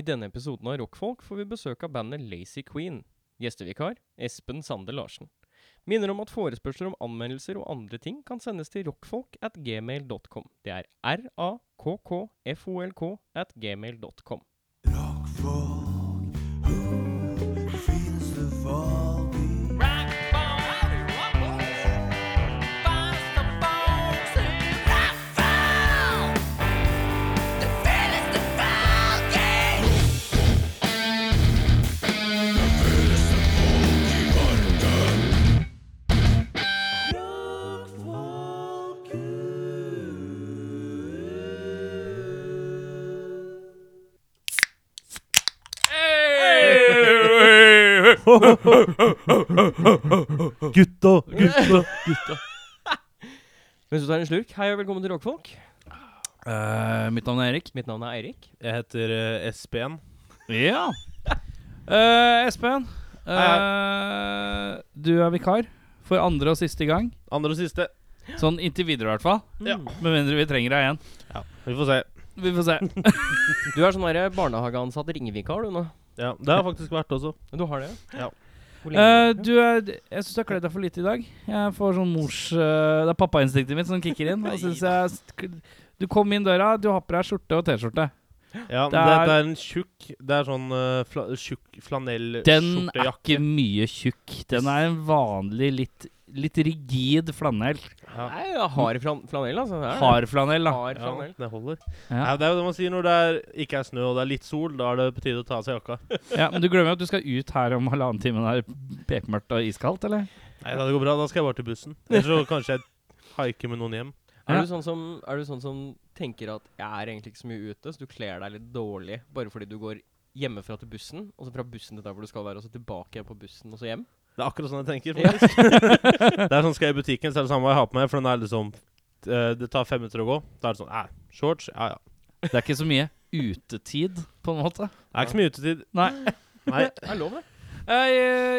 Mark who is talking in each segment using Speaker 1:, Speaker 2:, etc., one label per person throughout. Speaker 1: I denne episoden av Rockfolk får vi besøk av bandet Lazy Queen. Gjestevikar Espen Sande Larsen. Minner om at forespørsler om anmeldelser og andre ting kan sendes til rockfolk at gmail.com. Det er r-a-k-k-f-o-l-k at gmail.com.
Speaker 2: Gutta, gutta, gutta.
Speaker 1: Mens du tar en slurk, hei og velkommen til Rockfolk.
Speaker 2: Eh, mitt navn er Erik.
Speaker 1: Mitt navn er Eirik.
Speaker 3: Jeg heter uh, SPN.
Speaker 2: Ja. Eh, Espen, eh,
Speaker 3: Hei,
Speaker 2: du er vikar for andre og siste gang.
Speaker 3: Andre og siste.
Speaker 2: Sånn inntil videre, i hvert fall.
Speaker 3: Ja.
Speaker 2: Med mindre vi trenger deg igjen.
Speaker 3: Vi får se.
Speaker 2: Vi får se.
Speaker 1: Du er sånn der barnehageansatt ringevikar, du nå.
Speaker 3: Ja, Det har jeg faktisk vært også.
Speaker 1: Du har det?
Speaker 3: Ja.
Speaker 1: Hvor lenge
Speaker 2: Eh,
Speaker 1: har du vært det?
Speaker 2: du er, jeg syns du har kledd deg for lite i dag. Jeg får sånn mors eh, Det er pappainstinktet mitt som kicker inn. Og synes jeg sk- du kom inn døra, du har på deg skjorte og T-skjorte.
Speaker 3: Ja, det
Speaker 2: Det
Speaker 3: er,
Speaker 2: er-
Speaker 3: det er en tjukk Det er sånn eh, fla, tjukk
Speaker 2: Den er
Speaker 3: flanellskjortejakke.
Speaker 2: ikke mye tjukk. Den er en vanlig, litt, litt rigid flanell.
Speaker 3: Ja.
Speaker 1: Nei, det er hard flan flanell, altså. Det er det.
Speaker 2: Hard flanell, da.
Speaker 1: Hard
Speaker 3: Ja,
Speaker 1: flanell.
Speaker 3: det holder.
Speaker 2: Ja.
Speaker 3: Nei, det er jo det man sier når det er, ikke er snø og det er litt sol. Da er det på tide å ta av seg jakka.
Speaker 2: Ja, Men du glemmer jo at du skal ut her om halvannen time når det er bekmørkt og iskaldt, eller?
Speaker 3: Nei, da, Det går bra. Da skal jeg bare til bussen. Eller så kanskje jeg haiker med noen hjem.
Speaker 1: Er,
Speaker 2: Ja.
Speaker 1: du sånn som, er du sånn som tenker at jeg er egentlig ikke så mye ute, så du kler deg litt dårlig bare fordi du går hjemmefra til bussen, og så fra bussen til der hvor du skal være, og så tilbake igjen på bussen, og så hjem?
Speaker 3: Det er akkurat sånn jeg tenker. faktisk Det er sånn Skal jeg i butikken, så er det samme hva jeg har på meg. For den er liksom eh, Det tar fem minutter å gå. Da er det sånn eh, Shorts? Ja, ja.
Speaker 2: Det er ikke så mye utetid, på en måte.
Speaker 3: Det er ikke så mye utetid.
Speaker 2: Nei.
Speaker 3: Nei.
Speaker 1: Det er lov, det.
Speaker 2: Eh,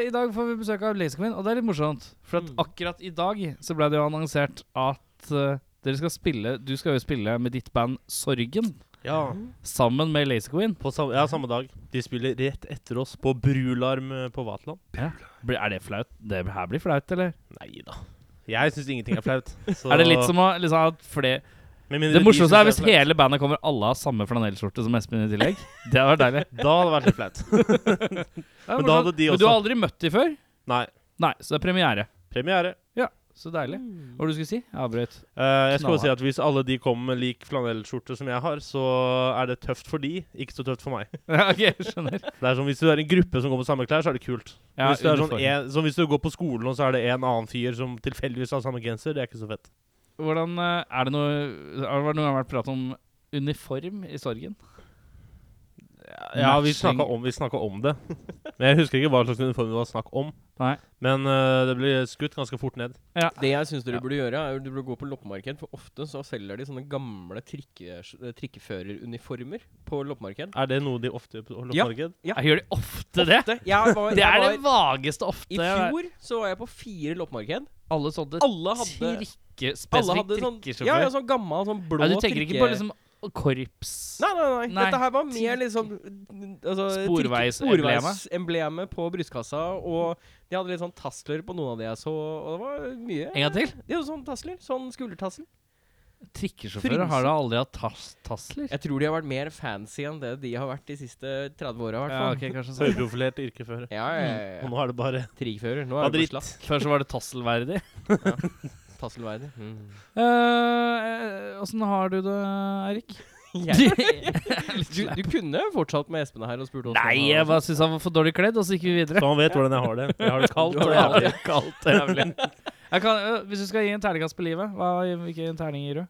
Speaker 2: I dag får vi besøk av Lazy Queen, og det er litt morsomt. For at
Speaker 1: Mm.
Speaker 2: akkurat i dag så ble det jo annonsert at eh, dere skal spille Du skal jo spille med ditt band Sorgen
Speaker 3: Ja.
Speaker 2: sammen med Lazy Queen.
Speaker 3: På samme, ja, samme dag. De spiller rett etter oss på Brularm eh, på Vaterland.
Speaker 2: Blir- Er det flaut? Det her blir flaut, eller?
Speaker 3: Nei da. Jeg syns ingenting er flaut. så-
Speaker 2: Er det litt som å liksom at flere
Speaker 3: Med mindre
Speaker 2: Det
Speaker 3: de
Speaker 2: morsomste
Speaker 3: synes
Speaker 2: er hvis
Speaker 3: flaut.
Speaker 2: hele bandet kommer alle av samme flanellskjorte som Espen i tillegg. Det hadde vært deilig.
Speaker 3: Da hadde det vært litt flaut.
Speaker 2: Det er
Speaker 3: Men da
Speaker 2: morsomt.
Speaker 3: hadde de
Speaker 2: Men du har
Speaker 3: også-
Speaker 2: aldri møtt de før?
Speaker 3: Nei.
Speaker 2: Nei, så det er premiere.
Speaker 3: Premiere.
Speaker 2: Så deilig. Hva var det du skulle si? Jeg avbrøt.
Speaker 3: Eh, jeg skal
Speaker 2: Knallhardt.
Speaker 3: bare si at Hvis alle de kommer med lik flanellskjorte som jeg har, så er det tøft for de, ikke så tøft for meg.
Speaker 2: Ja, ok, jeg skjønner.
Speaker 3: Det er som Hvis du er en gruppe som går med samme klær, så er det kult.
Speaker 2: Ja,
Speaker 3: hvis, det er sånn
Speaker 2: uniform.
Speaker 3: en, som hvis du går på skolen, og så er det en annen fyr som tilfeldigvis har samme genser, det er ikke så fett.
Speaker 2: Hvordan eh, er det noe Har det noen gang vært prat om uniform i sorgen?
Speaker 3: Ja, vi
Speaker 2: Matching.
Speaker 3: snakka om, vi snakket om det. Men jeg husker ikke hva slags uniform det var snakk om.
Speaker 2: Nei.
Speaker 3: Men eh, det ble skutt ganske fort ned.
Speaker 1: Det jeg syns dere
Speaker 2: Ja.
Speaker 1: burde gjøre, er at du burde gå på loppemarked, for ofte så selger de sånne gamle trikke, eh, trikkeføreruniformer på loppemarked.
Speaker 3: Er det noe de ofte gjør på
Speaker 1: Ja.
Speaker 3: loppemarked?
Speaker 1: Ja.
Speaker 2: Jeg gjør de ofte det.
Speaker 1: Det, jeg var,
Speaker 2: Det er det
Speaker 1: jeg var,
Speaker 2: vageste ofte.
Speaker 1: I fjor så var jeg på fire loppemarked.
Speaker 2: Alle sånne
Speaker 1: Alle hadde
Speaker 2: trikke,
Speaker 1: alle
Speaker 2: spesifikk
Speaker 1: hadde sånn,
Speaker 2: trikkesjåfør.
Speaker 1: ja, ja, sånn gammel, sånn blå
Speaker 2: Ja, du tenker ikke
Speaker 1: trikke-
Speaker 2: på liksom korps
Speaker 1: Nei, nei, nei,
Speaker 2: Nei.
Speaker 1: Dette her var mer liksom altså,
Speaker 2: Sporveisemblemet.
Speaker 1: trikke- Sporveisemblemet på brystkassa. Og de hadde litt sånn tasler på noen av de jeg så. Og det var mye
Speaker 2: En gang til?
Speaker 1: De hadde sånn tasler. Sånn skuldertassel.
Speaker 2: Trikkesjåfører har da aldri hatt tas tasler?
Speaker 1: Jeg tror de har vært mer fancy enn det de har vært de siste 30 åra, i hvert
Speaker 2: Ja,
Speaker 1: fall.
Speaker 2: ok, kanskje sånn.
Speaker 3: Høyprofilert yrke før.
Speaker 1: Ja, ja,
Speaker 3: Og
Speaker 1: ja, ja.
Speaker 3: nå er det bare
Speaker 1: Trikkfører. Nå
Speaker 3: Hva
Speaker 1: er det
Speaker 3: dritt.
Speaker 1: på slask.
Speaker 2: Før så var det tasselverdig.
Speaker 1: Tasselverdig. Mm.
Speaker 2: Eh, Åssen har du det, Eirik?
Speaker 1: Du, du kunne fortsatt med Espen her og spurt oss. om
Speaker 2: Nei,
Speaker 1: han-
Speaker 2: jeg bare syns han var for dårlig kledd, og så gikk vi videre.
Speaker 3: Så han vet hvordan jeg har det. Jeg har det kaldt.
Speaker 1: Du har
Speaker 3: og
Speaker 1: det
Speaker 3: jævlig.
Speaker 2: kaldt og jævlig. Jeg kan, øh, hvis du skal gi en terningkast på livet, hva, hvilken terning gir du?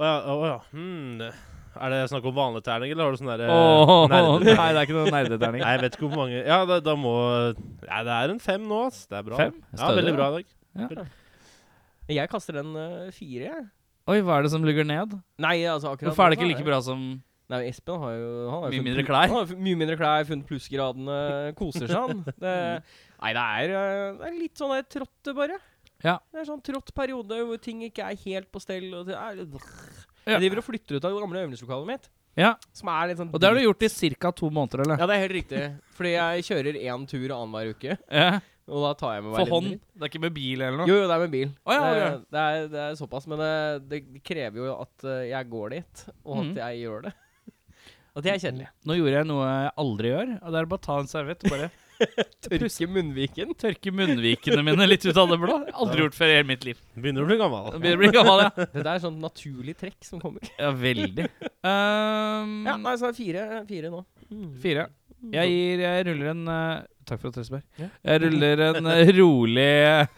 Speaker 3: Å ja, å ja. Hmm. Er det snakk om vanlig terning, eller har du sånn derre
Speaker 2: Åh,
Speaker 3: nerde-
Speaker 2: nei, det er ikke noen nerdeterning.
Speaker 3: Nei, jeg vet ikke hvor mange Ja, da, da må Nei, det er en fem nå, ass. Det er bra.
Speaker 2: Fem?
Speaker 3: Ja,
Speaker 2: Stødig,
Speaker 3: veldig
Speaker 2: da.
Speaker 3: bra i dag.
Speaker 1: Jeg kaster en eh, fire, jeg.
Speaker 2: Oi, hva er det som lugger ned?
Speaker 1: Nei, altså akkurat
Speaker 2: Hvorfor er det
Speaker 1: nå så
Speaker 2: ikke like bra som
Speaker 1: Nei, men Espen har jo han har
Speaker 2: Mye
Speaker 1: jo funnet
Speaker 2: mindre
Speaker 1: plu-
Speaker 2: klær.
Speaker 1: Han har jo fu- mye mindre klær, funnet plussgradene, koser seg, han. Det, nei, det er, eh, det er litt sånn der trått, bare.
Speaker 2: Ja.
Speaker 1: Det er sånn trått periode hvor ting ikke er helt på stell. Og det er,
Speaker 2: Ja.
Speaker 1: Jeg driver og flytter ut av det gamle øvingslokalet mitt.
Speaker 2: Ja,
Speaker 1: Som er litt sånn
Speaker 2: Og det har du gjort i ca. to måneder, eller?
Speaker 1: Ja, det er helt riktig. Fordi jeg kjører én tur annenhver uke.
Speaker 2: Ja.
Speaker 1: Og da tar jeg med meg
Speaker 2: For
Speaker 1: litt
Speaker 2: hånd?
Speaker 1: dritt.
Speaker 2: Det er ikke med bil eller noe?
Speaker 1: Jo, jo, det er med bil.
Speaker 2: Å, ja,
Speaker 1: det,
Speaker 2: ja.
Speaker 1: det, er, det er såpass. Men det, det krever jo at eh, jeg går dit, og at
Speaker 2: Mhm.
Speaker 1: jeg gjør det. At jeg er kjedelig.
Speaker 2: Nå gjorde jeg noe jeg aldri gjør. Og det er bare å ta en serviett og bare
Speaker 1: Tørke munnviken.
Speaker 2: tørke munnvikene mine litt ut av det blå. Aldri gjort før i hele mitt liv.
Speaker 3: Begynner å bli gammel.
Speaker 2: Jeg Begynner å bli gammel, ja.
Speaker 1: Det der er sånn naturlig trekk som kommer.
Speaker 2: Ja, veldig. Ehm,
Speaker 1: Ja, nei, så er det fire, fire nå. Mm.
Speaker 2: fire. Jeg gir Jeg ruller en eh, Takk for at dere spør.
Speaker 1: Ja.
Speaker 2: Jeg ruller en eh, rolig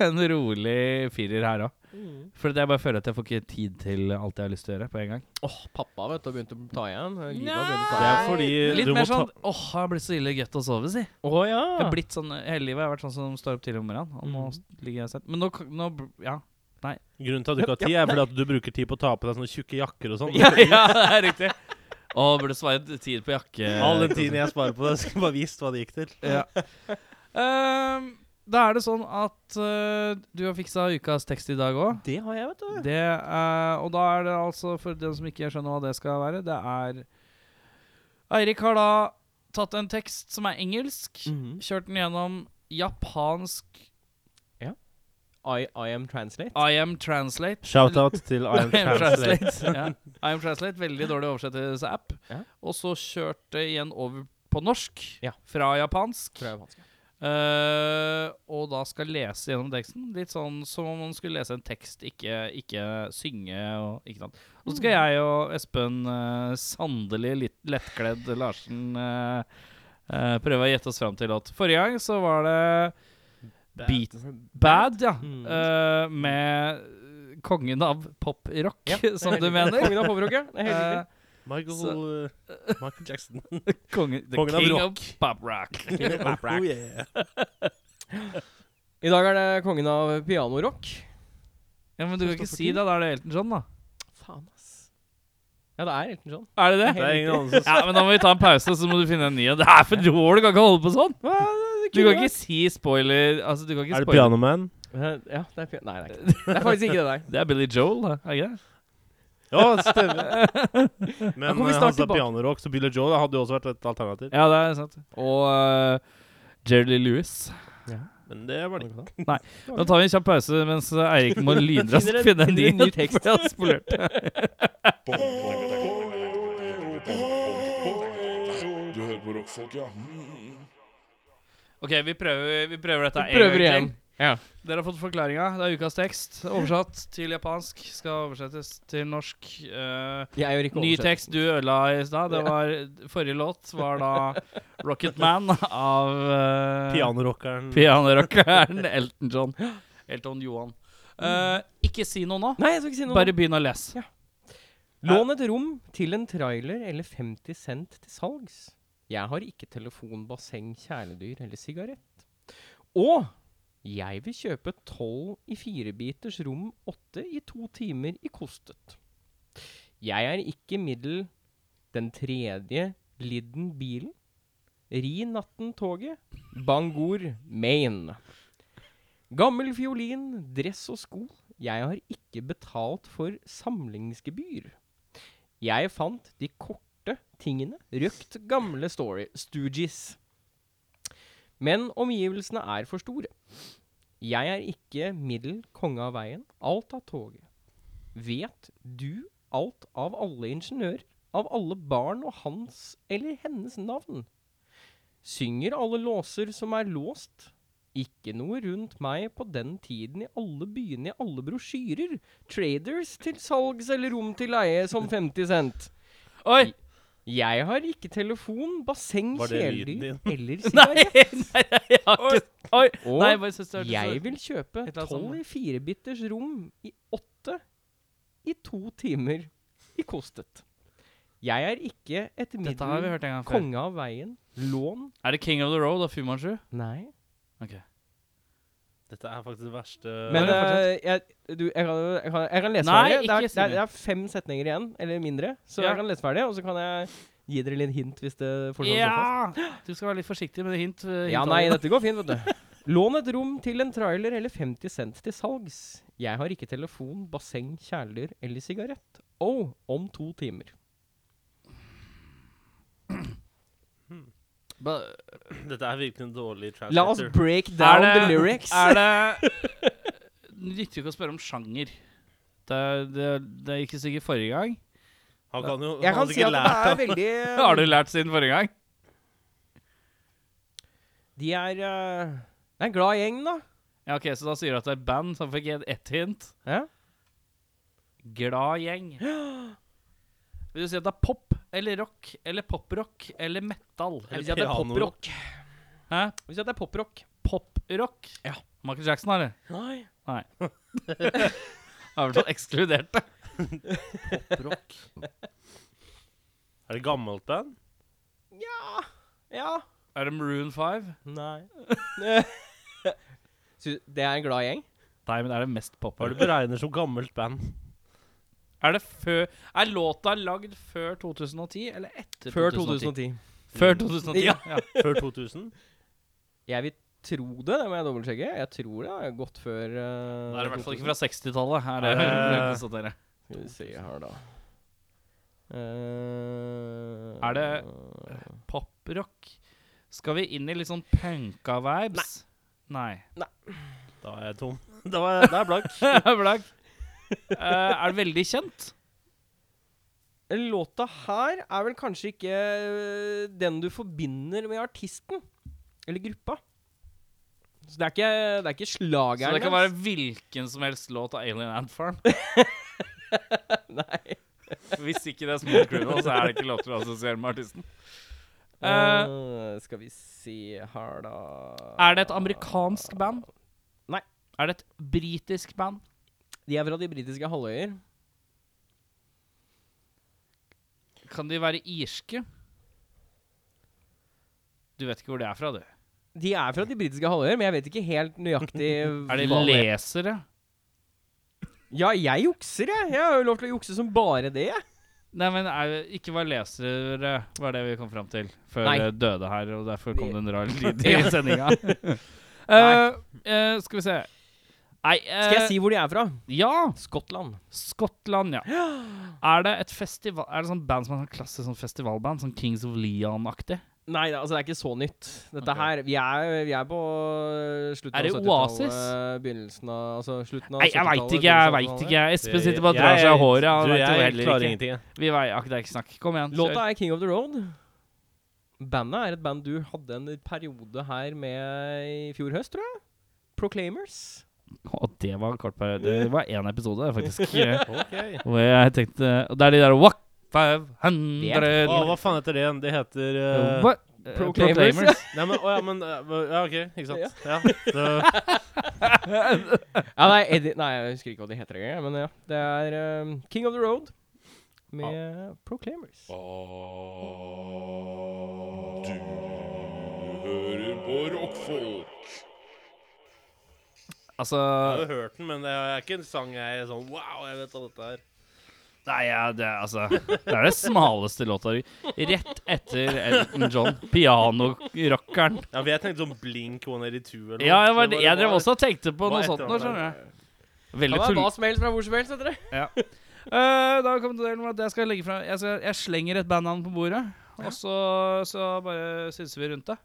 Speaker 2: En rolig firer her òg.
Speaker 1: Mm.
Speaker 2: For jeg bare føler at jeg får ikke tid til alt jeg har lyst til å gjøre på en gang.
Speaker 1: Åh, pappa vet du, har begynt å ta igjen. Livet har begynt å
Speaker 3: Det
Speaker 1: ta
Speaker 3: er
Speaker 1: igjen.
Speaker 3: fordi
Speaker 2: Litt
Speaker 3: du må
Speaker 2: mer sånn
Speaker 3: ta
Speaker 2: Åh, jeg har blitt så ille godt å sove, si.
Speaker 1: Å ja.
Speaker 2: Jeg har blitt sånn Hele livet har jeg vært sånn som står opp tidlig om morgenen. Og nå
Speaker 1: Mm.
Speaker 2: s- ligger jeg sent. Men nå, k- nå br- Ja.
Speaker 3: Grunnen til at du ikke har tid, er fordi at du bruker tid på å ta på deg sånne tjukke jakker og sånn.
Speaker 2: ja, ja, det er riktig. Å, burde svart tid på jakke.
Speaker 3: All den tiden jeg sparer på det, skulle bare visst hva det gikk til.
Speaker 2: Ja. Ehm, da er det sånn at eh, du har fiksa ukas tekst i dag òg.
Speaker 1: Det har jeg, vet du.
Speaker 2: Det er, og da er det altså, for den som ikke skjønner hva det skal være, det er Eirik har da tatt en tekst som er engelsk,
Speaker 3: Mhm.
Speaker 2: kjørt den gjennom japansk
Speaker 1: I, I am translate.
Speaker 2: I am translate.
Speaker 3: Shout-out til I am Translate.
Speaker 2: ja. I am translate, veldig dårlig oversettelseapp.
Speaker 1: Ja.
Speaker 2: Og så kjørte igjen over på norsk
Speaker 1: Ja.
Speaker 2: fra japansk.
Speaker 1: Tror jeg er vanskelig.
Speaker 2: Eh, og da skal lese gjennom teksten. Litt sånn som om man skulle lese en tekst, ikke, ikke synge. Og, ikke sant? og så skal
Speaker 1: Mm.
Speaker 2: jeg og Espen eh, sannelig litt lettkledd Larsen eh, eh, prøve å gjette oss fram til at forrige gang så var det Beat Bad, ja.
Speaker 1: Mm.
Speaker 2: eh, med kongen av poprock,
Speaker 1: Ja,
Speaker 2: som sånn du mener. Eh,
Speaker 1: Kongen av poprocket. Det er helt riktig.
Speaker 3: Michael,
Speaker 2: Så-
Speaker 3: eh, Michael Jackson.
Speaker 2: Eh, kongen, the
Speaker 3: Kongen av
Speaker 2: king of poprock.
Speaker 3: oh, yeah.
Speaker 1: I dag er det kongen av pianorock.
Speaker 2: Ja, men du kan ikke
Speaker 1: Christopher
Speaker 2: si det. Da er det Elton John, da.
Speaker 1: Faen, ass. Ja, det er Elton John.
Speaker 2: Er det det?
Speaker 3: Det er ingen annen som
Speaker 2: Ja, men Da må vi ta en pause, så må du finne en ny. og Det er for dårlig! Du kan ikke holde på sånn! Du kan ikke si spoiler altså, du kan ikke
Speaker 3: Er det
Speaker 2: spoiler.
Speaker 3: Piano Man?
Speaker 1: Eh, Ja, det er piano... Nei, det er ikke det. Det er faktisk ikke det der.
Speaker 2: Det er Billy Joel, da. er det ikke det?
Speaker 3: Ja, stemmer.
Speaker 1: Da
Speaker 3: Men
Speaker 1: kommer vi
Speaker 3: eh, han sa
Speaker 1: snart tilbake.
Speaker 3: pianorock, så Billy Joel hadde jo også vært et alternativ.
Speaker 2: Ja, det er sant. Og uh, Jerry Lee Lewis.
Speaker 3: Men det var det ikke.
Speaker 2: Nå tar vi en kjapp pause mens eh, Eirik må lynraskt
Speaker 1: Finner
Speaker 2: finne
Speaker 1: en-
Speaker 2: en ny,
Speaker 1: finner en ny tekst.
Speaker 2: for jeg har spolert.
Speaker 4: Du hører på rockfolk, ja. Mm.
Speaker 2: OK, vi prøver, vi prøver dette en
Speaker 1: Prøver
Speaker 2: gang
Speaker 1: igjen. Ja.
Speaker 2: til. Dere har fått forklaringa. Det er ukas tekst. Oversatt til japansk. Skal oversettes til norsk. eh,
Speaker 1: Jeg gjør ikke
Speaker 2: Ny
Speaker 1: oversett.
Speaker 2: tekst du ødela i stad. Det var Forrige låt var da 'Rocket Man' av eh,
Speaker 3: Pianorockeren
Speaker 2: pianorockeren Elton John. Elton Johan. Eh, ikke si noe nå.
Speaker 1: Nei, jeg skal ikke si noe.
Speaker 2: Bare begynn å lese.
Speaker 1: Lån et rom til en trailer eller 50 cent til salgs. Jeg har ikke telefon, basseng, kjæledyr eller sigarett. Og jeg vil kjøpe tolv i firebiters rom åtte i to timer i kostet. Jeg er ikke middel den tredje lidden bilen. Ri natten toget. Bangor, Maine. Gammel fiolin, dress og sko. Jeg har ikke betalt for samlingsgebyr. Jeg fant de korte tingene, røkt gamle story, Stooges. Men omgivelsene er for store. Jeg er ikke middel konge av veien, alt av toget. Vet du alt av alle ingeniører, av alle barn og hans eller hennes navn? Synger alle låser som er låst? Ikke noe rundt meg på den tiden i alle byene i alle brosjyrer. Traders til salgs eller rom til leie som 50 cent.
Speaker 2: Oi!
Speaker 1: Jeg har ikke telefon, basseng,
Speaker 3: Var det lyden
Speaker 1: kjæledyr eller
Speaker 2: Nei,
Speaker 1: sigarett.
Speaker 2: nei, jeg har ikke Oi!
Speaker 1: Og
Speaker 2: Nei, bare synes det hørtes
Speaker 1: jeg
Speaker 2: så-
Speaker 1: vil kjøpe
Speaker 2: Et eller annet
Speaker 1: tolv
Speaker 2: sånn.
Speaker 1: i firebiters rom i åtte i to timer i kostet. Jeg er ikke et
Speaker 2: Dette har vi
Speaker 1: middel
Speaker 2: hørt en gang før.
Speaker 1: konge av veien. Lån
Speaker 2: Er det 'King of the Road' av Fu Manchu?
Speaker 1: Nei.
Speaker 2: Ok.
Speaker 3: Dette er faktisk det verste
Speaker 1: Men
Speaker 2: Ja,
Speaker 1: eh, jeg, du, jeg, kan, jeg, kan, jeg kan lese
Speaker 2: Nei,
Speaker 1: ferdig. Det
Speaker 2: ikke
Speaker 1: er,
Speaker 2: si
Speaker 1: det,
Speaker 2: mer.
Speaker 1: er, det er fem setninger igjen, eller mindre. Så
Speaker 2: Ja.
Speaker 1: jeg kan lese ferdig, og så kan jeg gi dere litt hint hvis det fortsatt står fast.
Speaker 2: Ja! Du skal være litt forsiktig med det hint. eh,
Speaker 1: Ja,
Speaker 2: hintet.
Speaker 1: nei, dette går fint, vet du. Lån et rom til en trailer eller 50 cent til salgs. Jeg har ikke telefon, basseng, kjæledyr eller sigarett. Oh, om to timer.
Speaker 3: Dette er virkelig en dårlig
Speaker 1: La oss
Speaker 3: translator.
Speaker 1: break down
Speaker 2: Er
Speaker 1: the lyrics.
Speaker 2: Er det Nytter ikke å spørre om sjanger. Det, det, det gikk sikkert forrige gang.
Speaker 3: Han kan jo
Speaker 1: Jeg
Speaker 3: han
Speaker 1: kan
Speaker 3: hadde
Speaker 1: si
Speaker 3: ikke
Speaker 1: at det
Speaker 3: lært
Speaker 1: er veldig eh,
Speaker 2: Har du lært siden forrige gang?
Speaker 1: De er eh, Det er en glad gjeng, da.
Speaker 2: Ja, ok, Så da sier du at det er et band, så fikk jeg ett hint.
Speaker 1: Ja.
Speaker 2: Glad gjeng. Vil du si at det er pop eller rock eller poprock eller metal?
Speaker 1: Jeg vil si at det er
Speaker 3: Piano.
Speaker 1: poprock.
Speaker 2: Hæ?
Speaker 1: Jeg vil si at det er poprock.
Speaker 2: Poprock?
Speaker 1: Ja.
Speaker 2: Michael Jackson, eller?
Speaker 1: Nei.
Speaker 2: Nei. Har i hvert fall ekskludert det. Poprock.
Speaker 3: Er det gammelt band?
Speaker 1: Ja. Ja.
Speaker 2: Er det Maroon 5?
Speaker 1: Nei. Sy- det er en glad gjeng?
Speaker 2: Nei, men det er det mest pop.
Speaker 3: Hva er det du beregner som gammelt band?
Speaker 2: Er det før Er låta lagd før 2010 eller etter
Speaker 1: Før
Speaker 2: 2010?
Speaker 1: 2010.
Speaker 2: Før 2010, ja.
Speaker 1: Ja.
Speaker 3: Før 2000?
Speaker 1: Jeg vil tro det, det må jeg dobbeltsjekke. Jeg tror det er godt før eh,
Speaker 2: Det er i hvert fall ikke fra 60-tallet. Er det
Speaker 3: Er det-
Speaker 2: jeg vil konstatere.
Speaker 1: Skal vi se her, da. Eh,
Speaker 2: Er det- Poprock. Skal vi inn i litt sånn punka-vibes? Nei.
Speaker 3: Da er jeg tom. Da er jeg, da er jeg blank.
Speaker 2: Blakk. Eh, er det veldig kjent?
Speaker 1: Låta her er vel kanskje ikke eh, den du forbinder med artisten eller gruppa. Så det er ikke, det er ikke
Speaker 2: Så
Speaker 1: slageren
Speaker 2: det kan være
Speaker 1: deres.
Speaker 2: hvilken som helst låt av Alien Ant Farm?
Speaker 1: Nei.
Speaker 2: Hvis ikke det er Smooth Criminal, så er det ikke låter du assosierer med artisten. Eh,
Speaker 1: Eh, skal vi se her, da
Speaker 2: er det et amerikansk band?
Speaker 1: Nei.
Speaker 2: Er det et britisk band?
Speaker 1: De er fra de britiske halvøyer.
Speaker 2: Kan de være irske? Du vet ikke hvor det er fra, du.
Speaker 1: De er fra de britiske halvøyer, men jeg vet ikke helt nøyaktig
Speaker 2: Er de
Speaker 1: hva det er.
Speaker 2: lesere?
Speaker 1: Ja, jeg jukser, jeg. Jeg har jo lov til å jukse som bare det. jeg.
Speaker 2: Nei, men er, ikke var lesere, var det vi kom fram til før
Speaker 1: Nei.
Speaker 2: eh, døde her, og derfor kom
Speaker 1: Vi-
Speaker 2: det en rar lyd i sendinga. Eh, skal vi se Nei eh,
Speaker 1: Skal jeg si hvor de er fra?
Speaker 2: Ja!
Speaker 1: Skottland.
Speaker 2: Skottland, ja. Er det et festival Er det sånn band som er sånn klassisk sånn festivalband? Sånn Kings of Leon-aktig?
Speaker 1: Nei, det- altså det er ikke så nytt. Dette
Speaker 2: Ok.
Speaker 1: her, vi er, vi er på slutten
Speaker 2: Er det
Speaker 1: av
Speaker 2: Oasis?
Speaker 1: 70-tallet, begynnelsen av Altså slutten av
Speaker 2: Nei, jeg veit
Speaker 1: 70-tallet,
Speaker 2: ikke! jeg
Speaker 1: begynnelsen av
Speaker 2: vet ikke Espen sitter bare og
Speaker 3: Jeg-
Speaker 2: drar seg i
Speaker 3: jeg-
Speaker 2: håret.
Speaker 3: Du,
Speaker 2: Han vet jo
Speaker 3: jeg
Speaker 2: heller
Speaker 3: klarer
Speaker 2: ikke.
Speaker 3: ingenting. jeg.
Speaker 2: Vi vei, ak, det er ikke snakk. Kom igjen.
Speaker 1: 80-tallet. Låta er King of the Road. Bandet er et band du hadde en periode her med i fjor høst, tror jeg. Proclaimers.
Speaker 2: Og det var en kort periode. Det var én episode, faktisk.
Speaker 3: Ok.
Speaker 2: Hvor jeg tenkte Og det er de der What
Speaker 3: Å,
Speaker 2: 500
Speaker 3: hva faen heter det igjen? Det heter eh,
Speaker 2: What?
Speaker 1: Proclaimers,
Speaker 3: Nei, men, å, ja, men eh, Ja, OK. Ikke sant?
Speaker 1: Ja.
Speaker 3: Ja. Så-
Speaker 1: Ja, nei, Eddie, nei, jeg husker ikke hva de heter engang. Men ja, det er um, King of the Road med Proclaimers.
Speaker 4: Ah, Du hører på rockfolk.
Speaker 2: Altså
Speaker 3: Jeg har jo hørt den, men det er ikke en sang jeg er sånn Wow, jeg vet hva dette er.
Speaker 2: Nei, ja, det er altså Det er det smaleste låta vi Rett etter Elton John. Pianorockeren.
Speaker 3: Ja, for jeg tenkte sånn Blink 182 eller noe.
Speaker 2: Ja, jeg, var,
Speaker 3: Det
Speaker 2: jeg drev
Speaker 3: bare-
Speaker 2: også og tenkte på
Speaker 3: Hva
Speaker 2: noe
Speaker 3: heter
Speaker 2: sånt
Speaker 3: den
Speaker 2: nå,
Speaker 3: der?
Speaker 2: skjønner jeg.
Speaker 1: Kan
Speaker 2: Veldig
Speaker 1: være
Speaker 2: tull.
Speaker 1: hva som helst fra hvor som helst, heter det.
Speaker 2: Eh, da har vi kommet til delen hvor at jeg skal legge frem Jeg, skal, jeg slenger et bandnavn på bordet, og så, så bare synser vi rundt det.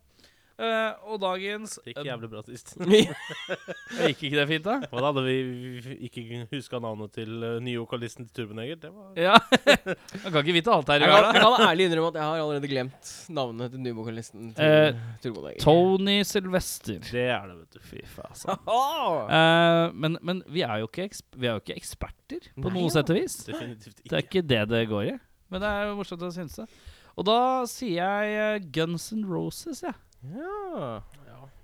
Speaker 2: Eh, og dagens
Speaker 3: Det gikk jævlig bra sist.
Speaker 2: Gikk ikke det fint, da?
Speaker 3: Og da hadde vi vi ikke huska navnet til eh, nye vokalisten til Turboneger. Det var
Speaker 2: Ja. Man kan ikke vite alt her i
Speaker 1: Jeg kan,
Speaker 2: verden.
Speaker 1: jeg kan ærlig innrømme at jeg har allerede glemt navnet til den nye vokalisten til
Speaker 2: Eh,
Speaker 1: eh, Turbodager.
Speaker 2: Tony Sylvester.
Speaker 3: Det er det, vet du.
Speaker 2: Fy faen. altså.
Speaker 1: Ah!
Speaker 2: Eh, men, men vi er jo ikke, eksp vi er jo ikke eksperter på
Speaker 1: Nei,
Speaker 2: noe
Speaker 1: ja.
Speaker 2: sett og vis.
Speaker 3: Definitivt
Speaker 2: Det er
Speaker 3: ikke.
Speaker 2: ikke det det går i. Men det er jo morsomt å synes det. Og da sier jeg eh, Guns N' Roses, jeg.
Speaker 1: Ja.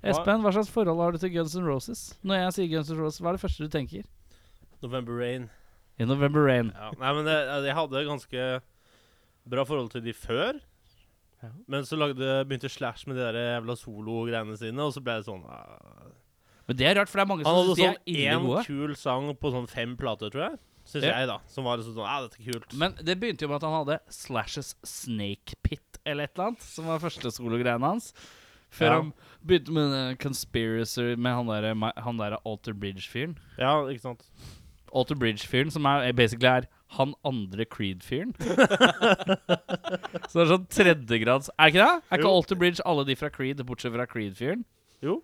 Speaker 2: Espen, hva slags forhold har du til Guns N' Roses? Når jeg sier Guns N' Roses, hva er det første du tenker?
Speaker 3: November Rain.
Speaker 2: I November Rain.
Speaker 3: Ja. Nei, men det, jeg hadde ganske bra forhold til de før.
Speaker 1: Ja.
Speaker 3: Men så lagde, begynte Slash med de der jævla solo-greiene sine, og så ble det sånn ah.
Speaker 2: Men det er rart, for det er mange
Speaker 3: Han
Speaker 2: som
Speaker 3: hadde
Speaker 2: synes de
Speaker 3: sånn
Speaker 2: er ille
Speaker 3: én
Speaker 2: gode.
Speaker 3: kul sang på sånn fem plater, tror jeg. Syns
Speaker 2: Ja.
Speaker 3: jeg, da. Som var liksom sånn Ja, dette er kult.
Speaker 2: Men det begynte jo med at han hadde Slashes Snake Pit eller et eller annet, som var første sologreiene hans. Før
Speaker 3: Ja.
Speaker 2: han begynte med den Conspiracy med han derre der Alter Bridge-fyren.
Speaker 3: Ja, ikke sant.
Speaker 2: Alter Bridge-fyren, som er, basically er han andre Creed-fyren. så det er sånn tredjegrads Er det ikke det? Er ikke
Speaker 3: Jo.
Speaker 2: Alter Bridge alle de fra Creed, bortsett fra Creed-fyren?
Speaker 3: Jo.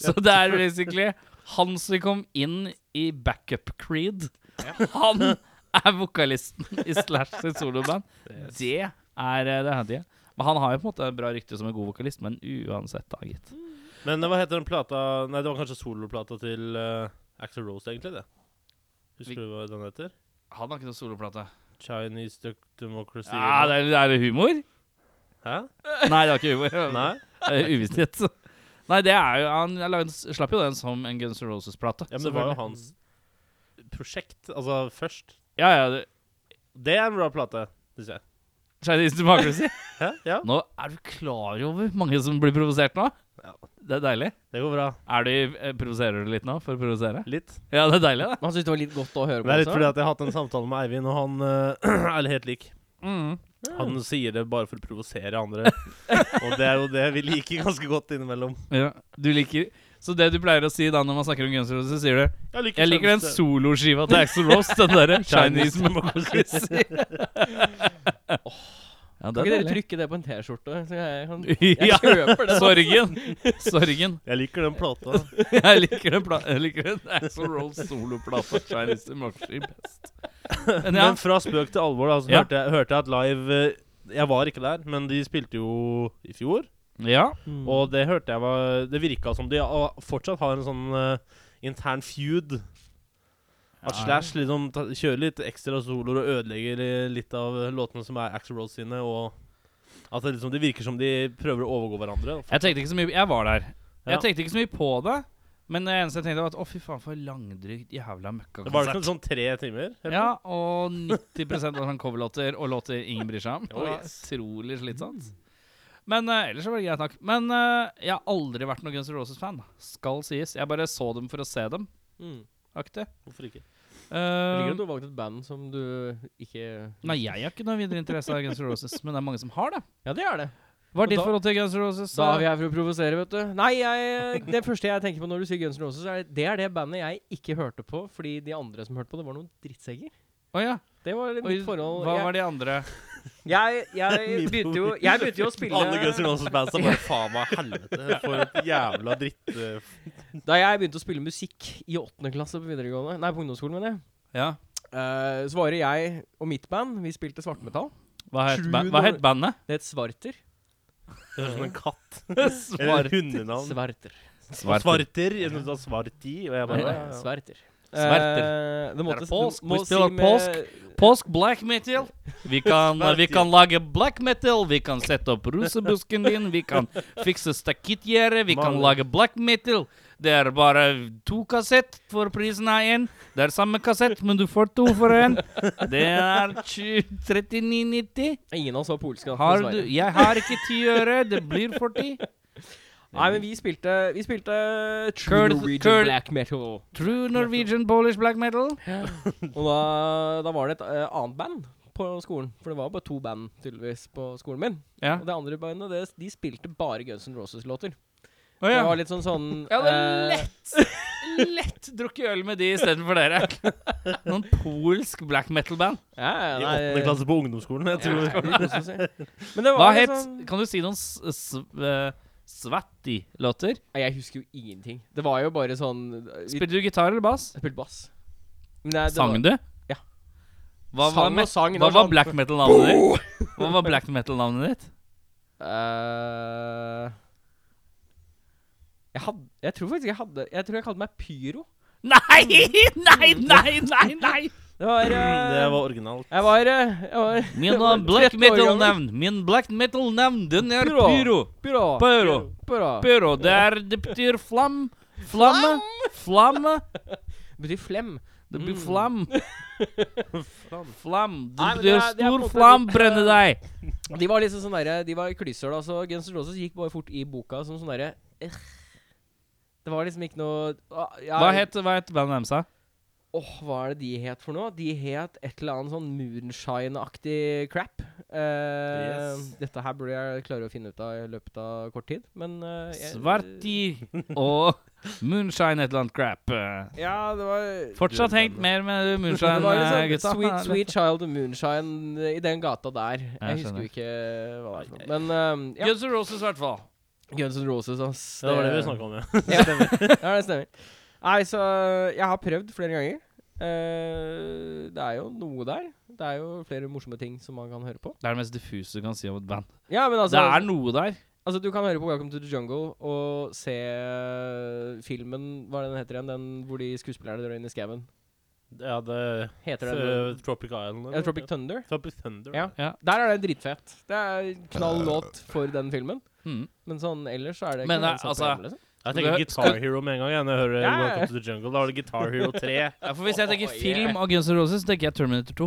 Speaker 2: Så det er basically han som kom inn i backup Creed. Han er vokalisten i Slash sitt soloband. Det er eh, det hendige. Men han har jo på en måte bra rykte som en god vokalist, men uansett, da, gitt.
Speaker 3: Men eh, hva heter den plata Nei, det var kanskje soloplata til uh, Axel Rose, egentlig, det.
Speaker 2: Vi-
Speaker 3: Husker du hva den heter?
Speaker 2: Han har ikke noen soloplate.
Speaker 3: Chinese Duck Democracy
Speaker 2: Ja, det er, er det humor?
Speaker 3: Hæ?
Speaker 2: Nei, det var ikke humor.
Speaker 3: Nei?
Speaker 2: Eh, Uvisshet. Nei, det er jo Han jeg lagde, en- slapp jo den som en Guns N' Roses-plate.
Speaker 3: Ja, men det var jo
Speaker 2: selvfølgelig.
Speaker 3: hans prosjekt, altså først.
Speaker 2: Ja, ja. det-
Speaker 3: Det er en bra plate, syns jeg.
Speaker 2: Chinese Democracy.
Speaker 3: Hæ? Ja.
Speaker 2: Nå er du klar over mange som blir provosert nå.
Speaker 3: Ja.
Speaker 2: Det er deilig.
Speaker 3: Det går bra.
Speaker 2: Er du, eh, provoserer du litt nå for å provosere?
Speaker 3: Litt.
Speaker 2: Ja, det er deilig, det.
Speaker 1: Men Han syntes det var litt godt å høre på.
Speaker 3: Det er litt
Speaker 1: også.
Speaker 3: fordi at jeg har hatt en samtale med Eivind, og han eh, er helt lik.
Speaker 2: Mm.
Speaker 3: Han sier det bare for å provosere andre. og det er jo det vi liker ganske godt innimellom.
Speaker 2: Ja, du liker Så det du pleier å si da når man snakker om Guns N' Roses, så sier du
Speaker 3: Jeg liker,
Speaker 2: Jeg liker den soloskiva til Axel Rose, den derre Chinese Democracy. Ja, det
Speaker 1: Kan ikke
Speaker 2: er
Speaker 1: dere
Speaker 2: deilig.
Speaker 1: trykke det på en T-skjorte? Så jeg, kan,
Speaker 2: Ja.
Speaker 1: jeg kjøper det.
Speaker 2: Sorgen. Sorgen.
Speaker 3: Jeg liker den plata.
Speaker 2: Jeg liker den, pla jeg liker den Axl Rose soloplata Chinese Democracy best. Men ja,
Speaker 3: Men fra spøk til alvor, da, så
Speaker 2: Ja.
Speaker 3: hørte, jeg, hørte jeg at live eh, Jeg var ikke der, men de spilte jo i fjor.
Speaker 2: ja.
Speaker 3: Og det hørte jeg var Det virka som de a- fortsatt har en sånn eh, intern feud. At
Speaker 2: Ja.
Speaker 3: Slash liksom ta, kjører litt ekstra soloer og ødelegger eh, litt av eh, låtene som er Axl Rose sine, og at det liksom det virker som de prøver å overgå hverandre. da.
Speaker 2: Jeg tenkte ikke så mye Jeg var der.
Speaker 3: Ja.
Speaker 2: Jeg tenkte ikke så mye på det. Men det eneste jeg tenkte, var at å, fy faen, for langdrygt jævla
Speaker 3: Det var
Speaker 2: møkkakonsert.
Speaker 3: liksom sånn tre timer. eller
Speaker 2: Ja,
Speaker 3: noe?
Speaker 2: og 90 var sånn coverlåter og låter ingen bryr seg om. Det
Speaker 3: Oh,
Speaker 2: var
Speaker 3: yes.
Speaker 2: Utrolig slitsomt. Men eh, ellers så var det greit nok. Men eh, jeg har aldri vært noen Guns N' Roses-fan. Skal sies. Jeg bare så dem for å se dem,
Speaker 1: Mm.
Speaker 2: aktig.
Speaker 3: Hvorfor ikke?
Speaker 1: Jeg
Speaker 2: Eh,
Speaker 1: liker at du har valgt et band som du ikke
Speaker 2: Nei, jeg har ikke noe videre interesse av Guns N' Roses, men det er mange som har det.
Speaker 1: Ja, det er det.
Speaker 2: Hva
Speaker 1: Og
Speaker 2: er ditt
Speaker 1: da-
Speaker 2: forhold til Guns N' Roses? eh?
Speaker 1: Da er vi her for å provosere, vet du. Nei, jeg, det første jeg tenker på når du sier Guns N' Roses, er det er det bandet jeg ikke hørte på fordi de andre som hørte på det, var noen drittsekker.
Speaker 2: Å ja.
Speaker 1: Det var
Speaker 2: Oi,
Speaker 1: mitt forhold.
Speaker 2: hva
Speaker 1: Jeg-
Speaker 2: var de andre?
Speaker 1: Jeg, jeg begynte jo Jeg begynte jo å
Speaker 3: Alle Guns N'
Speaker 1: spille
Speaker 3: Roses-bands er bare faen meg helvete for et jævla dritt... eh, f-
Speaker 1: Da jeg begynte å spille musikk i åttende klasse på videregående Nei, på ungdomsskolen, mener jeg.
Speaker 2: Ja.
Speaker 1: eh, så var det jeg og mitt band. Vi spilte svartmetall.
Speaker 2: Hva het,
Speaker 1: True
Speaker 2: ba hva het
Speaker 1: North.
Speaker 2: bandet?
Speaker 1: Det het Svarter.
Speaker 3: Det høres ut som en katt. Eller
Speaker 2: Svart.
Speaker 3: hundenavn.
Speaker 1: Sverter.
Speaker 3: Svarter. Jeg synes det var Svarti, og jeg bare
Speaker 1: Ja,
Speaker 3: ja, ja.
Speaker 1: Sverter.
Speaker 2: Sverter.
Speaker 1: Eh, det måtte,
Speaker 2: Er det polsk?
Speaker 1: du må
Speaker 2: Hvis det
Speaker 1: si
Speaker 2: var
Speaker 1: med
Speaker 2: Påsk black metal. Vi kan,
Speaker 3: Svart,
Speaker 2: vi kan lage black metal, vi kan sette opp rusebusken din, vi kan fikse stakittgjerde, vi kan
Speaker 3: Maler.
Speaker 2: lage black metal. Det er bare to kassett for prisen av én. Det er samme kassett, men du får to for én. Det er 20 39,90.
Speaker 1: Ingen av oss var polske. da,
Speaker 2: Har du
Speaker 1: dessverre.
Speaker 2: Jeg har ikke ti øre. Det blir 40.
Speaker 1: Nei, men vi spilte Vi spilte True
Speaker 2: Curd-
Speaker 1: Norwegian
Speaker 2: curd-
Speaker 1: Black Metal.
Speaker 2: True Norwegian Polish black metal.
Speaker 1: Og da, da var det et eh, annet band på skolen. For det var bare to band tydeligvis på skolen min.
Speaker 2: Ja.
Speaker 1: Og det andre bandet, det, de spilte bare Guns N' Roses-låter.
Speaker 2: Å
Speaker 1: Det
Speaker 2: ja.
Speaker 1: var litt sånn sånn
Speaker 2: Jeg hadde
Speaker 1: eh,
Speaker 2: lett, lett drukket øl med de istedenfor dere. Noen polsk black metal-band.
Speaker 1: ja, ja,
Speaker 3: I
Speaker 1: nei,
Speaker 3: åttende klasse på ungdomsskolen. Jeg tror
Speaker 1: Ja, det koser seg. Men det
Speaker 2: Hva
Speaker 1: var litt
Speaker 2: het
Speaker 1: sånn-
Speaker 2: Kan du si noen s- s- eh, Svatti-låter?
Speaker 1: Nei, Jeg husker jo ingenting. Det var jo bare sånn vi-
Speaker 2: Spilte du gitar eller bass?
Speaker 1: Jeg spilte bass. Men det- det
Speaker 2: Sang
Speaker 1: var,
Speaker 2: du?
Speaker 1: Ja.
Speaker 2: Hva var,
Speaker 1: Sang
Speaker 2: me-
Speaker 1: og sang. det
Speaker 2: hva var
Speaker 1: sånn-
Speaker 2: black metal-navnet ditt? Hva var black metal-navnet ditt?
Speaker 1: Eh, jeg, hadde, jeg tror faktisk jeg hadde Jeg tror jeg kalte meg Pyro.
Speaker 2: Nei! Nei, nei, nei! nei
Speaker 1: Det var, eh,
Speaker 3: Det var originalt.
Speaker 1: Jeg var, eh, jeg var
Speaker 2: Min eh, black
Speaker 1: 13 år gammel.
Speaker 2: metal-navn Min black metal-navn, den er
Speaker 1: Pyro.
Speaker 2: pyro.
Speaker 1: Pyro.
Speaker 2: Pyro.
Speaker 1: Pyro.
Speaker 2: Pyro. Det, er, det betyr flam. Flamme. Flamme.
Speaker 1: Det betyr flem.
Speaker 2: Det
Speaker 1: Mm.
Speaker 2: blir flam. Flam. Det
Speaker 1: Nei, men det
Speaker 2: betyr
Speaker 1: er- det er på
Speaker 2: stor
Speaker 1: en måte
Speaker 2: flam
Speaker 1: litt, eh,
Speaker 2: brenne deg.
Speaker 1: De var liksom sånn derre De var klysser, da, så Guns N' Roses gikk bare fort i boka som sånn derre eh. Det var liksom ikke noe ah, jeg-
Speaker 2: Hva het, hva het bandet deres? da?
Speaker 1: Åh, hva er det de het for noe? De het et eller annet sånn Moonshine-aktig crap. Eh,
Speaker 3: Yes.
Speaker 1: Dette her burde jeg klare å finne ut av i løpet av kort tid, men eh, jeg-
Speaker 2: Svarti og Moonshine et eller annet crap. eh.
Speaker 1: Ja, det var
Speaker 2: Fortsatt hengt mer med Moonshine,
Speaker 1: det var liksom
Speaker 2: eh, gutta.
Speaker 1: Sweet, sweet Child of Moonshine eh, i den gata der. Jeg,
Speaker 2: Jeg
Speaker 1: husker
Speaker 2: skjønner.
Speaker 1: jo ikke hva det er. for noe. Men eh, ja.
Speaker 2: Guns N' Roses, i hvert fall.
Speaker 1: Guns N' Roses, ass.
Speaker 3: Det var det vi snakka om, ja.
Speaker 1: Eh, Ja. ja, det stemmer. Nei, så jeg har prøvd flere ganger. Eh, det er jo noe der. Det er jo flere morsomme ting som man kan høre på.
Speaker 2: Det er det mest diffuse du kan si om et band.
Speaker 1: Ja, men altså,
Speaker 2: det er noe der.
Speaker 1: altså Du kan høre på Welcome to the Jungle og se eh, filmen Hva er det den heter igjen? Den hvor de skuespillerne drar inn i skauen.
Speaker 3: ja det
Speaker 1: Heter den
Speaker 3: uh, Tropic Island.
Speaker 1: Ja, Tropic Thunder?
Speaker 3: Tropic Thunder.
Speaker 1: Ja. Der er det dritfett. Det er knall låt for den filmen.
Speaker 2: Eh. Mm.
Speaker 1: Men sånn ellers så er det
Speaker 2: Men
Speaker 1: noe
Speaker 2: det-
Speaker 1: som
Speaker 2: altså-
Speaker 1: prøver, liksom.
Speaker 3: Jeg
Speaker 2: Skal-
Speaker 3: tenker Guitar Hero med en gang jeg, når jeg hører
Speaker 1: Ja, ja, ja.
Speaker 3: Welcome to the Jungle. Da var det Guitar Hero 3.
Speaker 2: Ja, for Hvis jeg tenker
Speaker 1: Oh, yeah.
Speaker 2: film av Guns N' Roses, tenker jeg Terminator 2.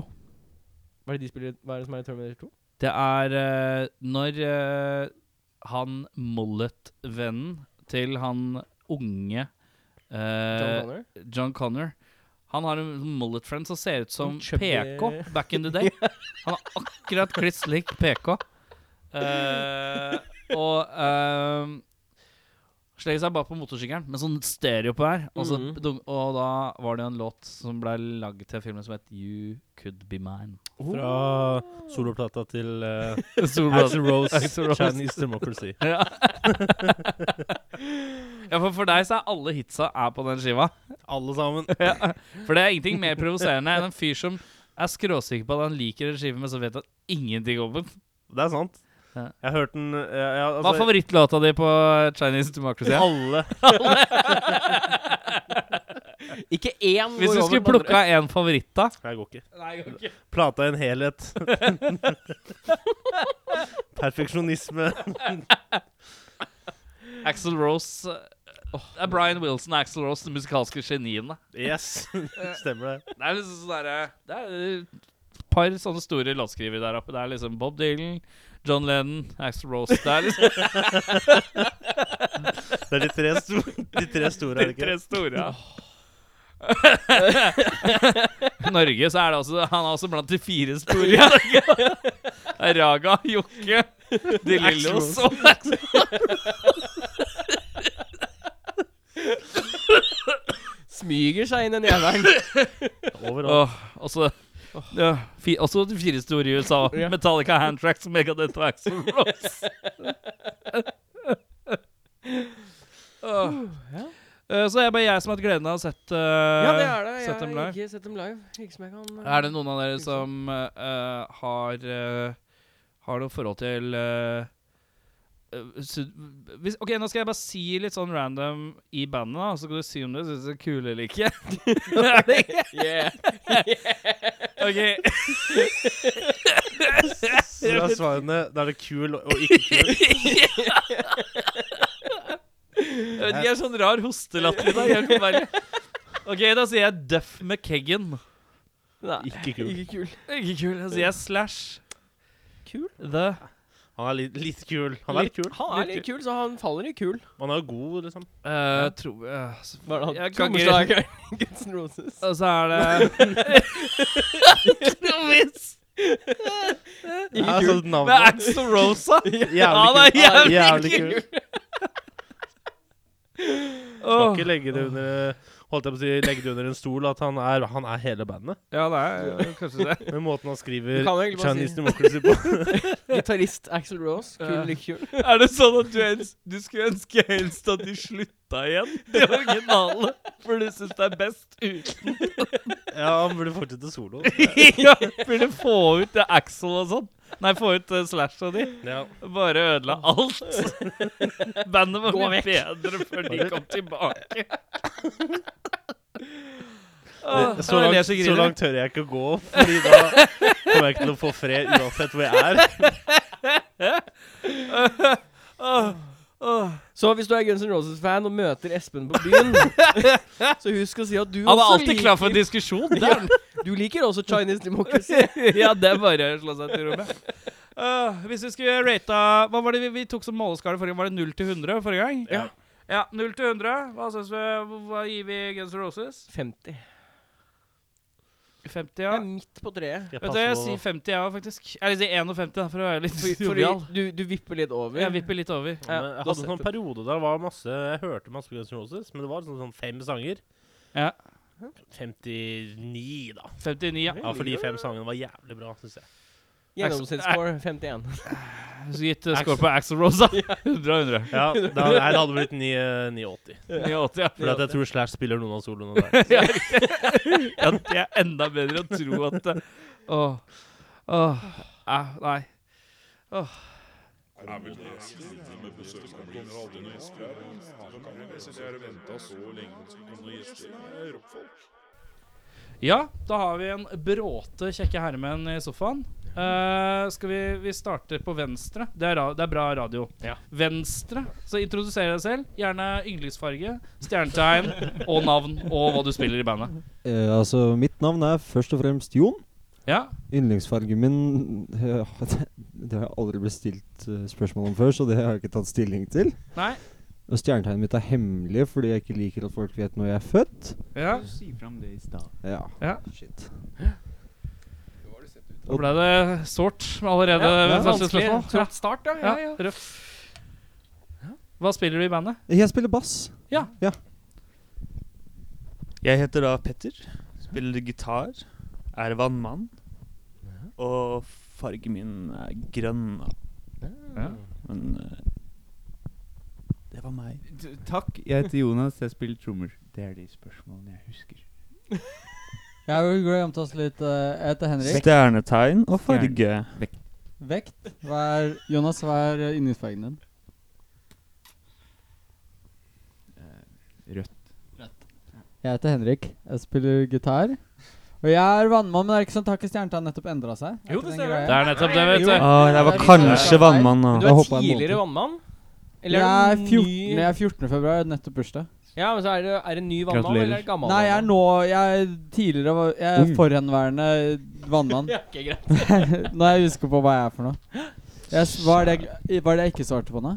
Speaker 1: Hva er det de spiller Hva er det som er i Terminator 2?
Speaker 2: Det er eh, når eh, han Mollet-vennen til han unge
Speaker 1: John
Speaker 2: eh,
Speaker 1: Connor?
Speaker 2: John Connor Han har en mullet-friend som ser ut som
Speaker 1: En chubby-
Speaker 2: PK back in the day. Han er akkurat kliss lik PK. Eh, og uh, slenger seg bare på motorsykkelen med sånn stereo på her. Og, så,
Speaker 1: Mhm.
Speaker 2: dunk- og da var det en låt som ble lagd til filmen som het You Could Be Mine.
Speaker 3: Oh. Fra soloplata til uh,
Speaker 2: Solbrand.
Speaker 3: Axel Rose,
Speaker 2: Axl Rose.
Speaker 3: Chinese Democracy.
Speaker 2: ja. ja, for for deg så er alle hitsa er på den skiva.
Speaker 3: Alle sammen.
Speaker 2: Ja, For det er ingenting mer provoserende enn en fyr som er skråsikker på at han liker en skive, men så vet han ingenting om den.
Speaker 3: Det er sant.
Speaker 2: Ja.
Speaker 3: Jeg hørte den eh, ja,
Speaker 2: Hva er
Speaker 3: altså,
Speaker 2: favorittlåta di på Chinese Democracy?
Speaker 3: Alle.
Speaker 1: Ikke én
Speaker 2: Hvis du skulle plukka én favoritt, da?
Speaker 3: Jeg går ikke.
Speaker 2: Nei, okay.
Speaker 3: Plata i en helhet. Perfeksjonisme.
Speaker 2: Axel Rose eh, Det er Brian Wilson og Axel Rose, de musikalske geniene.
Speaker 3: Yes, stemmer det.
Speaker 2: Det er liksom sånn derre Det er et par sånne store låtskrivere der oppe. Det er liksom Bob Dylan, John Lennon, Axel Rose. Det er liksom
Speaker 3: Det er de tre, sto de tre store, er det
Speaker 2: de
Speaker 3: ikke?
Speaker 2: tre store. Ja. Norge så er det også Han er også blant de fire store. i Norge. Det er Raga, Jokke, De Lillos og
Speaker 1: Smyger seg inn en jævelen.
Speaker 3: Overalt.
Speaker 2: Åh, Og så ja, fi, Også de fire store i USA.
Speaker 1: Ja.
Speaker 2: Metallica, Handtracks, Megadeth og Axl Rose. Åh.
Speaker 1: ja.
Speaker 2: Eh, Så det er bare jeg som har hatt gleden av å sett, eh,
Speaker 1: Ja, det er det. Jeg
Speaker 2: sett dem live.
Speaker 1: har ikke sett dem live. Ikke som jeg kan eh,
Speaker 2: Er det noen av dere
Speaker 1: Ikke
Speaker 2: som eh, har eh, Har noe forhold til eh, eh, sud- hvis, Ok, nå skal jeg bare si litt sånn random i bandet, da, så kan du si om du syns det er kule eller ikke.
Speaker 1: Yeah.
Speaker 2: ok,
Speaker 3: Så da er svarene Da er det kul og ikke kul.
Speaker 2: Jeg vet ikke, jeg er sånn rar hostelatter i dag. Jeg kan bare- Ok, da sier jeg Duff McKeggan.
Speaker 1: Nei.
Speaker 3: Ikke kul.
Speaker 1: Ikke kul.
Speaker 2: Ikke kul. Da sier jeg Slash.
Speaker 1: Kul?
Speaker 2: The
Speaker 3: Han er litt, litt kul. Han er litt kul.
Speaker 1: Han er litt kul, så han faller i kul.
Speaker 3: Han er god, liksom.
Speaker 2: uh, tro, eh,
Speaker 1: Hva er det
Speaker 2: jeg kan
Speaker 1: han?
Speaker 2: ikke-
Speaker 1: Trommeslager. Guns N' Roses.
Speaker 2: Og så er det Trommis!
Speaker 3: Jeg
Speaker 1: altså,
Speaker 3: har sånt navn.
Speaker 2: Det er Axel Rosa! Han
Speaker 3: Jævlig
Speaker 2: er
Speaker 3: kul.
Speaker 2: jævlig,
Speaker 3: Jævlig
Speaker 2: kul!
Speaker 3: kul. Skal
Speaker 2: Åh.
Speaker 3: ikke legge det under Holdt jeg på å si legge det under en stol at han er, han er hele bandet.
Speaker 2: Ja, det er kanskje det.
Speaker 3: Med måten han skriver
Speaker 1: Du kan egentlig bare
Speaker 3: Chinese
Speaker 1: si-
Speaker 3: Democracy på.
Speaker 1: Gitarist Axel Rose. Kul
Speaker 2: Ja.
Speaker 1: eller ikke kul?
Speaker 2: Er det sånn at du, helst, du skulle ønske helst at de slutta igjen, de originale? For du syns det er best uten?
Speaker 3: Ja, han burde fortsette solo.
Speaker 2: ja, Burde få ut det Axel og sånn. Nei, få ut uh, Slash og de.
Speaker 3: Ja.
Speaker 2: Bare ødela alt. Bandet var
Speaker 1: Gå
Speaker 2: mye
Speaker 1: vekk.
Speaker 2: bedre før de kom tilbake. Åh,
Speaker 3: Så
Speaker 2: det er det
Speaker 3: langt, så
Speaker 2: som griner.
Speaker 3: langt tør jeg ikke å gå, Fordi da kommer jeg ikke til å få fred uansett hvor jeg er.
Speaker 2: Åh, åh.
Speaker 1: Så hvis du er Guns N' Roses-fan og møter Espen på byen, så husk å si at du
Speaker 2: Han er
Speaker 1: også
Speaker 2: alltid klar for en diskusjon. Det er han.
Speaker 1: Du liker også Chinese Democracy.
Speaker 2: ja, det er bare å slå seg til ro med. Øh, hvis vi skulle rata Hva var det vi, vi tok som måleskala forrige gang? Var det 0 til 100 forrige gang?
Speaker 3: Ja.
Speaker 2: Ja, 0 til 100. Hva, synes vi, hva gir vi Guns N' Roses?
Speaker 1: 50.
Speaker 2: 50,
Speaker 1: Jeg
Speaker 2: ja.
Speaker 1: er midt på treet.
Speaker 3: Skal jeg
Speaker 2: Vet du, jeg
Speaker 3: passe
Speaker 2: sier
Speaker 3: på
Speaker 2: 50, jeg ja, faktisk. Eller jeg sier 51, da, for å være litt
Speaker 1: For- Fordi
Speaker 2: jovial.
Speaker 1: du, du vipper litt over.
Speaker 2: Jeg vipper litt over.
Speaker 3: Ja, men
Speaker 1: Ja,
Speaker 3: jeg
Speaker 1: da
Speaker 3: hadde en sånn
Speaker 1: setter-
Speaker 3: periode der det var masse Jeg hørte masse Guns N' Roses, men det var sånn, sånn fem sanger.
Speaker 2: Ja.
Speaker 3: 59, da.
Speaker 2: 59, ja.
Speaker 3: Ja, for de fem sangene var jævlig bra, syns jeg.
Speaker 1: Gjennomsnittsscore 51.
Speaker 2: Så gitt eh, score på Axel Rosa. 100 av 100.
Speaker 3: Ja, da, her hadde det blitt 9, eh, 89.
Speaker 2: 89, ja.
Speaker 3: For at jeg tror Slash spiller noen av soloene der.
Speaker 2: Ja, det er enda bedre å tro at eh, Åh. Åh. eh, Nei.
Speaker 4: Er vel det siste med besøkende gjester? Jeg har venta så lenge på noen gjester. Det er Rockfolk.
Speaker 2: Ja, da har vi en bråte kjekke herremenn i sofaen. Eh, skal vi, vi starter på venstre. Det er, ra det er bra radio.
Speaker 3: Ja.
Speaker 2: Venstre. Så introduser deg selv. Gjerne yndlingsfarge, stjernetegn og navn. Og hva du spiller i bandet.
Speaker 5: Eh, altså, mitt navn er først og fremst Jon.
Speaker 2: Ja,
Speaker 5: Yndlingsfargen min eh, det, det har jeg aldri blitt stilt eh, spørsmål om før, så det har jeg ikke tatt stilling til.
Speaker 2: nei
Speaker 5: Og stjernetegnet mitt er hemmelig fordi jeg ikke liker at folk vet når jeg er født.
Speaker 2: ja.
Speaker 6: Du sier frem det i stad.
Speaker 5: Ja,
Speaker 2: Ja.
Speaker 5: shit.
Speaker 2: Da ble det sårt med allerede
Speaker 5: Ja,
Speaker 2: ved første
Speaker 1: Vanskelig.
Speaker 2: spørsmål.
Speaker 1: Trått start, ja. ja,
Speaker 2: Ja,
Speaker 1: ja.
Speaker 2: røff. Hva spiller du i bandet?
Speaker 5: Jeg spiller bass.
Speaker 7: Jeg heter da Petter. Spiller gitar. Er vannmann. Og fargen min er grønn. da.
Speaker 2: Ja.
Speaker 7: Men eh, det var meg.
Speaker 6: Takk, jeg heter Jonas, jeg spiller trommer. Det er de spørsmålene jeg husker.
Speaker 8: Jeg vil glemt oss litt. eh, Jeg heter Henrik.
Speaker 7: Stjernetegn og farge.
Speaker 8: Vekt. Hva er Jonas, hva er eh, yndlingsfargen din?
Speaker 6: Rødt.
Speaker 8: Jeg heter Henrik. Jeg spiller gitar. Og jeg er vannmann, men det er ikke sånn takk i stjernetegn nettopp endra seg.
Speaker 1: Jo,
Speaker 8: etter
Speaker 1: det
Speaker 8: den
Speaker 1: ser
Speaker 8: greia.
Speaker 2: Det er nettopp det, vet
Speaker 7: Å,
Speaker 2: du.
Speaker 7: jeg var
Speaker 8: Det er
Speaker 7: kanskje
Speaker 8: litt-
Speaker 7: vannmann nå.
Speaker 1: Du
Speaker 5: Jeg
Speaker 1: er
Speaker 5: hoppet en
Speaker 1: tidligere
Speaker 5: måned.
Speaker 1: vannmann? Eller
Speaker 8: Jeg
Speaker 1: er
Speaker 8: er
Speaker 1: du
Speaker 8: 14.
Speaker 1: ny
Speaker 8: Jeg er 14. februar, jeg er nettopp bursdag.
Speaker 1: Ja, men så er det, er det ny vannmann
Speaker 6: Gratulerer.
Speaker 1: eller er det gammel
Speaker 8: Nei, jeg er nå Jeg er tidligere var- Jeg er
Speaker 5: Ung.
Speaker 8: forhenværende vannmann.
Speaker 1: Ja, ikke greit.
Speaker 8: Nå er jeg usikker på hva jeg er for noe. Jeg, s- hva, er det, jeg- hva er det jeg ikke svarte på nå?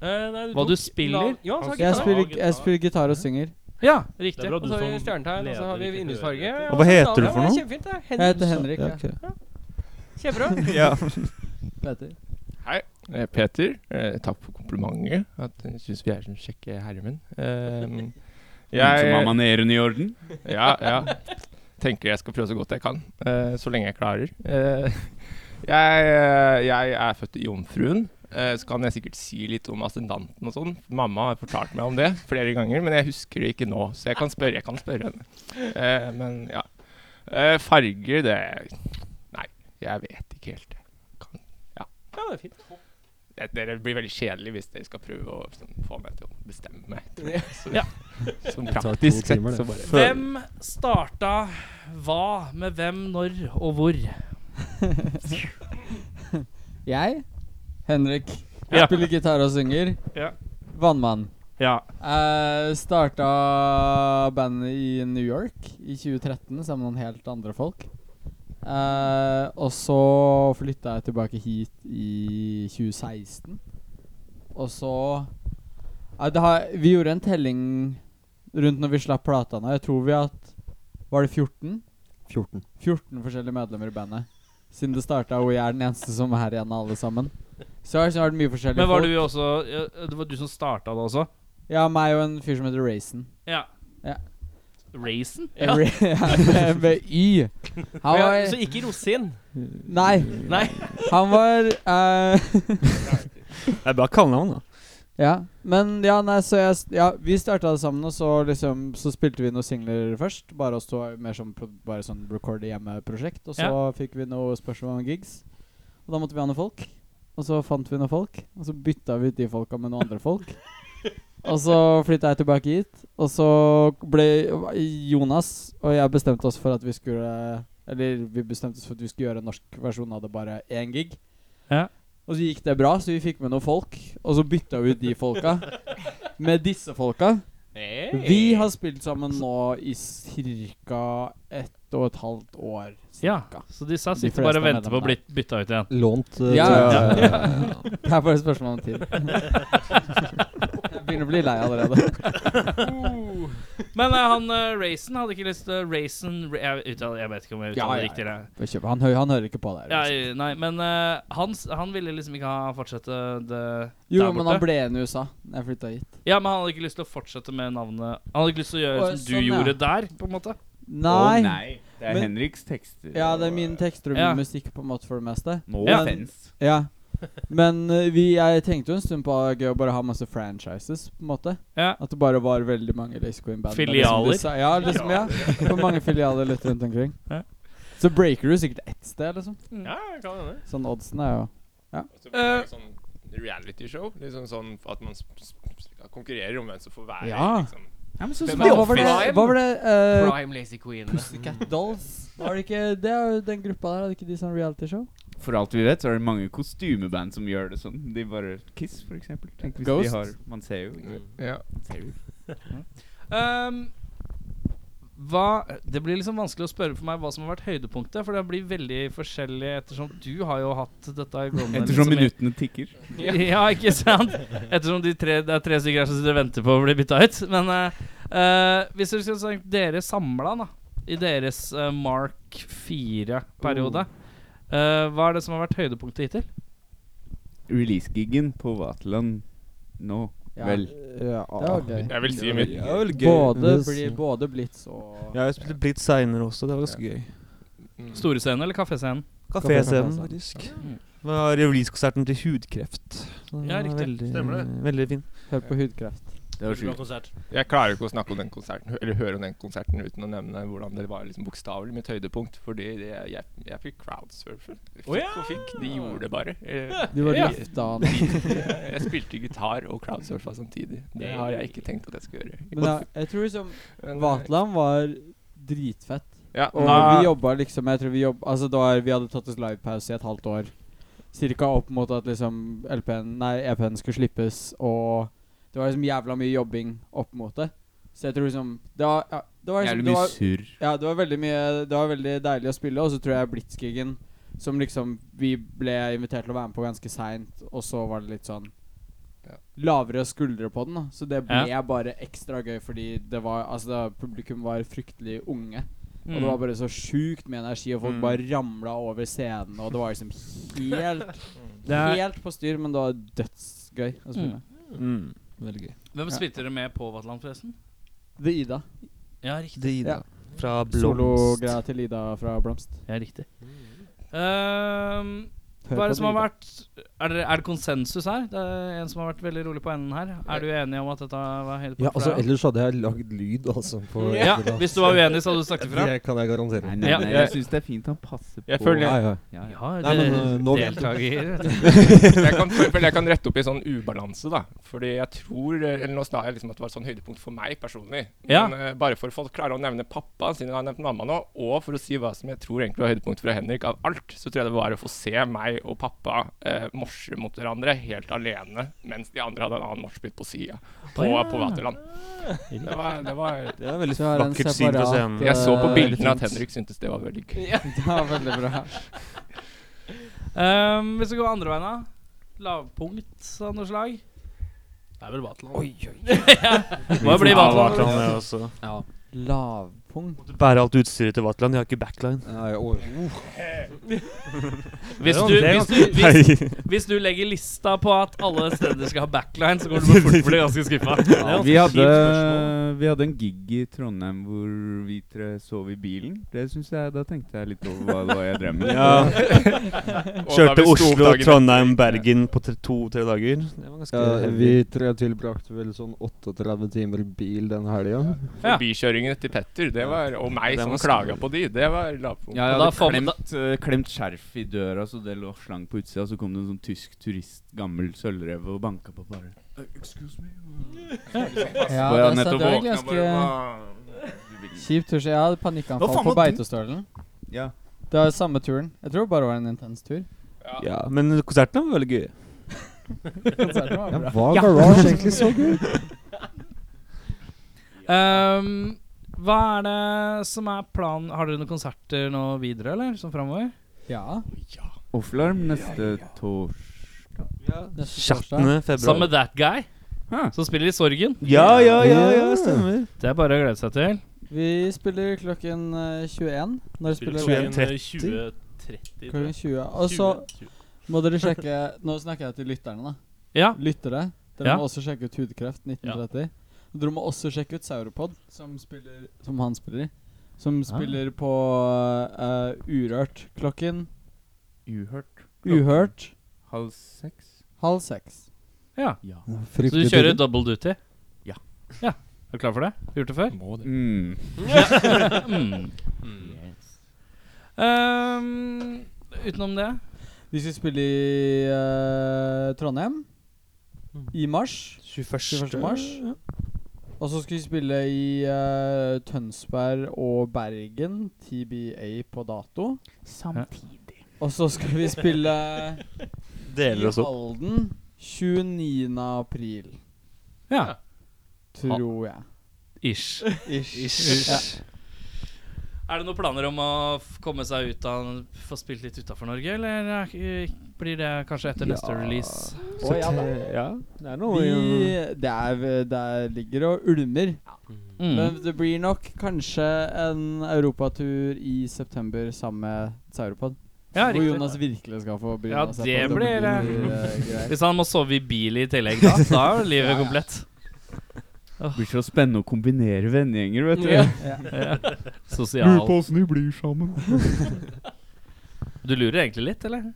Speaker 1: Eh, nei,
Speaker 2: Hva
Speaker 1: tok
Speaker 2: du spiller?
Speaker 1: la- Ja, så har
Speaker 8: Jeg
Speaker 1: gitar.
Speaker 8: spiller, jeg spiller gitar og synger.
Speaker 2: Ja,
Speaker 3: Det
Speaker 2: riktig.
Speaker 3: er bra
Speaker 1: Og
Speaker 3: du
Speaker 1: så har vi
Speaker 3: som
Speaker 1: stjernetegn, og så har vi
Speaker 3: leder ikke
Speaker 1: vindusfarge.
Speaker 3: hører etter.
Speaker 7: Og hva
Speaker 1: så-
Speaker 7: heter du for
Speaker 1: Ja, men
Speaker 7: noe?
Speaker 1: Kjempefint, det.
Speaker 8: Jeg heter
Speaker 1: Henrik.
Speaker 8: Henrik.
Speaker 5: Ja,
Speaker 8: Ja.
Speaker 5: ok.
Speaker 1: Kjempebra.
Speaker 7: Ja.
Speaker 8: Peter.
Speaker 9: Eh, Peter, eh, takk for komplimentet. At jeg syns vi er som kjekke herremenn. Ehm,
Speaker 6: Så
Speaker 9: jeg
Speaker 6: mamaneren i orden?
Speaker 9: ja, ja, tenker jeg skal prøve så godt jeg kan. eh, så lenge jeg klarer. Eh, jeg, eh, jeg er født i Jomfruen. Eh, så kan jeg sikkert si litt om ascendanten og sånn. Mamma har fortalt meg om det flere ganger, men jeg husker det ikke nå. Så jeg kan spørre, jeg kan spørre henne. Eh, men ja. Eh, farger, det Nei, jeg vet ikke helt.
Speaker 1: Ja, det er fint.
Speaker 9: det, dere blir veldig kjedelig hvis dere skal prøve å sånn, få meg til å bestemme meg. tror jeg. Så,
Speaker 2: Ja.
Speaker 9: så
Speaker 5: tar to
Speaker 9: praktisk sett,
Speaker 5: timer, det.
Speaker 9: så bare
Speaker 2: Hvem starta hva med hvem, når og hvor?
Speaker 8: Jeg, Henrik,
Speaker 2: Ja.
Speaker 8: spiller gitar og synger.
Speaker 2: Ja.
Speaker 8: Vannmann.
Speaker 2: Ja.
Speaker 8: Uh, starta bandet i New York i 2013 sammen med noen helt andre folk. Eh, og så flytta jeg tilbake hit i 2016. Og så Nei, det har, Vi gjorde en telling rundt når vi slapp plata nå. Jeg tror vi hatt Var det 14?
Speaker 5: 14.
Speaker 8: 14 forskjellige medlemmer i bandet. Siden det starta, og jeg er den eneste som er igjen av alle sammen. Så har det vært mye forskjellige
Speaker 2: Men var du
Speaker 8: folk.
Speaker 2: også ja, Det var du som starta det også?
Speaker 8: Ja, meg og en fyr som heter Racen.
Speaker 2: Ja.
Speaker 8: Ja.
Speaker 2: Racen?
Speaker 8: Ja. Med Y. Han
Speaker 1: Ja,
Speaker 8: var
Speaker 1: så ikke rosin.
Speaker 8: Nei.
Speaker 1: Nei.
Speaker 8: Han var eh,
Speaker 7: Det er bra kallenavn, da.
Speaker 8: Ja. Men ja, nei, så jeg s- Ja, vi starta det sammen, og så liksom Så spilte vi noen singler først. Bare oss to, mer som pro- bare sånn recorde hjemme-prosjekt. Og så fikk vi noen spørsmål om gigs. Og da måtte vi ha noen folk. Og så fant vi noen folk. Og så bytta vi ut de folka med noen andre folk. Og så flytta jeg tilbake hit. Og så ble Jonas og jeg bestemte oss for at vi skulle Eller vi bestemte oss for at vi skulle gjøre en norsk versjon av det bare én gig.
Speaker 2: Ja.
Speaker 8: Og så gikk det bra, så vi fikk med noen folk. Og så bytta vi ut de folka med disse folka. Vi har spilt sammen nå i ca. ett og et halvt år.
Speaker 2: Ja.
Speaker 8: Cirka.
Speaker 2: Så disse
Speaker 8: De
Speaker 2: sitter bare og
Speaker 8: fleste
Speaker 2: venter på å bli bytta ut igjen.
Speaker 5: Lånt eh,
Speaker 8: Ja,
Speaker 5: til-
Speaker 8: ja, Det er bare et spørsmål om tid. Jeg begynner å bli lei allerede.
Speaker 2: Men eh, han uh, Racen hadde ikke lyst til Racen jeg, uttaler, jeg vet ikke om
Speaker 8: Ja,
Speaker 2: jeg
Speaker 8: ja,
Speaker 2: uttaler det riktig. Det.
Speaker 8: Bare kjøp. Han, hø- han hører ikke på det
Speaker 2: Ja,
Speaker 8: her. liksom.
Speaker 2: nei, men eh, han, s- han ville liksom ikke ha fortsette det
Speaker 8: Jo,
Speaker 2: der
Speaker 8: men
Speaker 2: borte.
Speaker 8: han ble igjen i USA da jeg flytta hit.
Speaker 2: Ja, men han hadde ikke lyst til å fortsette med navnet Han hadde ikke lyst til å gjøre
Speaker 8: Å,
Speaker 2: som du
Speaker 8: sånn, ja.
Speaker 2: gjorde der, på en måte.
Speaker 8: Nei.
Speaker 6: Å, nei. Det er
Speaker 8: Men-
Speaker 6: Henriks tekster.
Speaker 8: Ja, det er
Speaker 6: og,
Speaker 8: mine
Speaker 6: eh,
Speaker 8: tekster og
Speaker 2: Ja.
Speaker 8: min musikk på en måte for det meste.
Speaker 6: No
Speaker 2: Ja.
Speaker 6: offense.
Speaker 8: Ja. Men eh, vi, jeg tenkte jo en stund på at det var gøy å bare ha masse franchises, på en måte.
Speaker 2: Ja.
Speaker 8: At det bare var veldig mange Lace Queen band
Speaker 2: Filialer?
Speaker 8: Ja, liksom, ja. For mange filialer litt rundt omkring.
Speaker 2: Ja. Mm.
Speaker 8: Så breaker du sikkert ett sted, liksom.
Speaker 9: Ja, kan hende.
Speaker 8: Sånn oddsen er jo
Speaker 9: Så blir
Speaker 2: eh,
Speaker 9: det sånn reality-show. Liksom sånn at man sp- sp- sp- konkurrerer om hvem som får være
Speaker 8: Ja.
Speaker 9: liksom.
Speaker 6: Ja, men så
Speaker 9: Hvem
Speaker 6: smart.
Speaker 9: er
Speaker 8: Hva var det? Hva var det eh,
Speaker 1: Prime Lazy Queen.
Speaker 8: Pussycat Dolls? Var det ikke Det er jo den gruppa der, hadde ikke de sånn realityshow?
Speaker 6: For alt vi vet, så er det mange kostymeband som gjør det sånn. De bare Kiss, for eksempel. Tenk hvis
Speaker 8: Ghost.
Speaker 6: De har, man ser jo ikke.
Speaker 9: Ja.
Speaker 6: Man ser jo.
Speaker 2: Ehm, hva, det blir liksom vanskelig å spørre for meg hva som har vært høydepunktet, for det blir veldig forskjellig ettersom du har jo hatt dette i Glommen.
Speaker 6: Ettersom minuttene tikker.
Speaker 2: Ja. ja, ikke sant? Ettersom de tre, det er tre stykker her som sitter og venter på å bli bytta ut. Men eh, eh, hvis dere skulle sagt dere samla, da, i deres eh, Mark 4-periode,
Speaker 5: Oh.
Speaker 2: hva er det som har vært høydepunktet hittil?
Speaker 6: Release-giggen på Vaterland nå. Vel.
Speaker 5: Ja,
Speaker 8: Det var gøy.
Speaker 9: Jeg vil si mitt
Speaker 7: ah, Det er vel gøy.
Speaker 8: Både,
Speaker 5: Det-
Speaker 8: bli, både Blitz og
Speaker 7: Ja, jeg spilte Blitz seinere også. Det var ganske gøy.
Speaker 2: Storescenen eller kaffescenen?
Speaker 7: Kaféscenen, faktisk. Det var releasekonserten til Hudkreft. Den
Speaker 2: Ja,
Speaker 7: var
Speaker 2: riktig.
Speaker 7: Veldig,
Speaker 3: Stemmer det.
Speaker 7: Veldig fin.
Speaker 8: Hør på hudkreft.
Speaker 6: Det var
Speaker 3: Bra
Speaker 6: sjukt.
Speaker 3: konsert.
Speaker 9: Jeg klarer ikke å snakke om den konserten Eller høre om den konserten uten å nevne hvordan det var liksom bokstavelig mitt høydepunkt. Fordi det, jeg, jeg fikk crowdsurfer. Fikk
Speaker 2: Å ja!
Speaker 9: og fikk. De gjorde det bare. Eh,
Speaker 8: Du var
Speaker 9: Ja.
Speaker 8: lufta han.
Speaker 9: jeg, jeg spilte gitar og crowdsurfa samtidig. Det har jeg ikke tenkt at jeg skal gjøre.
Speaker 8: Men ja, jeg tror liksom
Speaker 9: Men, eh,
Speaker 8: Vaterland var dritfett.
Speaker 9: ja,
Speaker 8: Og
Speaker 9: da-
Speaker 8: vi jobba liksom Jeg tror vi jobb, Altså da vi hadde tatt oss livepause i et halvt år. Cirka opp mot at liksom LP-en Nei, EP-en skulle slippes, og det var liksom jævla mye jobbing opp mot det. Så jeg tror liksom Det var, ja, det var liksom
Speaker 6: Jævlig
Speaker 8: det
Speaker 6: mye
Speaker 8: var,
Speaker 6: surr.
Speaker 8: Ja, det var veldig mye Det var veldig deilig å spille, og så tror jeg Blitzkrigen Som liksom Vi ble invitert til å være med på ganske seint, og så var det litt sånn
Speaker 9: Ja.
Speaker 8: Lavere skuldre på den, da. Så det ble
Speaker 2: Ja.
Speaker 8: bare ekstra gøy fordi det var Altså, da, publikum var fryktelig unge. Og det
Speaker 2: Mm.
Speaker 8: var bare så sjukt med energi, og folk
Speaker 7: Mm.
Speaker 8: bare ramla over scenen. Og det var liksom helt Helt på styr, men det var dødsgøy å spille.
Speaker 7: Mm. Veldig gøy.
Speaker 2: Hvem spilte dere med på Vatland, forresten?
Speaker 8: The Ida.
Speaker 2: Ja, riktig.
Speaker 7: Det Ida.
Speaker 8: Ja.
Speaker 7: Fra Blomst.
Speaker 8: Sologreia til Ida fra Blomst.
Speaker 2: Ja, riktig. Ehm,
Speaker 8: Hør
Speaker 2: hva
Speaker 8: på
Speaker 2: er det som har
Speaker 8: The Ida.
Speaker 2: vært er det, er det konsensus her? Det er en som har vært veldig rolig på enden her. Er du enig om at dette var hele
Speaker 5: Ja, altså,
Speaker 2: for deg?
Speaker 5: ellers hadde jeg lagd lyd, altså. På
Speaker 2: Ja,
Speaker 5: etterpå.
Speaker 2: hvis du var uenig, så hadde du snakket ifra.
Speaker 5: Det kan jeg garantere.
Speaker 6: Nei, nei,
Speaker 2: Ja.
Speaker 6: nei, jeg syns det er fint han passer på.
Speaker 9: Jeg føler-
Speaker 5: Ja, ja.
Speaker 6: Ja, ja.
Speaker 2: Ja,
Speaker 5: Nei, men
Speaker 2: det-
Speaker 5: øh, nå
Speaker 2: deltaker.
Speaker 9: jeg kan, for- for jeg kan rette opp i sånn ubalanse, da. Fordi jeg tror Eller nå sa jeg liksom at det var et sånn høydepunkt for meg personlig.
Speaker 2: Ja.
Speaker 9: Men eh, bare for å få klare å nevne pappa, siden jeg har nevnt mamma nå, og for å si hva som jeg tror egentlig var høydepunkt fra Henrik av alt, så tror jeg det var å få se meg og pappa eh, morse mot hverandre helt alene, mens de andre hadde en annen morsbit på sida, på, på Vaterland. Det var, det var
Speaker 7: Det er veldig
Speaker 8: Så er det en
Speaker 7: vakkert syn fra
Speaker 8: separat,
Speaker 7: scenen.
Speaker 9: Jeg så på
Speaker 8: Eh,
Speaker 9: bildene at
Speaker 8: fint.
Speaker 9: Henrik syntes det var veldig gøy.
Speaker 8: Det var veldig bra.
Speaker 2: Ehm, hvis vi går andre veien, da? Lavpunkt av noe slag?
Speaker 3: Det er vel Vaterland. Oi,
Speaker 2: Må jo bli
Speaker 7: Ja,
Speaker 2: Vatland.
Speaker 7: Vaterland, jeg også.
Speaker 8: Lavpunkt.
Speaker 7: Måtte bære alt utstyret til Vaterland. Jeg har ikke backline.
Speaker 5: Nei, og-
Speaker 2: Hvis du,
Speaker 3: Det er
Speaker 2: hvis, du, hvis, hvis du legger lista på at alle steder skal ha backline, så kommer du fort til å bli ganske skuffa.
Speaker 6: Ja, vi, hadde, vi hadde en gig i Trondheim hvor vi tre sov i bilen. Det synes jeg, Da tenkte jeg litt over hva det var jeg drev med.
Speaker 7: Kjørte
Speaker 9: vi sto opp
Speaker 7: Oslo,
Speaker 9: dagen
Speaker 7: Trondheim, Bergen på to-tre dager. Det var ganske
Speaker 5: Ja,
Speaker 7: heavy.
Speaker 5: vi tre tilbrakte vel sånn 38 timer i bil den helga.
Speaker 2: Ja.
Speaker 9: Forbikjøringene til Petter det var, og meg
Speaker 7: Det
Speaker 9: som
Speaker 7: var
Speaker 9: klaga på de, det var lavpunkt.
Speaker 6: Ja, jeg
Speaker 2: Og da
Speaker 6: hadde
Speaker 2: får man-
Speaker 6: klemt, eh, klemt skjerf i døra, så det lå slang på utsida. Så kom det en sånn tysk turist, gammel sølvrev, og banka på bare.
Speaker 8: Ja,
Speaker 6: Bare
Speaker 8: det,
Speaker 6: nettopp
Speaker 8: det var
Speaker 6: våkna,
Speaker 8: ganske kjip tur. så Jeg hadde panikkanfall på Beitostølen.
Speaker 6: Ja.
Speaker 8: Det var samme turen. Jeg tror det bare var en intens tur.
Speaker 7: Ja, men konsertene var veldig gøye.
Speaker 8: Konserten var
Speaker 5: Ja,
Speaker 8: bra.
Speaker 5: var Garage egentlig så gøy?
Speaker 2: Ehm, hva er det som er planen? Har dere noen konserter nå videre, eller? Som framover?
Speaker 8: Ja.
Speaker 6: Offlarm neste torsdag.
Speaker 8: Neste torsdag.
Speaker 7: 18. februar.
Speaker 2: Sammen med That Guy?
Speaker 6: Hæ.
Speaker 2: som spiller i Sorgen.
Speaker 7: Ja, ja, ja, ja,
Speaker 5: Ja.
Speaker 7: stemmer.
Speaker 2: Det er bare å glede seg til.
Speaker 8: Vi spiller klokken eh, 21. Når spiller
Speaker 3: Spiller
Speaker 8: Raven?
Speaker 3: 2030, tror
Speaker 8: Klokken
Speaker 3: jeg.
Speaker 8: 20. Og så
Speaker 3: 20.
Speaker 8: må dere sjekke Nå snakker jeg til lytterne, da.
Speaker 2: Ja.
Speaker 8: Lyttere. Dere
Speaker 2: Ja.
Speaker 8: må også sjekke ut Hudkreft 1930. Og Dere må også sjekke ut Sauropod, som, spiller, som han spiller i. Som spiller på eh, Urørt klokken
Speaker 6: Uhørt.
Speaker 8: Uhørt
Speaker 6: Halv seks.
Speaker 8: halv seks.
Speaker 2: ja. Så du
Speaker 5: Fryktelig
Speaker 2: kjører
Speaker 5: tidlig.
Speaker 2: double duty?
Speaker 6: Ja.
Speaker 2: ja. Er du klar for det? Har du Gjort det før?
Speaker 9: Må det.
Speaker 6: Mm.
Speaker 2: Mm. Ehm, utenom det
Speaker 8: Vi skal spille i eh, Trondheim i mars. 21. mars. Og så skal vi spille i eh, Tønsberg og Bergen, TBA på dato. Og så skal vi spille
Speaker 7: Deler oss
Speaker 8: i
Speaker 7: opp.
Speaker 8: Halden 29. april,
Speaker 2: Ja.
Speaker 8: tror jeg.
Speaker 2: Ish.
Speaker 8: Ish. Ja.
Speaker 7: Ish.
Speaker 2: Er det noen planer om å f- komme seg ut av Få spilt litt utafor Norge, eller er ikke- blir det kanskje etter neste release?
Speaker 7: Så te- ja, det er noe
Speaker 8: Vi, det er, der ligger og ulmer.
Speaker 2: Mm.
Speaker 8: Men det blir nok kanskje en europatur i september sammen med Sauropod.
Speaker 2: Ja,
Speaker 8: Hvor
Speaker 2: riktig.
Speaker 8: Jonas virkelig skal få begynne
Speaker 2: Ja,
Speaker 8: å se
Speaker 2: det
Speaker 8: på.
Speaker 2: blir, eh,
Speaker 8: eh, greier.
Speaker 2: Hvis han må sove i bil i tillegg, da, da er jo livet komplett.
Speaker 6: Blir så spennende å kombinere vennegjenger, vet du.
Speaker 2: Ja. Ja. Sosial.
Speaker 6: åssen de blir sammen.
Speaker 2: Du lurer egentlig litt, eller?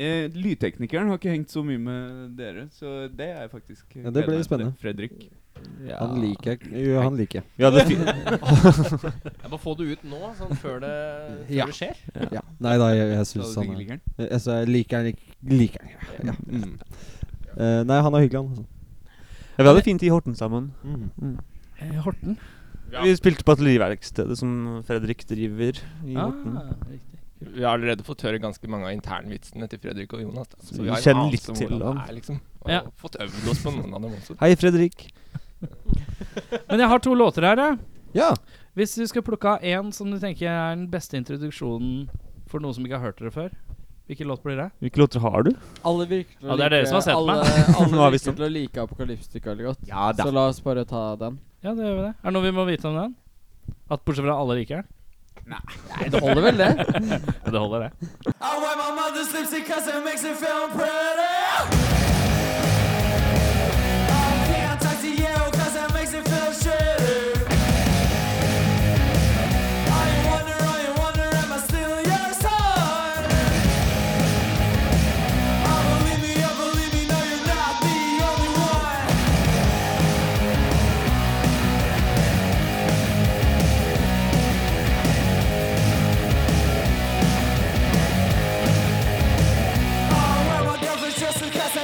Speaker 6: Eh, lydteknikeren har ikke hengt så mye med dere, så det er jeg faktisk
Speaker 5: Ja, det
Speaker 6: gleder
Speaker 5: blir
Speaker 6: meg til
Speaker 5: spennende.
Speaker 6: Fredrik.
Speaker 5: Han liker jeg Jo, han liker jeg.
Speaker 7: Vi hadde fi
Speaker 1: Jeg må få det ut nå, sånn før det, før
Speaker 5: Ja.
Speaker 1: det skjer.
Speaker 5: Ja. Nei da, jeg, jeg syns
Speaker 6: Sa du
Speaker 5: han
Speaker 6: ikke
Speaker 5: er
Speaker 6: liker den?
Speaker 5: Jeg- Altså, jeg liker han lik- Liker han, ja. ja. Mm. Eh, nei, han er hyggelig, han. Altså.
Speaker 7: ja, vi hadde fint i Horten sammen.
Speaker 5: Mm.
Speaker 2: Horten.
Speaker 4: Ja.
Speaker 7: Vi spilte på ateliverkstedet som Fredrik driver i
Speaker 2: Ah,
Speaker 7: Horten.
Speaker 2: riktig.
Speaker 9: Vi har allerede fått høre ganske mange av internvitsene til Fredrik og Jonas. Da.
Speaker 7: Så
Speaker 9: vi
Speaker 7: vi
Speaker 9: har en
Speaker 7: kjenner
Speaker 9: anelse
Speaker 7: litt
Speaker 9: om
Speaker 7: til
Speaker 9: hvordan det
Speaker 7: han.
Speaker 9: er, liksom. Og
Speaker 2: Ja.
Speaker 9: fått øvd oss på noen av dem også.
Speaker 7: Hei, Fredrik.
Speaker 2: Men jeg har to låter her, jeg.
Speaker 5: Ja.
Speaker 2: Hvis du skal plukke av én som du tenker er den beste introduksjonen for noen som ikke har hørt dere før, hvilken låt blir det?
Speaker 7: Hvilke låter har du?
Speaker 8: Alle virker til å
Speaker 2: Ja, det er dere
Speaker 8: like-
Speaker 2: som har sett
Speaker 8: alle,
Speaker 2: meg.
Speaker 7: Nå har
Speaker 8: Alle
Speaker 7: vi
Speaker 8: virker
Speaker 7: sånn.
Speaker 8: til å like Apokalypstika veldig godt.
Speaker 7: Ja
Speaker 8: Så la oss bare ta den.
Speaker 2: Ja, det gjør vi det. Er det noe vi må vite om den? At bortsett fra alle liker den?
Speaker 8: Nei, det holder vel, det?
Speaker 2: Ja, det holder, det.
Speaker 10: Just because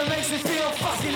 Speaker 10: it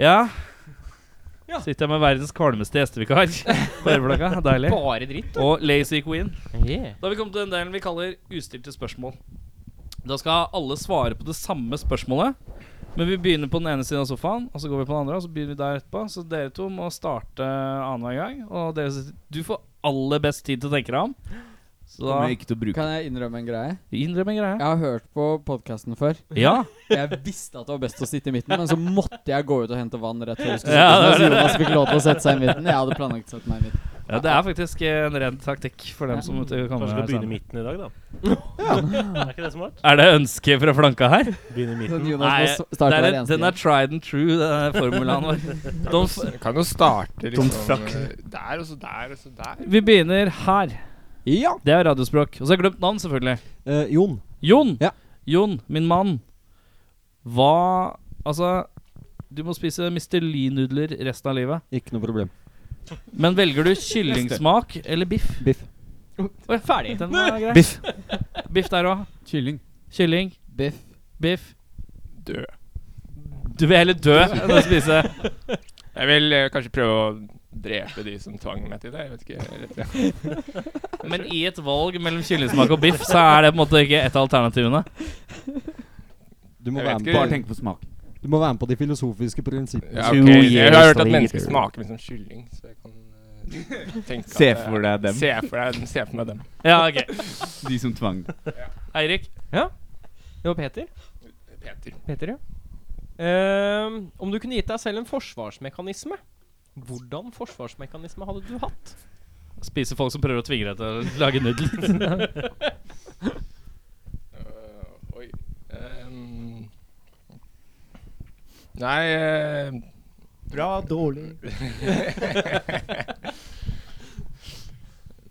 Speaker 2: Ja.
Speaker 1: Ja.
Speaker 2: Sitter jeg med verdens kvalmeste gjestevikar på øreblokka. Deilig.
Speaker 1: Bare dritt.
Speaker 2: Og Lazy Queen.
Speaker 1: Yeah.
Speaker 2: Da har vi kommet til den delen vi kaller ustilte spørsmål. Da skal alle svare på det samme spørsmålet. Men vi begynner på den ene siden av sofaen, og så går vi på den andre. Og så begynner vi der etterpå Så dere to må starte annenhver gang. Og dere, du får aller best tid til å tenke deg om. Så da
Speaker 6: Kommer jeg ikke til å bruke
Speaker 8: Kan jeg innrømme en greie?
Speaker 2: innrøm en
Speaker 8: Jeg
Speaker 2: greie.
Speaker 8: har hørt på podkasten før.
Speaker 2: Ja.
Speaker 8: Jeg visste at det var best å sitte i midten, men så måtte jeg gå ut og hente vann rett før vi skulle
Speaker 2: Ja,
Speaker 8: sitte,
Speaker 2: det-
Speaker 8: så Jonas fikk lov til å sette seg i midten. Jeg hadde planlagt å sette meg i midten.
Speaker 2: ja, det er faktisk en ren taktikk for dem som måtte
Speaker 3: Kanskje
Speaker 2: komme
Speaker 3: skal begynne i
Speaker 2: sammen.
Speaker 3: midten i dag, da. Er ikke det smart?
Speaker 2: Er det ønske fra flanka her?
Speaker 3: Begynne i midten.
Speaker 8: Sånn Jonas
Speaker 2: Nei,
Speaker 8: må
Speaker 2: det
Speaker 8: starte
Speaker 2: er,
Speaker 8: hver eneste
Speaker 2: den er tried and true, det er formulaen vår. Don't f
Speaker 9: Kan jo starte liksom
Speaker 7: frakk.
Speaker 9: eh, der og så der og så der.
Speaker 2: vi begynner her.
Speaker 5: Ja!
Speaker 2: Det er radiospråk. Og så har jeg glemt navn, selvfølgelig.
Speaker 5: Eh, Jon.
Speaker 2: Jon!
Speaker 5: Ja.
Speaker 2: Jon, min mann. Hva Altså, du må spise Mr. Lee-nudler resten av livet.
Speaker 5: Ikke noe problem.
Speaker 2: Men velger du kyllingsmak eller biff?
Speaker 5: Biff.
Speaker 2: Å, jeg er ferdig. Den var grei.
Speaker 6: Biff.
Speaker 2: Biff der òg.
Speaker 6: Kylling.
Speaker 2: Kylling,
Speaker 8: Biff.
Speaker 2: biff.
Speaker 9: Død.
Speaker 2: Du vil heller dø enn å spise
Speaker 9: Jeg vil eh, kanskje prøve å drepe de som tvang meg til det. Jeg vet ikke. Ja.
Speaker 2: Men i et valg mellom kyllingsmak og biff, så er det på en måte ikke et av alternativene.
Speaker 5: Du må,
Speaker 9: Jeg
Speaker 5: være med,
Speaker 9: vet ikke.
Speaker 6: Bare
Speaker 5: på,
Speaker 6: tenk på smak.
Speaker 5: du må være med på de filosofiske prinsippene.
Speaker 9: Ja,
Speaker 7: Two
Speaker 9: ok. Jeg har
Speaker 7: years
Speaker 9: hørt at mennesker
Speaker 7: later.
Speaker 9: smaker liksom kylling, så jeg kan eh, tenke
Speaker 6: Se
Speaker 9: at, eh,
Speaker 6: for deg dem.
Speaker 9: Se for deg, se for meg dem.
Speaker 2: Ja, ok.
Speaker 6: De som tvang.
Speaker 2: Eirik.
Speaker 1: Det var Peter.
Speaker 9: Peter.
Speaker 1: Peter, ja. Ehm, om du kunne gitt deg selv en forsvarsmekanisme, hvordan forsvarsmekanisme hadde du hatt?
Speaker 2: Spise folk som prøver å tvinge deg til å lage nudler.
Speaker 9: Øh, oi. Ehm. nei eh,
Speaker 6: Bra, dårlig.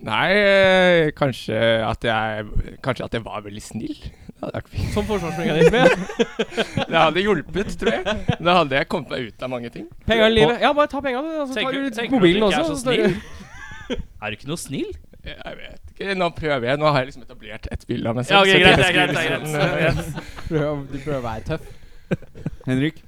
Speaker 9: Nei, eh, kanskje at jeg Kanskje at jeg var veldig snill. Det hadde, vært fint.
Speaker 1: Som forsvarsmekanisme?
Speaker 9: det hadde hjulpet, tror jeg. Da hadde jeg kommet meg ut av mange ting.
Speaker 1: Penger i livet. Ja, bare ta penga, du. og Så tar
Speaker 2: Tenker- tenker
Speaker 1: du ut
Speaker 2: du at
Speaker 1: mobilen
Speaker 2: du ikke er
Speaker 1: også.
Speaker 2: så
Speaker 1: så tar du-
Speaker 2: Er du ikke noe snill?
Speaker 9: Jeg vet ikke. Nå prøver jeg. Nå har jeg liksom etablert et bilde av meg
Speaker 2: Ja,
Speaker 9: selv.
Speaker 2: ok,
Speaker 9: så
Speaker 2: greit,
Speaker 9: jeg
Speaker 2: greit,
Speaker 9: skulle
Speaker 2: greit,
Speaker 9: liksom,
Speaker 2: greit.
Speaker 9: eh,
Speaker 8: Prøv, du prøver å være tøff.
Speaker 6: Henrik.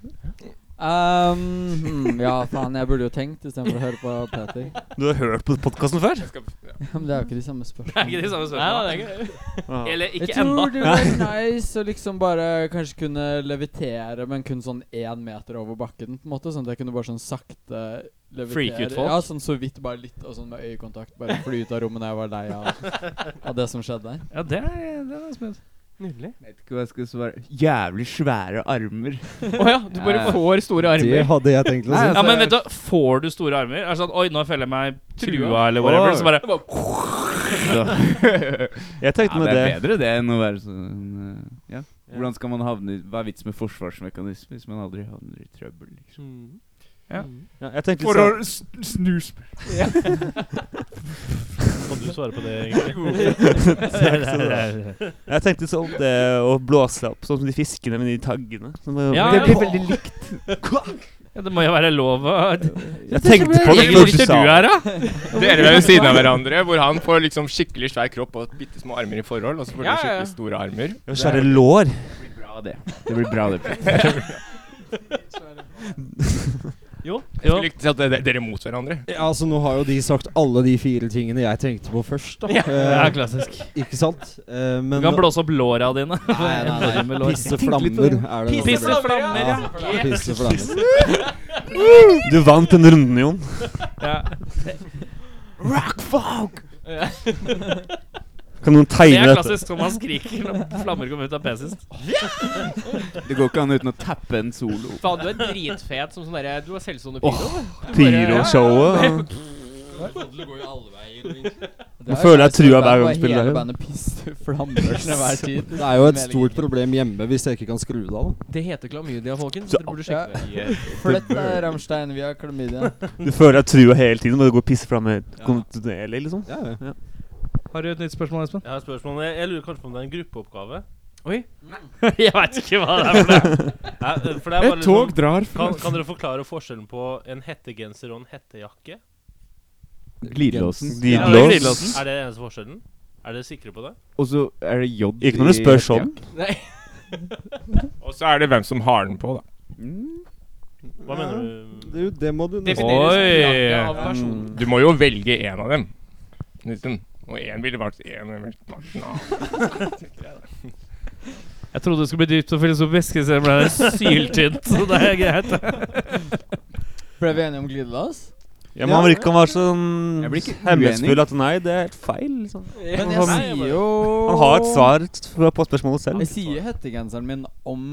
Speaker 8: Um, hmm, ja, faen, jeg burde jo tenkt istedenfor å høre på Peter.
Speaker 7: Du har hørt på podkasten før?
Speaker 9: jeg skal- ja.
Speaker 8: Ja, Men det er jo ikke de samme
Speaker 2: Det er
Speaker 8: spørsmålene.
Speaker 2: ikke de samme
Speaker 1: Nei,
Speaker 2: spørsmålene.
Speaker 1: det er ikke-
Speaker 7: Ah.
Speaker 2: Eller
Speaker 8: Jeg
Speaker 2: ikke ennå.
Speaker 8: tror det var nice å liksom bare kanskje kunne levitere, men kun sånn én meter over bakken, på en måte. Sånn at jeg kunne bare sånn sakte levitere.
Speaker 2: Freak ut folk?
Speaker 8: Ja, sånn så vidt, bare litt, og sånn med øyekontakt. Bare fly ut av rommet når jeg var lei av, av det som skjedde der.
Speaker 2: Ja, det er, det er smooth.
Speaker 1: Nydelig.
Speaker 6: Vet ikke hva jeg skal svare. Jævlig svære armer. Eh,
Speaker 1: Å ja, du bare
Speaker 6: Ja.
Speaker 1: får store
Speaker 5: Det
Speaker 1: armer.
Speaker 5: hadde jeg tenkt å
Speaker 6: altså,
Speaker 5: si.
Speaker 2: Ja, men vet du, altså, Får du store armer? Er det sånn, Oi, nå føler jeg meg trua, eller whatever. Så bare
Speaker 7: Jeg
Speaker 6: Ja,
Speaker 7: tenkte med
Speaker 6: det
Speaker 7: det.
Speaker 6: er bedre det enn å være sånn eh, Ja. Hvordan skal man havne i- Hva er vitsen med forsvarsmekanisme hvis man aldri havner i trøbbel? Liksom?
Speaker 1: Mm.
Speaker 2: Ja.
Speaker 1: Mm.
Speaker 7: Ja, jeg tenkte litt sånn
Speaker 6: snus
Speaker 3: Kan du svare på det, egentlig?
Speaker 7: Jeg tenkte litt sånn det å blåse seg opp, sånn som de fiskene med de taggene. Sånn bare-
Speaker 2: Ja,
Speaker 7: det
Speaker 2: ja.
Speaker 7: blir veldig likt.
Speaker 2: ja, Det må jo være lov å
Speaker 7: Jeg tenkte på det
Speaker 2: Egil,
Speaker 7: før du
Speaker 2: sitter
Speaker 7: sa
Speaker 2: du
Speaker 7: det.
Speaker 2: her, da?
Speaker 9: Dere er ved siden av hverandre, hvor han får liksom skikkelig svær kropp og bitte små armer i forhold, og så
Speaker 1: Ja,
Speaker 9: får du
Speaker 1: ja, ja.
Speaker 9: skikkelig store armer.
Speaker 7: Å skjære lår.
Speaker 6: Bra, det. Det blir bra, det.
Speaker 9: Jeg skulle likt å si at de- de- dere er mot hverandre.
Speaker 5: Ja, altså Nå har jo de sagt alle de fire tingene jeg tenkte på først. da
Speaker 2: Ja,
Speaker 5: Eh,
Speaker 2: klassisk.
Speaker 5: Ikke sant? Eh, men
Speaker 2: Du kan blåse opp låra dine.
Speaker 5: Nei, nei,
Speaker 2: Bare
Speaker 5: nei.
Speaker 2: med lår.
Speaker 5: Pisseflammer er det.
Speaker 2: Pisse flammer, ja.
Speaker 5: ja. Pisseflammer.
Speaker 7: Du vant den runden, Jon.
Speaker 2: ja.
Speaker 7: Kan noen
Speaker 2: Det
Speaker 7: tegne
Speaker 2: er
Speaker 7: dette?
Speaker 2: klassisk som man skriker når flammer kommer ut av PC-en.
Speaker 6: Det går ikke an uten å tappe en solo.
Speaker 1: Faen, du er dritfet som sånn derre Du er selvstående pyro. du. Du bare-
Speaker 7: Pyroshowet.
Speaker 8: Det er
Speaker 7: føler jeg
Speaker 8: nice å være
Speaker 7: trua hver gang
Speaker 8: bare
Speaker 7: jeg spiller
Speaker 8: Hele
Speaker 7: det.
Speaker 8: bandet pisser flammer til hver tid.
Speaker 5: Det er jo et stort problem hjemme hvis jeg ikke kan skru det av. da.
Speaker 1: Det heter klamydia, folkens. Dere burde sjekke det.
Speaker 8: Flett deg, Rammstein. Vi har klamydia.
Speaker 7: Du føler deg trua hele tiden, men det går pisseflamme kontinuerlig, liksom.
Speaker 5: Ja, ja.
Speaker 2: Har du et nytt spørsmål, Espen?
Speaker 3: Jeg har et spørsmål. Jeg, jeg lurer kanskje på om det er en gruppeoppgave.
Speaker 2: Jeg veit ikke hva det er for noe.
Speaker 3: Ja, for det er bare liksom,
Speaker 6: drar
Speaker 3: kan, kan dere forklare forskjellen på en hettegenser og en hettejakke?
Speaker 6: Glidelåsen.
Speaker 3: Ja,
Speaker 2: det er
Speaker 7: Glidelås.
Speaker 2: glidelåsen.
Speaker 3: Er det den eneste forskjellen? Er dere sikre på det?
Speaker 6: Og så er det jod
Speaker 7: Ikke når du
Speaker 6: i
Speaker 7: spør sånn.
Speaker 9: Og så er det hvem som har den på, da.
Speaker 6: Mm.
Speaker 3: Hva
Speaker 5: Ja.
Speaker 3: mener du?
Speaker 5: Det, er jo- det må du nesten
Speaker 2: Oi.
Speaker 1: flagget av personen.
Speaker 9: Mm. Du må jo velge én av dem. Liksom. Og én ville valgt én ville valgt en annen.
Speaker 2: Jeg trodde det skulle bli dypt og filosofisk, så det ble syltynt. Så det er greit.
Speaker 8: Ble vi enige om glidelås?
Speaker 7: Ja, Man vil ikke han var sånn
Speaker 6: Jeg blir ikke
Speaker 7: hemmelighetsfull at nei, det er helt feil. Liksom.
Speaker 8: Men jeg sier jo
Speaker 7: Han har et svar t- på spørsmålet selv.
Speaker 8: Jeg sier hettegenseren min om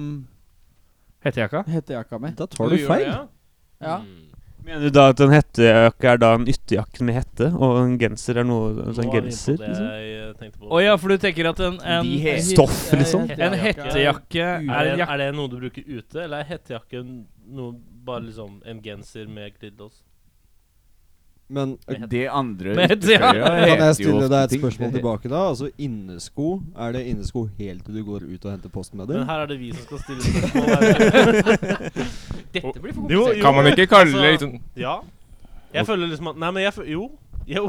Speaker 2: Hettejakka?
Speaker 8: hettejakka mi.
Speaker 5: Da tar du feil.
Speaker 8: Ja.
Speaker 7: Mener du da at en hettejakke er da en ytterjakke med hette, og en genser er noe altså en
Speaker 3: Nå er vi inne
Speaker 7: genser?
Speaker 3: på det
Speaker 7: Liksom?
Speaker 3: jeg eh, tenkte på.
Speaker 2: Å ja, for du tenker at en, en,
Speaker 7: De he- Stoff, liksom?
Speaker 2: en hettejakke er
Speaker 3: Er
Speaker 2: en
Speaker 3: det,
Speaker 2: jakke
Speaker 3: er det noe du bruker ute, eller er hettejakke noe bare liksom en genser med glidelås?
Speaker 5: Men eh,
Speaker 6: Det andre
Speaker 2: Med- ja.
Speaker 6: spør jeg,
Speaker 5: kan
Speaker 6: heter jo
Speaker 5: jeg stille
Speaker 6: ofte
Speaker 5: deg et
Speaker 6: ting.
Speaker 5: spørsmål tilbake da? Altså innesko, er det innesko helt til du går ut og henter posten med
Speaker 3: Men
Speaker 5: dem?
Speaker 3: her er det vi som skal stille spørsmål. her.
Speaker 1: Dette blir for
Speaker 3: Jo,
Speaker 1: komplisert.
Speaker 9: Kan man ikke kalle det
Speaker 3: altså-
Speaker 9: liksom
Speaker 3: Ja. Jeg føler liksom at Nei, men jeg føler Jo. Jo.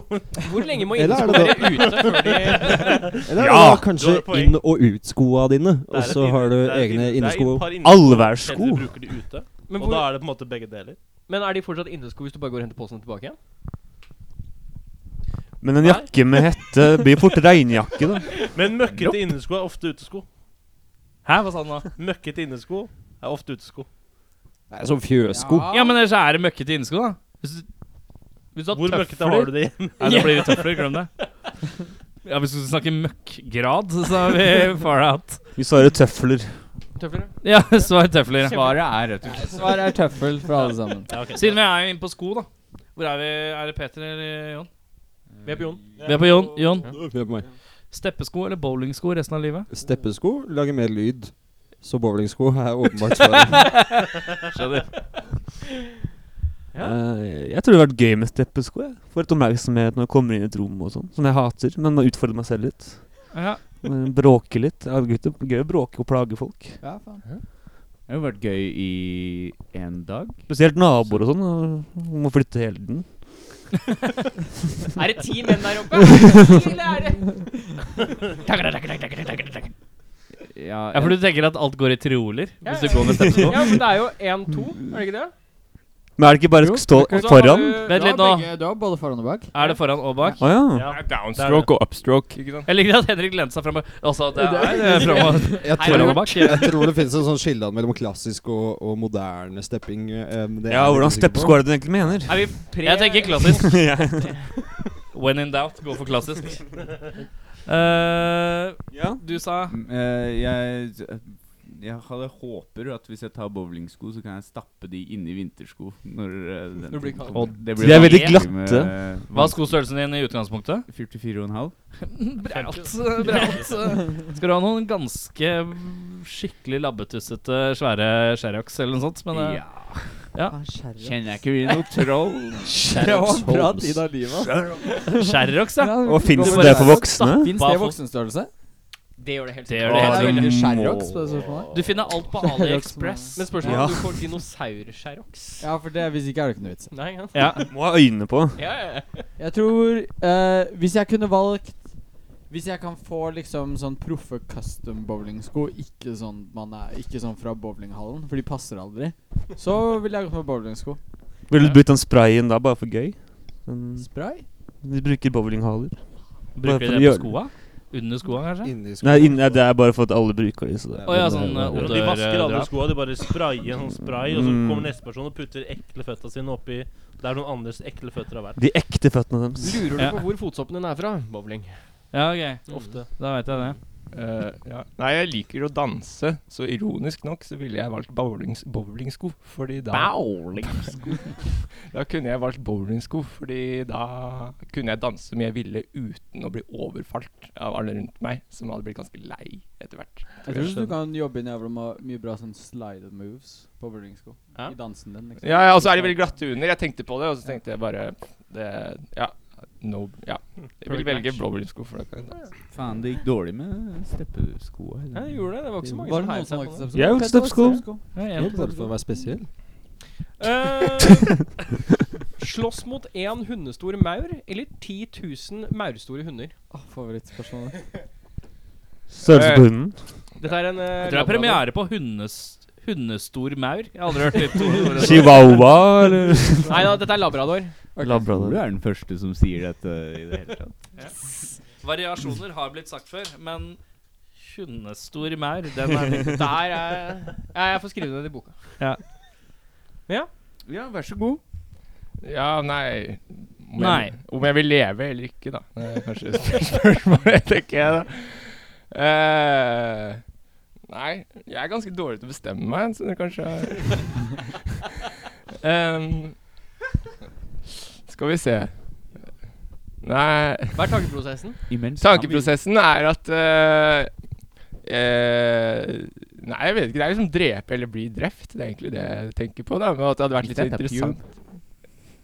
Speaker 1: Hvor lenge må
Speaker 5: Eller er
Speaker 1: innesko
Speaker 5: det
Speaker 1: være ute før de
Speaker 5: Eller er det
Speaker 7: Ja,
Speaker 5: da kanskje
Speaker 3: du har poeng.
Speaker 5: inn- og ut-skoa dine, og
Speaker 3: Det er et
Speaker 5: så har
Speaker 3: inne-
Speaker 5: du
Speaker 3: det er et
Speaker 5: egne
Speaker 3: inne-
Speaker 5: innesko?
Speaker 3: Det er et par
Speaker 7: Allværssko.
Speaker 3: innesko. Du bruker de ute,
Speaker 1: men,
Speaker 3: og da
Speaker 1: hvor,
Speaker 3: er det på en måte begge deler.
Speaker 1: men er de fortsatt innesko hvis du bare går og henter posen tilbake igjen?
Speaker 7: Men en jakke med hette blir fort regnjakke, da.
Speaker 3: Men møkkete innesko er ofte utesko.
Speaker 2: Hæ, hva sa han da?
Speaker 3: Møkkete innesko er ofte utesko.
Speaker 5: Nei, Sånn fjøssko.
Speaker 2: Ja, men ellers er det møkkete innesko, da. Hvis du, hvis du har
Speaker 3: Hvor møkkete
Speaker 2: tøfler
Speaker 3: har du det igjen?
Speaker 2: Nei, det blir tøfler, glem det. Ja, Hvis du skal snakke møkkgrad, så er vi far out.
Speaker 7: Vi svarer tøfler.
Speaker 1: Tøflere?
Speaker 2: Ja, svar tøfler.
Speaker 6: Svaret er rett og slett
Speaker 8: Svar er tøffel for alle sammen.
Speaker 2: Siden vi er inne på sko, da. Hvor er vi? Er det Peter eller Jon?
Speaker 1: Vi er på Jon.
Speaker 2: Vi er på Jon. Jon.
Speaker 5: Hør på meg.
Speaker 2: Steppesko eller bowlingsko resten av livet?
Speaker 5: Steppesko lager mer lyd, så bowlingsko er åpenbart svaret.
Speaker 7: Eh, jeg tror det hadde vært gøy med steppesko. Jeg. Får litt oppmerksomhet når jeg kommer inn i et rom og sånn, som jeg hater. Men må utfordre meg selv litt.
Speaker 2: Ja.
Speaker 7: Eh, Bråke litt. Ja, gutter, gøy å bråke og plage folk.
Speaker 8: Ja, faen.
Speaker 6: Det har jo vært gøy i én dag.
Speaker 7: Spesielt naboer og sånn. og Må flytte hele tiden.
Speaker 1: Er det ti menn der oppe? Eller er det
Speaker 6: Ja,
Speaker 2: ja, for du tenker at alt går i trioler? Hvis du går med steppesko?
Speaker 1: Ja, men det er jo én, to, er det ikke det?
Speaker 7: Men er det ikke bare å stå
Speaker 1: Og så har
Speaker 7: foran?
Speaker 1: du-
Speaker 2: Vent
Speaker 8: Du har
Speaker 2: litt nå.
Speaker 8: begge- Du har både foran og bak.
Speaker 2: Er det foran og bak?
Speaker 7: Å ja.
Speaker 3: Ja.
Speaker 9: downstroke og upstroke? Ikke sant?
Speaker 2: Jeg liker at Henrik lente seg framover. Altså, det er eh, framover.
Speaker 5: Jeg
Speaker 2: Foran og
Speaker 5: tror,
Speaker 2: bak.
Speaker 5: jeg tror det finnes en sånn skille mellom klassisk og, og moderne stepping. eh, men det er
Speaker 7: ja,
Speaker 5: jeg litt
Speaker 7: hvordan
Speaker 5: usikker på.
Speaker 7: steppesko er det du egentlig mener?
Speaker 2: Er vi pre Jeg tenker klassisk. When in doubt, gå for klassisk. Eh,
Speaker 7: Ja.
Speaker 2: du sa
Speaker 6: Mm, eh, jeg, jeg hadde håper at hvis jeg tar bowlingsko, så kan jeg stappe de inni vintersko. Når eh, den
Speaker 8: Det blir
Speaker 6: tiden
Speaker 8: kaldt.
Speaker 6: kommer.
Speaker 2: Og
Speaker 6: det
Speaker 7: de er veldig
Speaker 6: vanskelig med,
Speaker 7: glatte.
Speaker 6: eh,
Speaker 2: Hva er skostørrelsen din i utgangspunktet?
Speaker 6: 44,5.
Speaker 2: Braut. braut. Skal du ha noen ganske skikkelig labbetussete svære sherryaks eller noe sånt? Men eh,
Speaker 6: Ja.
Speaker 8: Kjent.
Speaker 6: Kjenner jeg ikke vi noe troll?
Speaker 8: Det var en bra tid av livet.
Speaker 2: sherryaks, ja.
Speaker 7: Og fins det for voksne?
Speaker 8: Fins det
Speaker 2: Bare-
Speaker 8: voksenstørrelse?
Speaker 1: Det gjør det helt
Speaker 2: Det
Speaker 1: sikkert.
Speaker 2: gjør det helt
Speaker 8: er
Speaker 2: sikkert.
Speaker 8: veldig Sherrox på det spørsmålet.
Speaker 2: Du finner alt på AliExpress.
Speaker 1: Men spørsmålet er
Speaker 7: Ja.
Speaker 1: om du får dinosaur-sherrox.
Speaker 8: Ja, for det, hvis ikke er det ikke noe vits.
Speaker 1: Nei, ikke sant?
Speaker 2: Ja.
Speaker 7: Må ha øyne på.
Speaker 1: Ja, ja, ja.
Speaker 8: Jeg tror eh, Hvis jeg kunne valgt Hvis jeg kan få liksom sånn proffe custom bowlingsko, ikke sånn man er Ikke sånn fra bowlinghallen, for de passer aldri, så ville jeg gått med bowlingsko.
Speaker 7: Ville du brukt den sprayen da, bare for gøy?
Speaker 9: Sånn
Speaker 7: Den-
Speaker 8: Spray?
Speaker 7: De bruker bowlinghaler.
Speaker 2: Bruker
Speaker 7: for
Speaker 2: de det på
Speaker 7: å gjøre-
Speaker 2: skoa? Under skoa, kanskje?
Speaker 5: Inni sko.
Speaker 7: Nei, inn- nei, det er bare for at alle bruker det. Så det.
Speaker 2: Å ja, sånn eh,
Speaker 5: Ja,
Speaker 3: De vasker alle
Speaker 2: odørdrap.
Speaker 3: skoa. De bare sprayer en sånn spray, og så
Speaker 7: Mm.
Speaker 3: kommer neste person og putter ekle føtta sine oppi der noen andres ekle føtter har vært.
Speaker 7: De ekte føttene deres.
Speaker 1: Lurer du
Speaker 2: Ja.
Speaker 1: på hvor fotsoppen din er fra? Bowling.
Speaker 2: Ja, ok.
Speaker 3: Ofte.
Speaker 2: Da veit jeg det.
Speaker 9: Eh, ja. Nei, jeg liker å danse, så ironisk nok så ville jeg valgt bowlings bowlingsko. Fordi da Da kunne jeg valgt bowlingsko, fordi da kunne jeg danse som jeg ville uten å bli overfalt av alle rundt meg, som hadde blitt ganske lei etter hvert.
Speaker 8: Jeg tror du kan jobbe inn jævla ma- mye bra sånn slide moves på bowlingsko.
Speaker 3: Ja.
Speaker 8: I dansen din, liksom.
Speaker 9: Ja, ja, og så er de veldig glatte under. Jeg tenkte på det, og så tenkte jeg bare det, Ja. No, ja. Jeg vil velge bowlingsko. for da kan jeg danse.
Speaker 6: Faen, det gikk dårlig med steppeskoa.
Speaker 1: Ja, det gjorde det. Det var ikke så mange
Speaker 8: Var det
Speaker 1: som
Speaker 8: noen
Speaker 1: heiv
Speaker 8: som
Speaker 1: seg
Speaker 8: valgte
Speaker 1: på det.
Speaker 8: stepsko?
Speaker 7: Jeg har
Speaker 8: Petter
Speaker 7: stepsko.
Speaker 8: valgte stepsko.
Speaker 2: Ja, jeg-
Speaker 5: Helt bare for å være spesiell.
Speaker 1: Eh, slåss mot én hundestor maur eller 10 000 maurstore hunder?
Speaker 8: Åh, Favorittspørsmålet.
Speaker 7: Størrelse på hunden.
Speaker 1: Dette er en eh,
Speaker 2: Jeg tror det er
Speaker 1: labrador.
Speaker 2: premiere på hundes, Hundestor maur? Jeg har aldri hørt det ordet.
Speaker 7: Chihuahua, eller?
Speaker 1: Nei da, dette er labrador.
Speaker 6: Du
Speaker 7: Labrador.
Speaker 6: er den første som sier dette i det hele tatt.
Speaker 2: Variasjoner har blitt sagt før, men hundestor maur, den er litt
Speaker 1: Der er Ja, jeg får skrive det ned i boka.
Speaker 6: Ja, vær så god.
Speaker 9: Ja, nei om
Speaker 2: Nei.
Speaker 9: Jeg, om jeg vil leve eller ikke, da. Det er kanskje spørsmålet, tenker jeg, da. Eh, nei, jeg er ganske dårlig til å bestemme meg, så det kanskje Em, Skal vi se Nei
Speaker 1: Hva er tankeprosessen?
Speaker 6: Imens
Speaker 9: Tankeprosessen er at eh, eh, Nei, jeg vet ikke. Det er liksom drepe eller bli drept. Det er egentlig det jeg tenker på. da Men at det hadde vært litt
Speaker 6: It's up to
Speaker 9: interessant.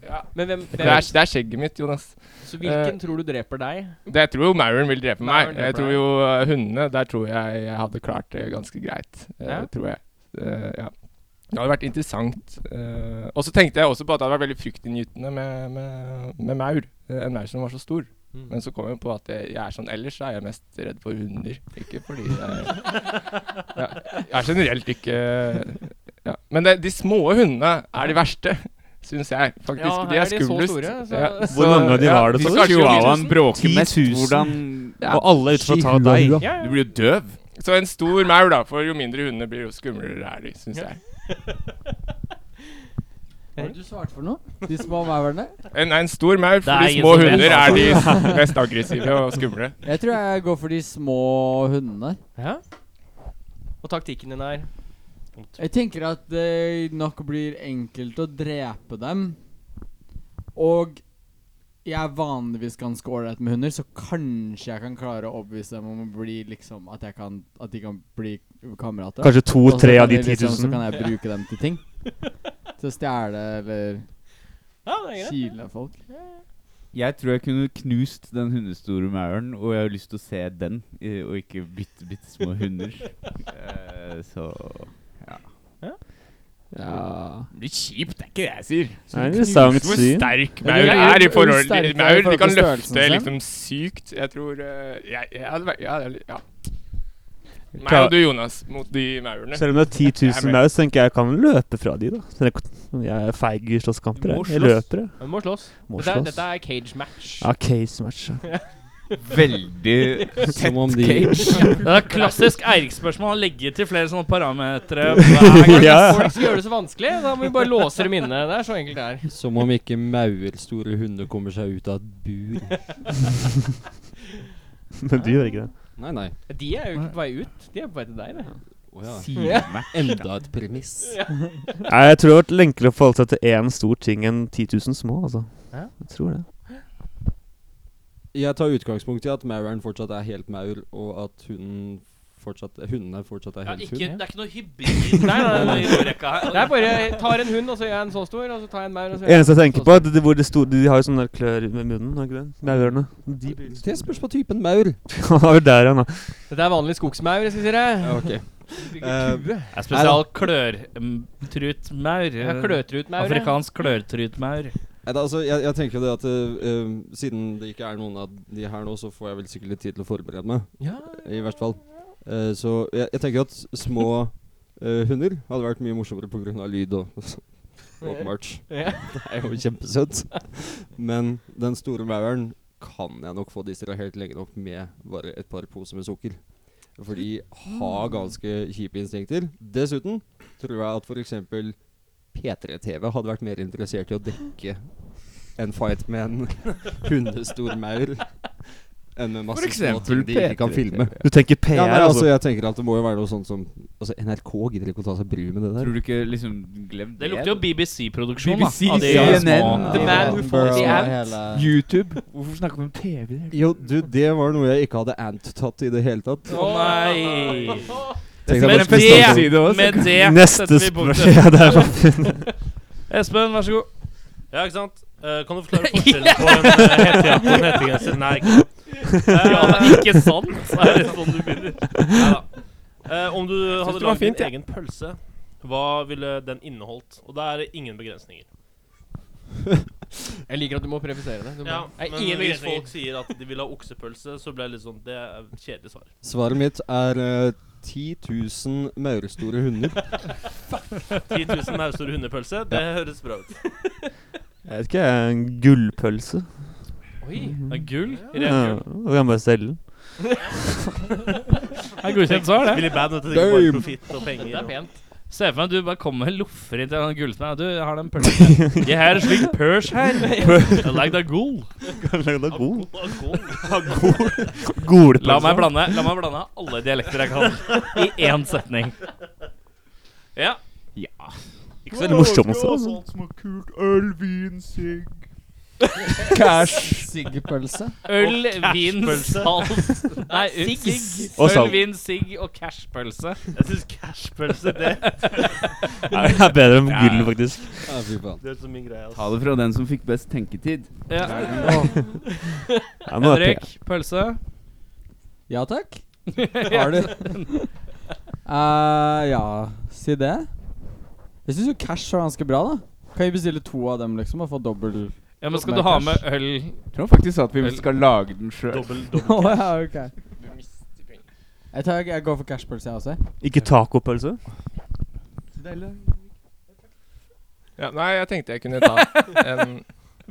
Speaker 9: Ja.
Speaker 1: Men hvem,
Speaker 9: Det,
Speaker 1: hvem
Speaker 9: er, det er skjegget mitt, Jonas. Eh,
Speaker 1: Så hvilken tror du dreper deg?
Speaker 9: Det jeg tror jo mauren vil drepe meg.
Speaker 1: Mauren
Speaker 9: Jeg
Speaker 1: dreper
Speaker 9: tror
Speaker 1: deg.
Speaker 9: jo eh, hundene Der tror jeg jeg hadde klart det ganske greit. eh,
Speaker 1: Ja.
Speaker 9: Tror jeg. Eh, ja. Det hadde vært interessant. eh, og så tenkte jeg også på at det hadde vært veldig fryktinngytende med, med, med maur. eh, En maur som var så stor.
Speaker 1: Mm.
Speaker 9: Men så kom jeg på at jeg, jeg er sånn ellers, så er jeg mest redd for hunder. Ikke fordi jeg ja, Jeg er generelt ikke ja. Men det, de små hundene er de verste, syns jeg. Faktisk.
Speaker 1: Ja,
Speaker 9: de
Speaker 1: her
Speaker 9: er
Speaker 1: er de så
Speaker 9: skumlest.
Speaker 1: store, så-
Speaker 7: Hvor mange av de var det
Speaker 9: de
Speaker 7: som-
Speaker 9: skal jo
Speaker 7: Chihuahuaen
Speaker 9: vises.
Speaker 6: bråker mest.
Speaker 7: 10 000.
Speaker 6: Hvordan
Speaker 9: Ja.
Speaker 7: Og alle er ute for å ta deg.
Speaker 5: Ja.
Speaker 9: Du blir jo døv. Så en stor maur, da. For jo mindre hunder blir, jo skumlere er de, syns jeg.
Speaker 8: Hva var det du svarte for noe? De små maurene?
Speaker 9: En, nei, en stor maur,
Speaker 2: Det er
Speaker 9: for de
Speaker 2: ingen
Speaker 9: små
Speaker 2: som vet,
Speaker 9: hunder er de
Speaker 2: altså.
Speaker 9: mest aggressive og skumle.
Speaker 8: Jeg tror jeg går for de små hundene.
Speaker 1: Ja. Og taktikken din er
Speaker 8: Jeg tenker at det nok blir enkelt å drepe dem. Og jeg er vanligvis ganske ålreit med hunder, så kanskje jeg kan klare å overbevise dem om å bli liksom At, jeg kan, at de kan bli kamerater. Og
Speaker 7: Kanskje
Speaker 8: så
Speaker 7: to-tre
Speaker 8: kan
Speaker 7: av de
Speaker 8: jeg
Speaker 7: 10
Speaker 8: liksom- Så
Speaker 7: 000.
Speaker 8: kan jeg bruke dem til ting. Til å stjele eller
Speaker 1: Ja, det er greit.
Speaker 8: kile folk.
Speaker 6: Jeg tror jeg kunne knust den hundestore mauren, og jeg har lyst til å se den, eh, og ikke bitte, bitte små hunder. Eh, så
Speaker 8: Ja.
Speaker 9: Det blir kjipt, det er ikke det jeg sier.
Speaker 7: Det er interessant
Speaker 9: Hvor
Speaker 7: syn.
Speaker 9: sterk
Speaker 8: Ja,
Speaker 9: maur
Speaker 8: de er
Speaker 9: er i
Speaker 8: jo
Speaker 9: forhold
Speaker 8: sterke
Speaker 9: til
Speaker 8: i
Speaker 9: maur. De
Speaker 8: forhold
Speaker 9: kan
Speaker 8: til størrelsen
Speaker 9: løfte
Speaker 8: sin.
Speaker 9: liksom sykt. Jeg tror eh, Jeg, jeg hadde vært Ja. det er- ja. Meg
Speaker 7: Klar.
Speaker 9: og du, Jonas, mot de maurene.
Speaker 7: Selv om det er 10
Speaker 9: Jeg er
Speaker 7: 000
Speaker 9: med.
Speaker 7: maur, så tenker jeg jeg kan løpe fra de, da. Sånn Så jeg- Jeg er feig i slåsskamper. Jeg, jeg løper, jeg.
Speaker 1: Du må slåss.
Speaker 7: Må
Speaker 1: Dette er,
Speaker 7: slåss.
Speaker 1: dette er cage match.
Speaker 7: Ja, case match. ja.
Speaker 6: Veldig
Speaker 5: Som om de
Speaker 2: Det er klassisk Eirik-spørsmål. Han legger til flere sånne parametere. hver gang.
Speaker 7: Ja.
Speaker 1: Folk skal gjøre det så vanskelig, da må vi bare låse dem inne. Det er så enkelt det er.
Speaker 5: Som om ikke maurstore hunder kommer seg ut av et bur.
Speaker 7: Men du gjør ikke det.
Speaker 5: Nei, nei.
Speaker 1: De er jo ikke på vei ut. De er på vei til deg, det.
Speaker 5: Å ja.
Speaker 6: sidematch.
Speaker 5: Enda et premiss.
Speaker 7: Nei, jeg tror det har vært enklere å forholde seg til én stor ting enn 10 000 små, altså.
Speaker 1: Ja.
Speaker 7: Jeg tror det.
Speaker 5: Jeg tar utgangspunkt i at mauren fortsatt er helt maur, og at hunden fortsatt, hundene fortsatt er
Speaker 2: Ja,
Speaker 5: helt
Speaker 2: ikke,
Speaker 5: hund.
Speaker 2: det er ikke noe hybrid nei, nei, nei, i ordrekka
Speaker 1: Det er
Speaker 2: her.
Speaker 1: bare jeg tar en hund, og så gjør jeg en så stor, og så tar jeg en maur, og så gjør jeg
Speaker 7: Eneste jeg tenker på, er at det, hvor det store, de har jo sånne der klør med munnen, har ikke det? Maurene. De blir
Speaker 5: Det spørs på typen maur.
Speaker 7: Han var jo der, han, da.
Speaker 1: Dette er vanlig skogsmaur, jeg skal si deg.
Speaker 5: Ja, ok.
Speaker 1: Kue.
Speaker 2: Det er spesial klørtrutmaur.
Speaker 1: Ja, kløtrutmaur, ja.
Speaker 2: Afrikansk klørtrutmaur.
Speaker 5: Nei, da, altså, jeg, jeg tenker jo det at eh, eh, siden det ikke er noen av de her nå, så får jeg vel sikkert litt tid til å forberede meg.
Speaker 1: Ja.
Speaker 5: I hvert fall. Eh, så jeg, jeg tenker at s- små eh, hunder hadde vært mye morsommere pga. lyd og åpenbart.
Speaker 1: Ja.
Speaker 5: Det er jo kjempesøtt. Men den store mauren kan jeg nok få distrahert lenge nok med bare et par poser med sukker. For de har ganske kjipe instinkter. Dessuten tror jeg at f.eks. P3-TV hadde vært mer interessert i å dekke en fight med en hundestor maur enn med masse små ting de ikke kan filme.
Speaker 7: Du tenker PR,
Speaker 5: Ja, nei, altså,
Speaker 7: altså.
Speaker 5: jeg tenker at det må jo være noe sånt som Altså, NRK gidder ikke å ta seg bryet med det der.
Speaker 6: Tror du ikke liksom Glem
Speaker 2: Det lukter jo BBC-produksjon, da.
Speaker 6: BBC,
Speaker 2: av de
Speaker 6: CNN.
Speaker 2: små-
Speaker 5: The man who
Speaker 1: fought the ant.
Speaker 6: YouTube. Hvorfor snakker vi om TV?
Speaker 5: Jo, du, det var noe jeg ikke hadde ant-tatt i det hele tatt.
Speaker 2: Å nei!
Speaker 5: Tenkte
Speaker 2: Men
Speaker 5: jeg bare skulle snakke om-
Speaker 2: det, med det
Speaker 7: altså. Neste
Speaker 2: setter vi punktum.
Speaker 7: spørsmål. Ja, det er sånn.
Speaker 2: Espen, vær så god.
Speaker 3: Ja, ikke sant? Eh, kan du forklare forskjellen på en eh, hette- på en hettegenser Nei, ikke sant.
Speaker 2: Ja, det
Speaker 3: Eh,
Speaker 2: er ikke sant? Er det sånn du begynner?
Speaker 3: eh, om du hadde
Speaker 9: det var
Speaker 3: laget
Speaker 9: fint,
Speaker 3: din egen pølse, hva ville den inneholdt? Og da er det ingen begrensninger.
Speaker 1: Jeg liker at du må prefisere det. Du må.
Speaker 3: Ja,
Speaker 1: Nei,
Speaker 3: men
Speaker 1: ingen
Speaker 3: hvis folk
Speaker 1: begrensninger.
Speaker 3: sier at de vil ha oksepølse, så blir det litt sånn Det er et kjedelig svar.
Speaker 5: Svaret mitt er eh, 10 000 maurstore hunder.
Speaker 3: 10 000 maurstore hundepølse, det høres bra ut.
Speaker 7: Jeg vet ikke, jeg er en gullpølse.
Speaker 1: Oi!
Speaker 2: Det er gull.
Speaker 7: Ja, og jeg kan bare selge den.
Speaker 2: Det er godkjent svar, det.
Speaker 3: Billy Band, vet du. Det går
Speaker 5: Damn.
Speaker 3: bare profitt og
Speaker 1: Det er
Speaker 3: penger.
Speaker 1: pent.
Speaker 2: Se for meg at du bare kommer med loffer inn til en gullsmed. Du, jeg har den pølsen. Jeg har en slik pørs her. Jeg lagde av gull.
Speaker 7: Kanskje den er god.
Speaker 3: og- og god.
Speaker 7: Golepølse.
Speaker 2: La meg blande La meg blande alle dialekter jeg kan, i én setning. Ja.
Speaker 7: Ikke så veldig morsom også.
Speaker 4: Alt som er kult, øl, vin, sigg
Speaker 8: Cash. Siggpølse.
Speaker 2: Øl, vin,
Speaker 3: cashpølse.
Speaker 2: salt Nei, sigg.
Speaker 7: Og
Speaker 2: Øl,
Speaker 7: salt.
Speaker 2: vin, sigg og cashpølse.
Speaker 3: Jeg syns cashpølse, det
Speaker 7: Nei, Det er bedre enn gull, faktisk.
Speaker 5: Ja, fy faen.
Speaker 3: Det er så mye greier.
Speaker 6: Ta det fra den som fikk best tenketid.
Speaker 2: Ja.
Speaker 7: Ja, nå er
Speaker 2: Henrik, pølse.
Speaker 8: Ja takk. Har du? Eh, ja, si det. Jeg syns jo cash var ganske bra, da. Kan vi bestille to av dem, liksom, og få dobbel
Speaker 2: Ja, men skal du ha med øl
Speaker 6: Jeg tror faktisk at vi skal lage den sjøl.
Speaker 3: Dobbel,
Speaker 8: Å
Speaker 3: dobbel
Speaker 8: ja, ok. Jeg, tar, jeg går for cashpølse, jeg også.
Speaker 7: jeg- Ikke tacopølse?
Speaker 9: Ja, nei, jeg tenkte jeg kunne ta en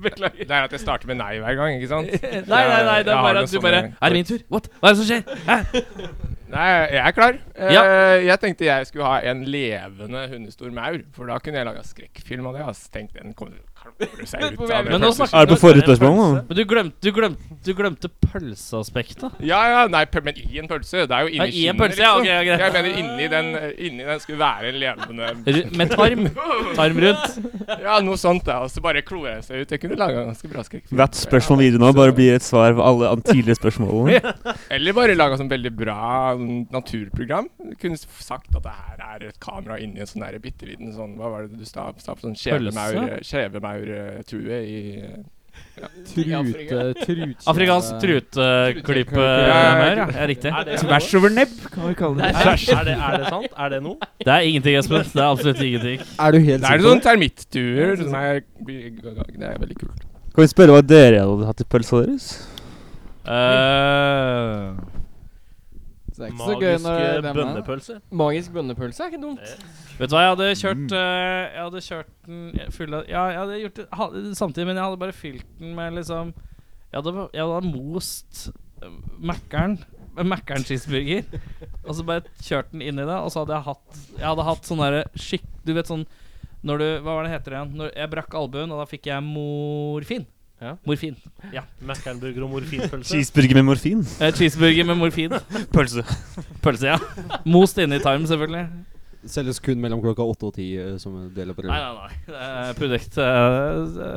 Speaker 9: Beklager. Det er at jeg starter med nei hver gang, ikke sant?
Speaker 2: Nei, nei, nei, det er
Speaker 9: Jeg har
Speaker 2: bare
Speaker 9: noen
Speaker 2: at du
Speaker 9: sånne-
Speaker 2: bare Er det min tur? What? Hva er det som skjer?
Speaker 9: Nei, jeg er klar. Eh,
Speaker 2: Ja.
Speaker 9: Jeg tenkte jeg skulle ha en levende hundestor maur, for da kunne jeg laga skrekkfilm av det. ass. Tenkte den kommer kommer seg ut av det.
Speaker 2: Men nå
Speaker 9: faktisk.
Speaker 2: snakker
Speaker 7: Er det på forrige spørsmål nå?
Speaker 2: Men du glemte, du glemte, du glemte pølseaspektet.
Speaker 9: Ja, ja, nei, pøl- men i en pølse. Det er
Speaker 2: Ja,
Speaker 9: jo inni
Speaker 2: i en
Speaker 9: skinnet,
Speaker 2: pølse, ja, ok, ja, greit.
Speaker 9: Jeg mener inni den, eh, inni den skulle være en levende
Speaker 2: Ru- Med tarm. Tarm rundt.
Speaker 9: Ja, noe sånt, da. Og så bare klora jeg seg ut. Jeg kunne laga ganske bra skrekkfilm.
Speaker 7: Hvert spørsmål videre nå bare blir et svar på alle an- tidligere spørsmålene.
Speaker 9: Eller bare laga sånn veldig bra mm, naturprogram. Du kunne s- sagt at det her er et kamera inni en sånn der bitte liten sånn Hva var det du sa? sa sånn skjevemaur- skjevemaurtue i
Speaker 5: eh,
Speaker 8: Trute, trute
Speaker 2: Afrikansk eh, truteklippe
Speaker 9: Ja,
Speaker 2: mer,
Speaker 9: ja,
Speaker 2: ja. ja. Riktig.
Speaker 3: Er det,
Speaker 6: Tvers over nebb, kan vi kalle det.
Speaker 3: er, er, det, er det sant? Er det noe?
Speaker 2: Det er ingenting, Espen. Det er absolutt ingenting.
Speaker 5: Er du helt
Speaker 9: Det er
Speaker 5: sikker?
Speaker 9: sånn termittduer.
Speaker 2: sånn-
Speaker 9: Som er, det er veldig kult.
Speaker 7: Kan vi spørre hva dere hadde hatt i pølsa deres?
Speaker 2: Eh,
Speaker 8: Så det er ikke så gøy når
Speaker 3: Magiske
Speaker 8: dem er der.
Speaker 3: bønnepølse?
Speaker 1: Magisk bønnepølse er ikke dumt.
Speaker 2: vet du hva, jeg hadde kjørt
Speaker 7: Mm.
Speaker 2: eh, Jeg hadde kjørt den full av Ja, jeg hadde gjort det ha- samtidig, men jeg hadde bare fylt den med liksom Jeg hadde, jeg hadde most eh, Mækkern. med Mækkern cheeseburger. Og så bare kjørt den inn i det, og så hadde jeg hatt Jeg hadde hatt sånn derre skikk... Du vet sånn når du, Hva var det heter det igjen? Når jeg brakk albuen, og da fikk jeg morfin.
Speaker 1: Ja.
Speaker 2: Morfin.
Speaker 3: Mækkernburger og morfinpølse?
Speaker 7: Cheeseburger med morfin?
Speaker 2: Eh, cheeseburger med morfin.
Speaker 7: Pølse.
Speaker 2: Pølse, ja. Most inni tarm, selvfølgelig.
Speaker 5: Selges kun mellom klokka 8 og 10 eh, som en del av
Speaker 2: Nei,
Speaker 5: programmet.
Speaker 2: nei, nei. Det er produkt eh,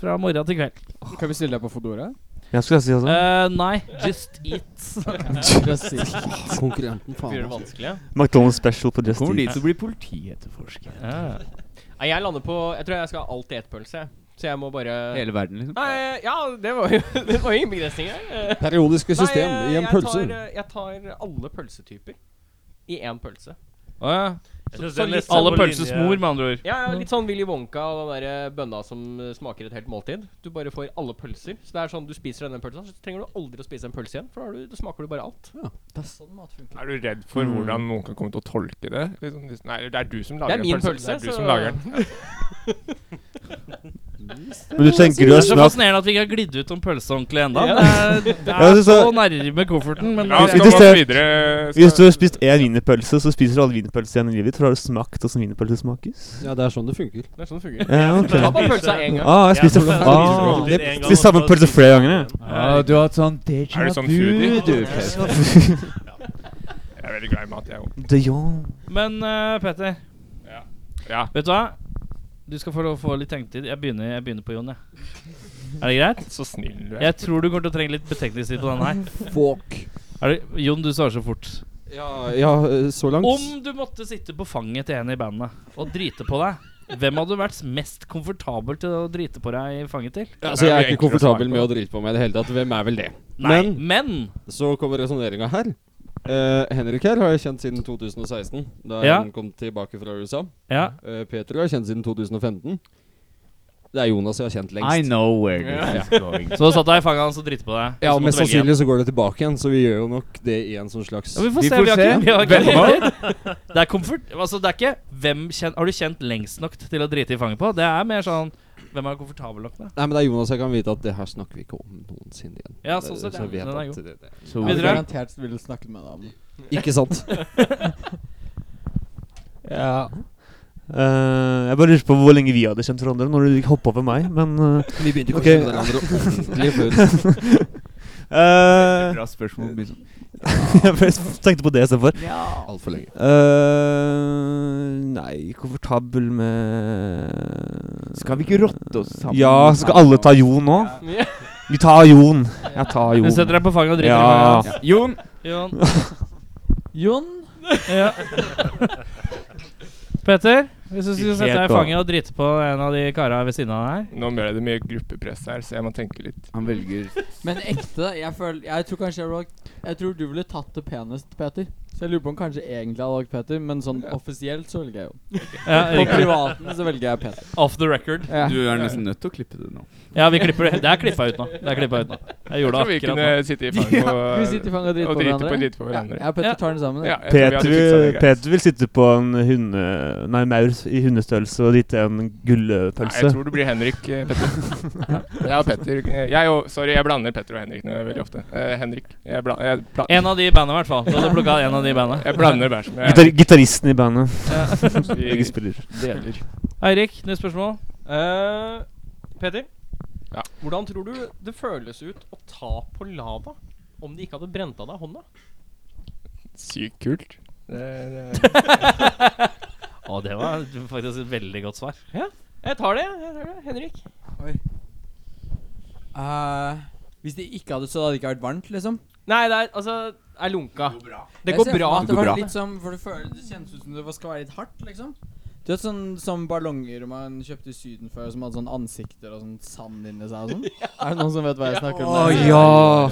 Speaker 2: fra morgen til kveld.
Speaker 8: Kan vi stille deg på Fodora?
Speaker 7: Jeg skulle si også.
Speaker 2: Eh, nei, just eat.
Speaker 5: Ah, Konkurrenten, faen.
Speaker 1: Gjør det
Speaker 5: altså.
Speaker 1: vanskelig, ja.
Speaker 7: McDonald's special på Just
Speaker 6: Kommer de
Speaker 7: Eat.
Speaker 6: til å bli politietterforskere?
Speaker 2: Ja.
Speaker 1: Nei, jeg lander på Jeg tror jeg skal ha alltid ett pølse. jeg. Så jeg må bare
Speaker 6: Hele verden, liksom?
Speaker 1: Nei, ja, det var jo Det var jo ingen begrensninger. Eh,
Speaker 5: Periodiske system
Speaker 1: nei,
Speaker 5: i en
Speaker 1: jeg
Speaker 5: pølse.
Speaker 1: Tar, eh, jeg tar alle pølsetyper i én pølse.
Speaker 2: Å ja.
Speaker 3: Jeg synes
Speaker 1: Så-
Speaker 3: det er
Speaker 1: så
Speaker 3: nesten
Speaker 2: Alle
Speaker 3: på
Speaker 2: pølses
Speaker 3: linje-
Speaker 2: mor, med andre ord.
Speaker 1: Ja, ja, Litt sånn Willy Wonka og den der bønna som eh, smaker et helt måltid. Du bare får alle pølser. Så det er sånn du spiser denne pølsa, så trenger du aldri å spise en pølse igjen. For da, har du, da smaker du bare alt.
Speaker 8: Det er sånn mat funker.
Speaker 9: Er du redd for hvordan noen kan komme til å tolke det? Liksom, hvis- nei, det er du som lager
Speaker 1: Det er min
Speaker 9: en pølse.
Speaker 1: pølse,
Speaker 9: det er du
Speaker 1: så-
Speaker 9: som lager den.
Speaker 7: Men du
Speaker 2: Det
Speaker 7: tenker du
Speaker 2: er
Speaker 7: har
Speaker 2: så
Speaker 7: snart
Speaker 2: fascinerende at vi ikke har glidd ut om pølse ordentlig ennå.
Speaker 1: Ja.
Speaker 2: Det er- det
Speaker 7: Ja,
Speaker 2: er
Speaker 7: det er
Speaker 2: så
Speaker 7: så-
Speaker 2: nærme kofferten, men
Speaker 9: La oss
Speaker 7: Hvis
Speaker 9: gå
Speaker 7: du
Speaker 9: oss
Speaker 7: ser-
Speaker 9: videre.
Speaker 7: Hvis du
Speaker 9: Skal-
Speaker 7: har spist én wienerpølse, så spiser du alle wienerpølser igjen i livet. ditt, For da har du smakt åssen wienerpølse smakes.
Speaker 5: Ja, det er sånn det funker.
Speaker 1: Det er sånn det fungerer.
Speaker 7: Ja, ok.
Speaker 1: Ta bare pølsa én gang.
Speaker 7: Ah, jeg spiste
Speaker 3: Jeg tror jeg spiser
Speaker 7: ah.
Speaker 3: alltid en gang,
Speaker 7: spiste samme
Speaker 3: og så
Speaker 7: pølse
Speaker 3: spiser
Speaker 7: flere
Speaker 3: jeg
Speaker 7: ganger,
Speaker 3: igjen.
Speaker 6: Ja, du har hatt sånn déjà
Speaker 9: Er du sånn foodie?
Speaker 6: vu, du. Per.
Speaker 9: Jeg er veldig glad i mat, jeg òg.
Speaker 7: De Jong.
Speaker 2: Men eh, Petter,
Speaker 9: Ja.
Speaker 2: vet du hva? Du skal få lov å få litt tenketid. Jeg begynner, jeg begynner på Jon, jeg. Er det greit?
Speaker 9: Så snill du er.
Speaker 2: Jeg tror du kommer til å trenge litt betenkningstid på den her.
Speaker 5: Fuck.
Speaker 2: Er det, Jon, du svarer så fort.
Speaker 5: Ja, ja eh, så langt.
Speaker 2: Om du måtte sitte på fanget til en i bandet og drite på deg, hvem hadde vært mest komfortabel til å drite på deg i fanget til?
Speaker 5: Altså, jeg er
Speaker 9: Det er jo
Speaker 5: ikke
Speaker 9: enklere å svare
Speaker 5: komfortabel
Speaker 9: på.
Speaker 5: med å drite på meg i det hele tatt. Hvem er vel det?
Speaker 2: Nei,
Speaker 5: Men-
Speaker 2: men
Speaker 5: Så kommer resonneringa her. Eh, Henrik her har jeg kjent siden 2016, da
Speaker 2: Ja.
Speaker 5: han kom tilbake fra USA.
Speaker 2: Ja,
Speaker 5: Eh, Peter har jeg kjent siden 2015. Det er Jonas jeg har kjent
Speaker 6: I
Speaker 5: lengst.
Speaker 6: know where this is going.
Speaker 2: Så du satt deg i fanget hans og dritte på deg?
Speaker 5: Ja,
Speaker 2: Så måtte
Speaker 5: Mest
Speaker 2: du velge en.
Speaker 5: sannsynlig så går det tilbake igjen, så vi gjør jo nok det i en sånn slags
Speaker 2: Ja, vi får
Speaker 6: Vi
Speaker 2: se.
Speaker 6: får
Speaker 2: vi har
Speaker 6: se.
Speaker 2: ikke, vi har
Speaker 6: Hvem
Speaker 2: ikke det er komfort Altså, det er ikke hvem kjen, Har du kjent lengst nok til å drite i fanget på? Det er mer sånn Hvem er du komfortabel nok med?
Speaker 5: Nei, men det er Jonas jeg kan vite at det her snakker vi ikke om noensinne igjen.
Speaker 2: Ja,
Speaker 5: Det-
Speaker 2: sånn sett,
Speaker 5: så
Speaker 2: ja.
Speaker 5: jeg vet
Speaker 2: Den er
Speaker 5: at
Speaker 2: god.
Speaker 5: det- det-
Speaker 6: Så
Speaker 8: Jeg
Speaker 2: Videre.
Speaker 8: garantert vil snakke med deg om det.
Speaker 5: Ikke sant?
Speaker 7: Ja. Eh, jeg bare lurer på hvor lenge vi hadde kjent hverandre når du hoppa over meg, men eh,
Speaker 5: Vi begynte
Speaker 7: ikke å Ok. kjenne
Speaker 5: hverandre ordentlig før.
Speaker 7: eh,
Speaker 6: Bra spørsmål. liksom.
Speaker 7: Jeg tenkte på det istedenfor.
Speaker 5: Altfor lenge.
Speaker 7: Eh, nei, komfortabel med
Speaker 6: Skal vi ikke rotte oss sammen?
Speaker 7: Ja, skal alle ta Jon nå? Vi tar Jon. Jeg tar
Speaker 2: Du
Speaker 7: Jon.
Speaker 2: setter deg på fanget og driter
Speaker 7: Ja.
Speaker 2: i fanget hans.
Speaker 6: Jon,
Speaker 2: Jon.
Speaker 8: Jon?
Speaker 2: Ja. Peter, hvis du skulle sette deg
Speaker 7: Helt
Speaker 2: i fanget og drite på en av de kara ved siden av deg
Speaker 9: Nå ble det mye gruppepress her, så jeg må tenke litt.
Speaker 6: han velger
Speaker 8: Men ekte, jeg føler Jeg tror kanskje jeg ville valgt Jeg tror du ville tatt det penest, Peter. Så jeg lurer på om kanskje egentlig jeg hadde valgt Peter, men sånn offisielt så velger jeg jo.
Speaker 2: ja,
Speaker 8: På
Speaker 2: riktig.
Speaker 8: privaten så velger jeg Peter.
Speaker 2: Off the record.
Speaker 6: Du er nesten nødt til å klippe det nå.
Speaker 2: Ja, vi klipper det. Det er klippa ut nå. Det er klippa ut nå. Jeg
Speaker 9: Jeg
Speaker 2: gjorde det
Speaker 9: tror vi
Speaker 2: akkurat nå.
Speaker 9: kunne sitte i fanget
Speaker 8: Vi sitter i
Speaker 9: og,
Speaker 8: fanget og driter
Speaker 9: og
Speaker 8: på
Speaker 9: drite på,
Speaker 8: hverandre.
Speaker 9: drite på
Speaker 8: Ja,
Speaker 9: hverandre.
Speaker 8: jeg og
Speaker 2: Ja.
Speaker 8: Peter tar den sammen.
Speaker 9: Ja,
Speaker 8: jeg.
Speaker 9: jeg tror vi hadde fiksa
Speaker 7: Peter,
Speaker 9: det greit.
Speaker 7: Peter vil sitte på en hunde... Nei, maur i hundestørrelse og drite en
Speaker 9: Nei, jeg
Speaker 7: gullpølse.
Speaker 9: tror det blir Henrik eh, Petter. ja, Petter. eh, Jeg og, sorry, jeg blander Petter og Henrik nå veldig ofte. Eh, Henrik. Jeg, bla, jeg, bla,
Speaker 2: En av de i bandet, i hvert fall. Så hadde du plukket en av de i bandet.
Speaker 9: jeg blander hver som
Speaker 7: Gitar
Speaker 9: jeg
Speaker 7: gitaristen i bandet.
Speaker 9: Vi
Speaker 7: Begge spiller.
Speaker 9: deler.
Speaker 2: Eirik, nytt spørsmål.
Speaker 1: Eh, Peter,
Speaker 9: Ja.
Speaker 1: hvordan tror du det føles ut å ta på lava om de ikke hadde brent av deg hånda?
Speaker 9: Sykt kult. Det, det,
Speaker 2: Å, det var faktisk et veldig godt svar.
Speaker 1: Jeg tar det, jeg tar det. Henrik.
Speaker 8: Eh, hvis det ikke hadde så hadde det ikke vært varmt, liksom.
Speaker 1: Nei, det er altså er lunka. Det
Speaker 8: Jeg
Speaker 1: går
Speaker 8: ser for
Speaker 1: bra.
Speaker 8: meg at Det
Speaker 6: går
Speaker 8: var
Speaker 6: bra.
Speaker 8: litt som For det føles Det kjennes ut som det var- skal være litt hardt, liksom. Du vet sånn som ballonger man kjøpte i Syden før, som hadde sånn ansikter og sånn sand inni seg og sånn? Er det noen som vet hva jeg snakker om?
Speaker 7: Å
Speaker 8: der?
Speaker 7: ja!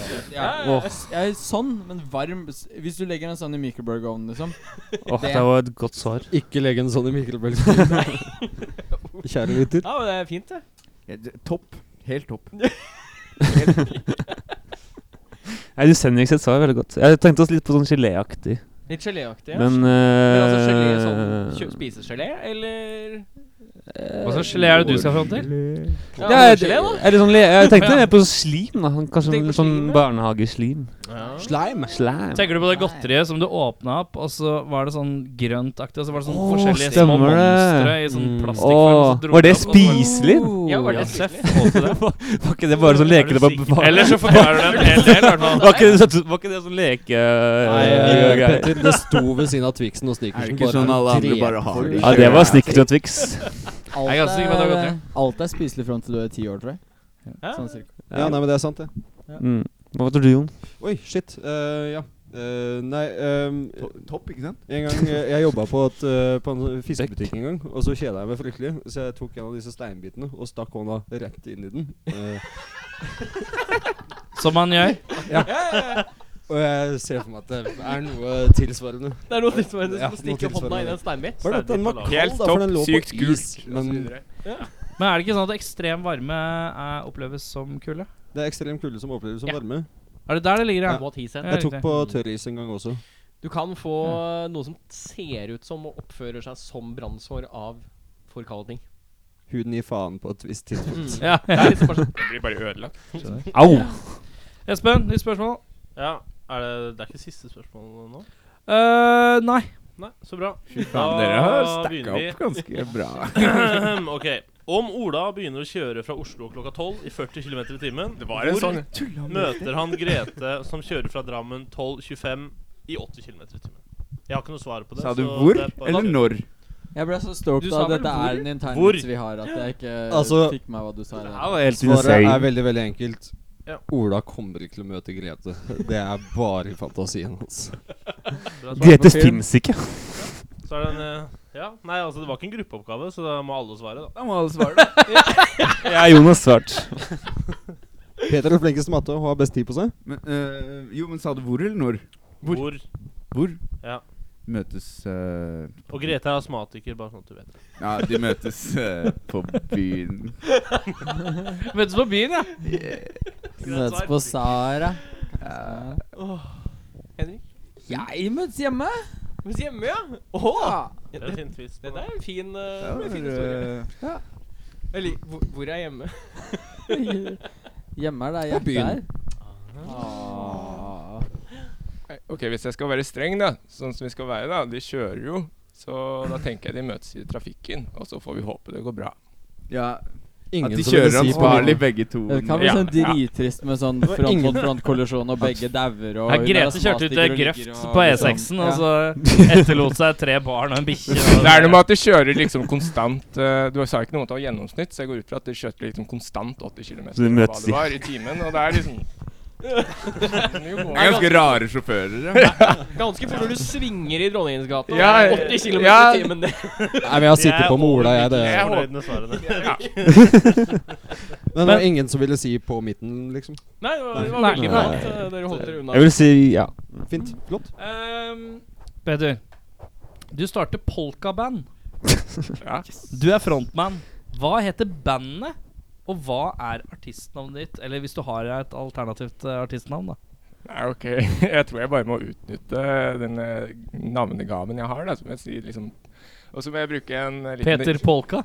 Speaker 8: Ja, jeg, jeg, sånn, men varm s- Hvis du legger en sånn i microburgovnen, liksom.
Speaker 7: Åh, det var et godt svar.
Speaker 5: Ikke legg en sånn i mikrobølgen. Kjære gutter.
Speaker 1: Ja, men det er fint, det.
Speaker 6: Ja, det- Topp. Helt topp.
Speaker 7: Jeg syns Henrik sitt svar er veldig godt. Jeg tenkte oss litt på sånn geléaktig,
Speaker 1: Litt geléaktig. Ja.
Speaker 7: men
Speaker 1: Men altså gelé sånn
Speaker 7: eh,
Speaker 1: kjø- Spisegelé, eller
Speaker 2: Hva slags gelé er det du skal fram til?
Speaker 1: Ja,
Speaker 7: Ja, jeg,
Speaker 1: gelé, da.
Speaker 7: er det sånn, le- jeg tenkte mer på slim, da. Kanskje
Speaker 1: Tenk på
Speaker 7: sånn
Speaker 1: slim, ja.
Speaker 7: barnehageslim.
Speaker 5: Slime.
Speaker 7: Slam.
Speaker 2: Tenker du på det godteriet som du åpna opp, og så var det sånn grøntaktig, og så var det sånn
Speaker 7: Åh,
Speaker 2: forskjellige små
Speaker 7: stemmer det.
Speaker 2: monstre i sånn
Speaker 5: Mm.
Speaker 2: plastikkform? og så
Speaker 7: Åh,
Speaker 2: dro
Speaker 7: var
Speaker 2: du
Speaker 7: det
Speaker 2: opp, og så var- sånn-
Speaker 7: spiselig?
Speaker 1: Ja, var det
Speaker 2: Ja,
Speaker 1: spiselig?
Speaker 2: Seff, holdt det.
Speaker 7: Var ikke det bare sånn leke det var var-
Speaker 2: Eller så forklarer du en hel del, i hvert fall.
Speaker 7: Var ikke det, sånn- var ikke det sånn leke...
Speaker 5: Nei,
Speaker 7: eh, greier?
Speaker 5: Petter, det sto ved siden av Twixen og Snickersen.
Speaker 6: Er det ikke sånn alle andre bare har det?
Speaker 7: Ja, det var Snickers og Twix.
Speaker 8: Alt
Speaker 2: Jeg er ganske sikker på at det var godt,
Speaker 8: alt er spiselig fram til du er ti år, tror jeg. Sånn cirka.
Speaker 5: Ja, nei, men det er sant, det.
Speaker 7: Mm. Hva tror du, Jon?
Speaker 5: Oi, shit. Eh, ja. Eh, nei ehm,
Speaker 6: To- Topp, ikke sant?
Speaker 5: En gang eh, Jeg jobba på, et, eh, på en fiskebutikk en gang, og så kjeda jeg meg fryktelig. Så jeg tok en av disse steinbitene og stakk hånda rett inn i den. Eh,
Speaker 2: Som man gjør.
Speaker 5: og jeg ser for meg at det er noe tilsvarende.
Speaker 1: Det er noe tilsvarende
Speaker 5: Ja,
Speaker 1: som å
Speaker 5: noe
Speaker 1: stikke hånda
Speaker 5: tilsvarende.
Speaker 1: inn i en steinbit.
Speaker 5: Bare at den var kald,
Speaker 9: Helt
Speaker 5: da, for
Speaker 9: topp,
Speaker 5: den lå
Speaker 9: sykt
Speaker 5: på is.
Speaker 9: kult.
Speaker 5: Men
Speaker 9: osv.
Speaker 2: Men er det ikke sånn at ekstrem varme er, oppleves som kulde?
Speaker 5: det er ekstrem kulde som oppleves som
Speaker 2: Ja.
Speaker 5: varme.
Speaker 2: Er det der det ligger, ja?
Speaker 1: What he said.
Speaker 2: Ja,
Speaker 5: Jeg tok
Speaker 2: riktig.
Speaker 5: på tørris en gang også.
Speaker 1: Du kan få noe som ser ut som og oppfører seg som brannsår av for kalde ting.
Speaker 5: Huden gir faen på et visst tidspunkt.
Speaker 2: Ja.
Speaker 1: Det er litt spørsmål.
Speaker 9: Det blir bare ødelagt.
Speaker 7: Au!
Speaker 2: Espen, nytt spørsmål.
Speaker 3: Ja, er det, det er ikke siste spørsmål nå?
Speaker 2: Eh, nei.
Speaker 3: Nei, så bra.
Speaker 6: Fy faen,
Speaker 3: Da
Speaker 6: dere har stacka
Speaker 3: begynner vi.
Speaker 6: opp ganske bra.
Speaker 3: ok. Om Ola begynner å kjøre fra Oslo klokka tolv i 40 km i timen,
Speaker 9: Det var en sånn
Speaker 3: møter han Grete som kjører fra Drammen 12.25 i 80 km i timen? Jeg har ikke noe svar på det.
Speaker 6: Sa du
Speaker 3: så
Speaker 6: hvor
Speaker 3: det er bare-
Speaker 6: eller når?
Speaker 8: Jeg ble så stoked
Speaker 1: Du
Speaker 8: av
Speaker 1: sa
Speaker 8: at
Speaker 1: vel
Speaker 8: dette
Speaker 1: hvor?
Speaker 8: er en intern
Speaker 3: Hvor?
Speaker 8: vits vi har, at jeg ikke
Speaker 5: Altså-
Speaker 8: fikk med hva du sa. i det.
Speaker 6: var helt
Speaker 5: Svaret er veldig, veldig enkelt.
Speaker 3: Ja.
Speaker 5: Ola kommer ikke til å møte Grete. Det er bare i fantasien hans.
Speaker 3: Bra svar.
Speaker 7: Grete fins ikke.
Speaker 3: Så er det en eh, Ja, nei, altså, det var ikke en gruppeoppgave, så da må alle svare, da.
Speaker 6: Da må alle svare, da.
Speaker 7: Jeg er Jonas svart.
Speaker 5: Peter er flinkest til matte og
Speaker 6: eh,
Speaker 5: har best tid på seg.
Speaker 6: Men, eh, jo, men sa du hvor eller når? Hvor?
Speaker 3: Hvor?
Speaker 6: Hvor?
Speaker 3: Ja.
Speaker 6: møtes eh,
Speaker 3: Og Grete er astmatiker, bare sånn at du vet det.
Speaker 6: Ja, de møtes eh, på byen.
Speaker 2: Møtes på byen, ja.
Speaker 8: Møtes på Sara.
Speaker 1: Henrik?
Speaker 8: Jeg møtes hjemme.
Speaker 1: Mens hjemme, ja? Åh!
Speaker 3: Det er en fin twist. på
Speaker 1: Dette
Speaker 3: det.
Speaker 1: er en fin, eh,
Speaker 6: Det var,
Speaker 1: en fin historie.
Speaker 6: eh,
Speaker 1: Eller, hvor, hvor er hjemme?
Speaker 8: Hjemme er der
Speaker 5: På
Speaker 8: hjertet
Speaker 5: byen.
Speaker 8: er. Ah.
Speaker 9: Ok, Hvis jeg skal være streng, da, sånn som vi skal være, da De kjører jo. Så da tenker jeg de møtes i trafikken, og så får vi håpe det går bra.
Speaker 6: ja,
Speaker 5: Ingen
Speaker 6: at de
Speaker 5: som ville
Speaker 6: kjører
Speaker 5: si på
Speaker 6: ansvarlig,
Speaker 5: videoen.
Speaker 6: begge to.
Speaker 8: Det kan bli
Speaker 9: Ja,
Speaker 8: sånn
Speaker 9: ja.
Speaker 8: drittrist med sånn
Speaker 5: var
Speaker 8: front
Speaker 5: ingen-
Speaker 8: mot front-kollisjon, og begge dauer. og
Speaker 2: Nei,
Speaker 8: hun
Speaker 2: Grete
Speaker 8: er
Speaker 2: kjørte ut til
Speaker 8: astmatiker og ligger
Speaker 2: grøft
Speaker 8: og
Speaker 2: på
Speaker 8: liksom-
Speaker 2: E6-en, og
Speaker 8: Ja.
Speaker 2: så etterlot seg tre barn og en bikkje.
Speaker 9: Det er noe med at de kjører liksom konstant eh, Du sa ikke noe om at det var gjennomsnitt, så jeg går ut fra at de kjørte liksom konstant 80 km
Speaker 7: Så de møtes i-
Speaker 9: i timen. Og det er liksom
Speaker 6: Det er ganske rare sjåfører. Ja.
Speaker 1: Ganske fort når du svinger i Dronningens gate.
Speaker 9: Ja,
Speaker 1: og det er 80 km
Speaker 9: ja.
Speaker 1: i timen. det.
Speaker 5: Nei, men jeg har sittet på med Ola, jeg. Det.
Speaker 3: Jeg
Speaker 9: Jeg
Speaker 3: er fornøyd med svarene.
Speaker 5: Men det var ingen som ville si på midten, liksom.
Speaker 1: Nei, det var, det var
Speaker 2: Nei.
Speaker 1: veldig bra at eh, dere holdt dere unna.
Speaker 7: Jeg vil si ja.
Speaker 5: Fint. Flott.
Speaker 2: Ehm, Peter, du starter polkaband.
Speaker 9: Ja.
Speaker 2: Du er frontman. Hva heter bandet, og hva er artistnavnet ditt? Eller hvis du har et alternativt eh, artistnavn, da.
Speaker 9: Nei, ok. Jeg tror jeg bare må utnytte den eh, navnegaven jeg har, da, som jeg sier liksom Og så må jeg bruke en eh, liten
Speaker 2: Peter Polka.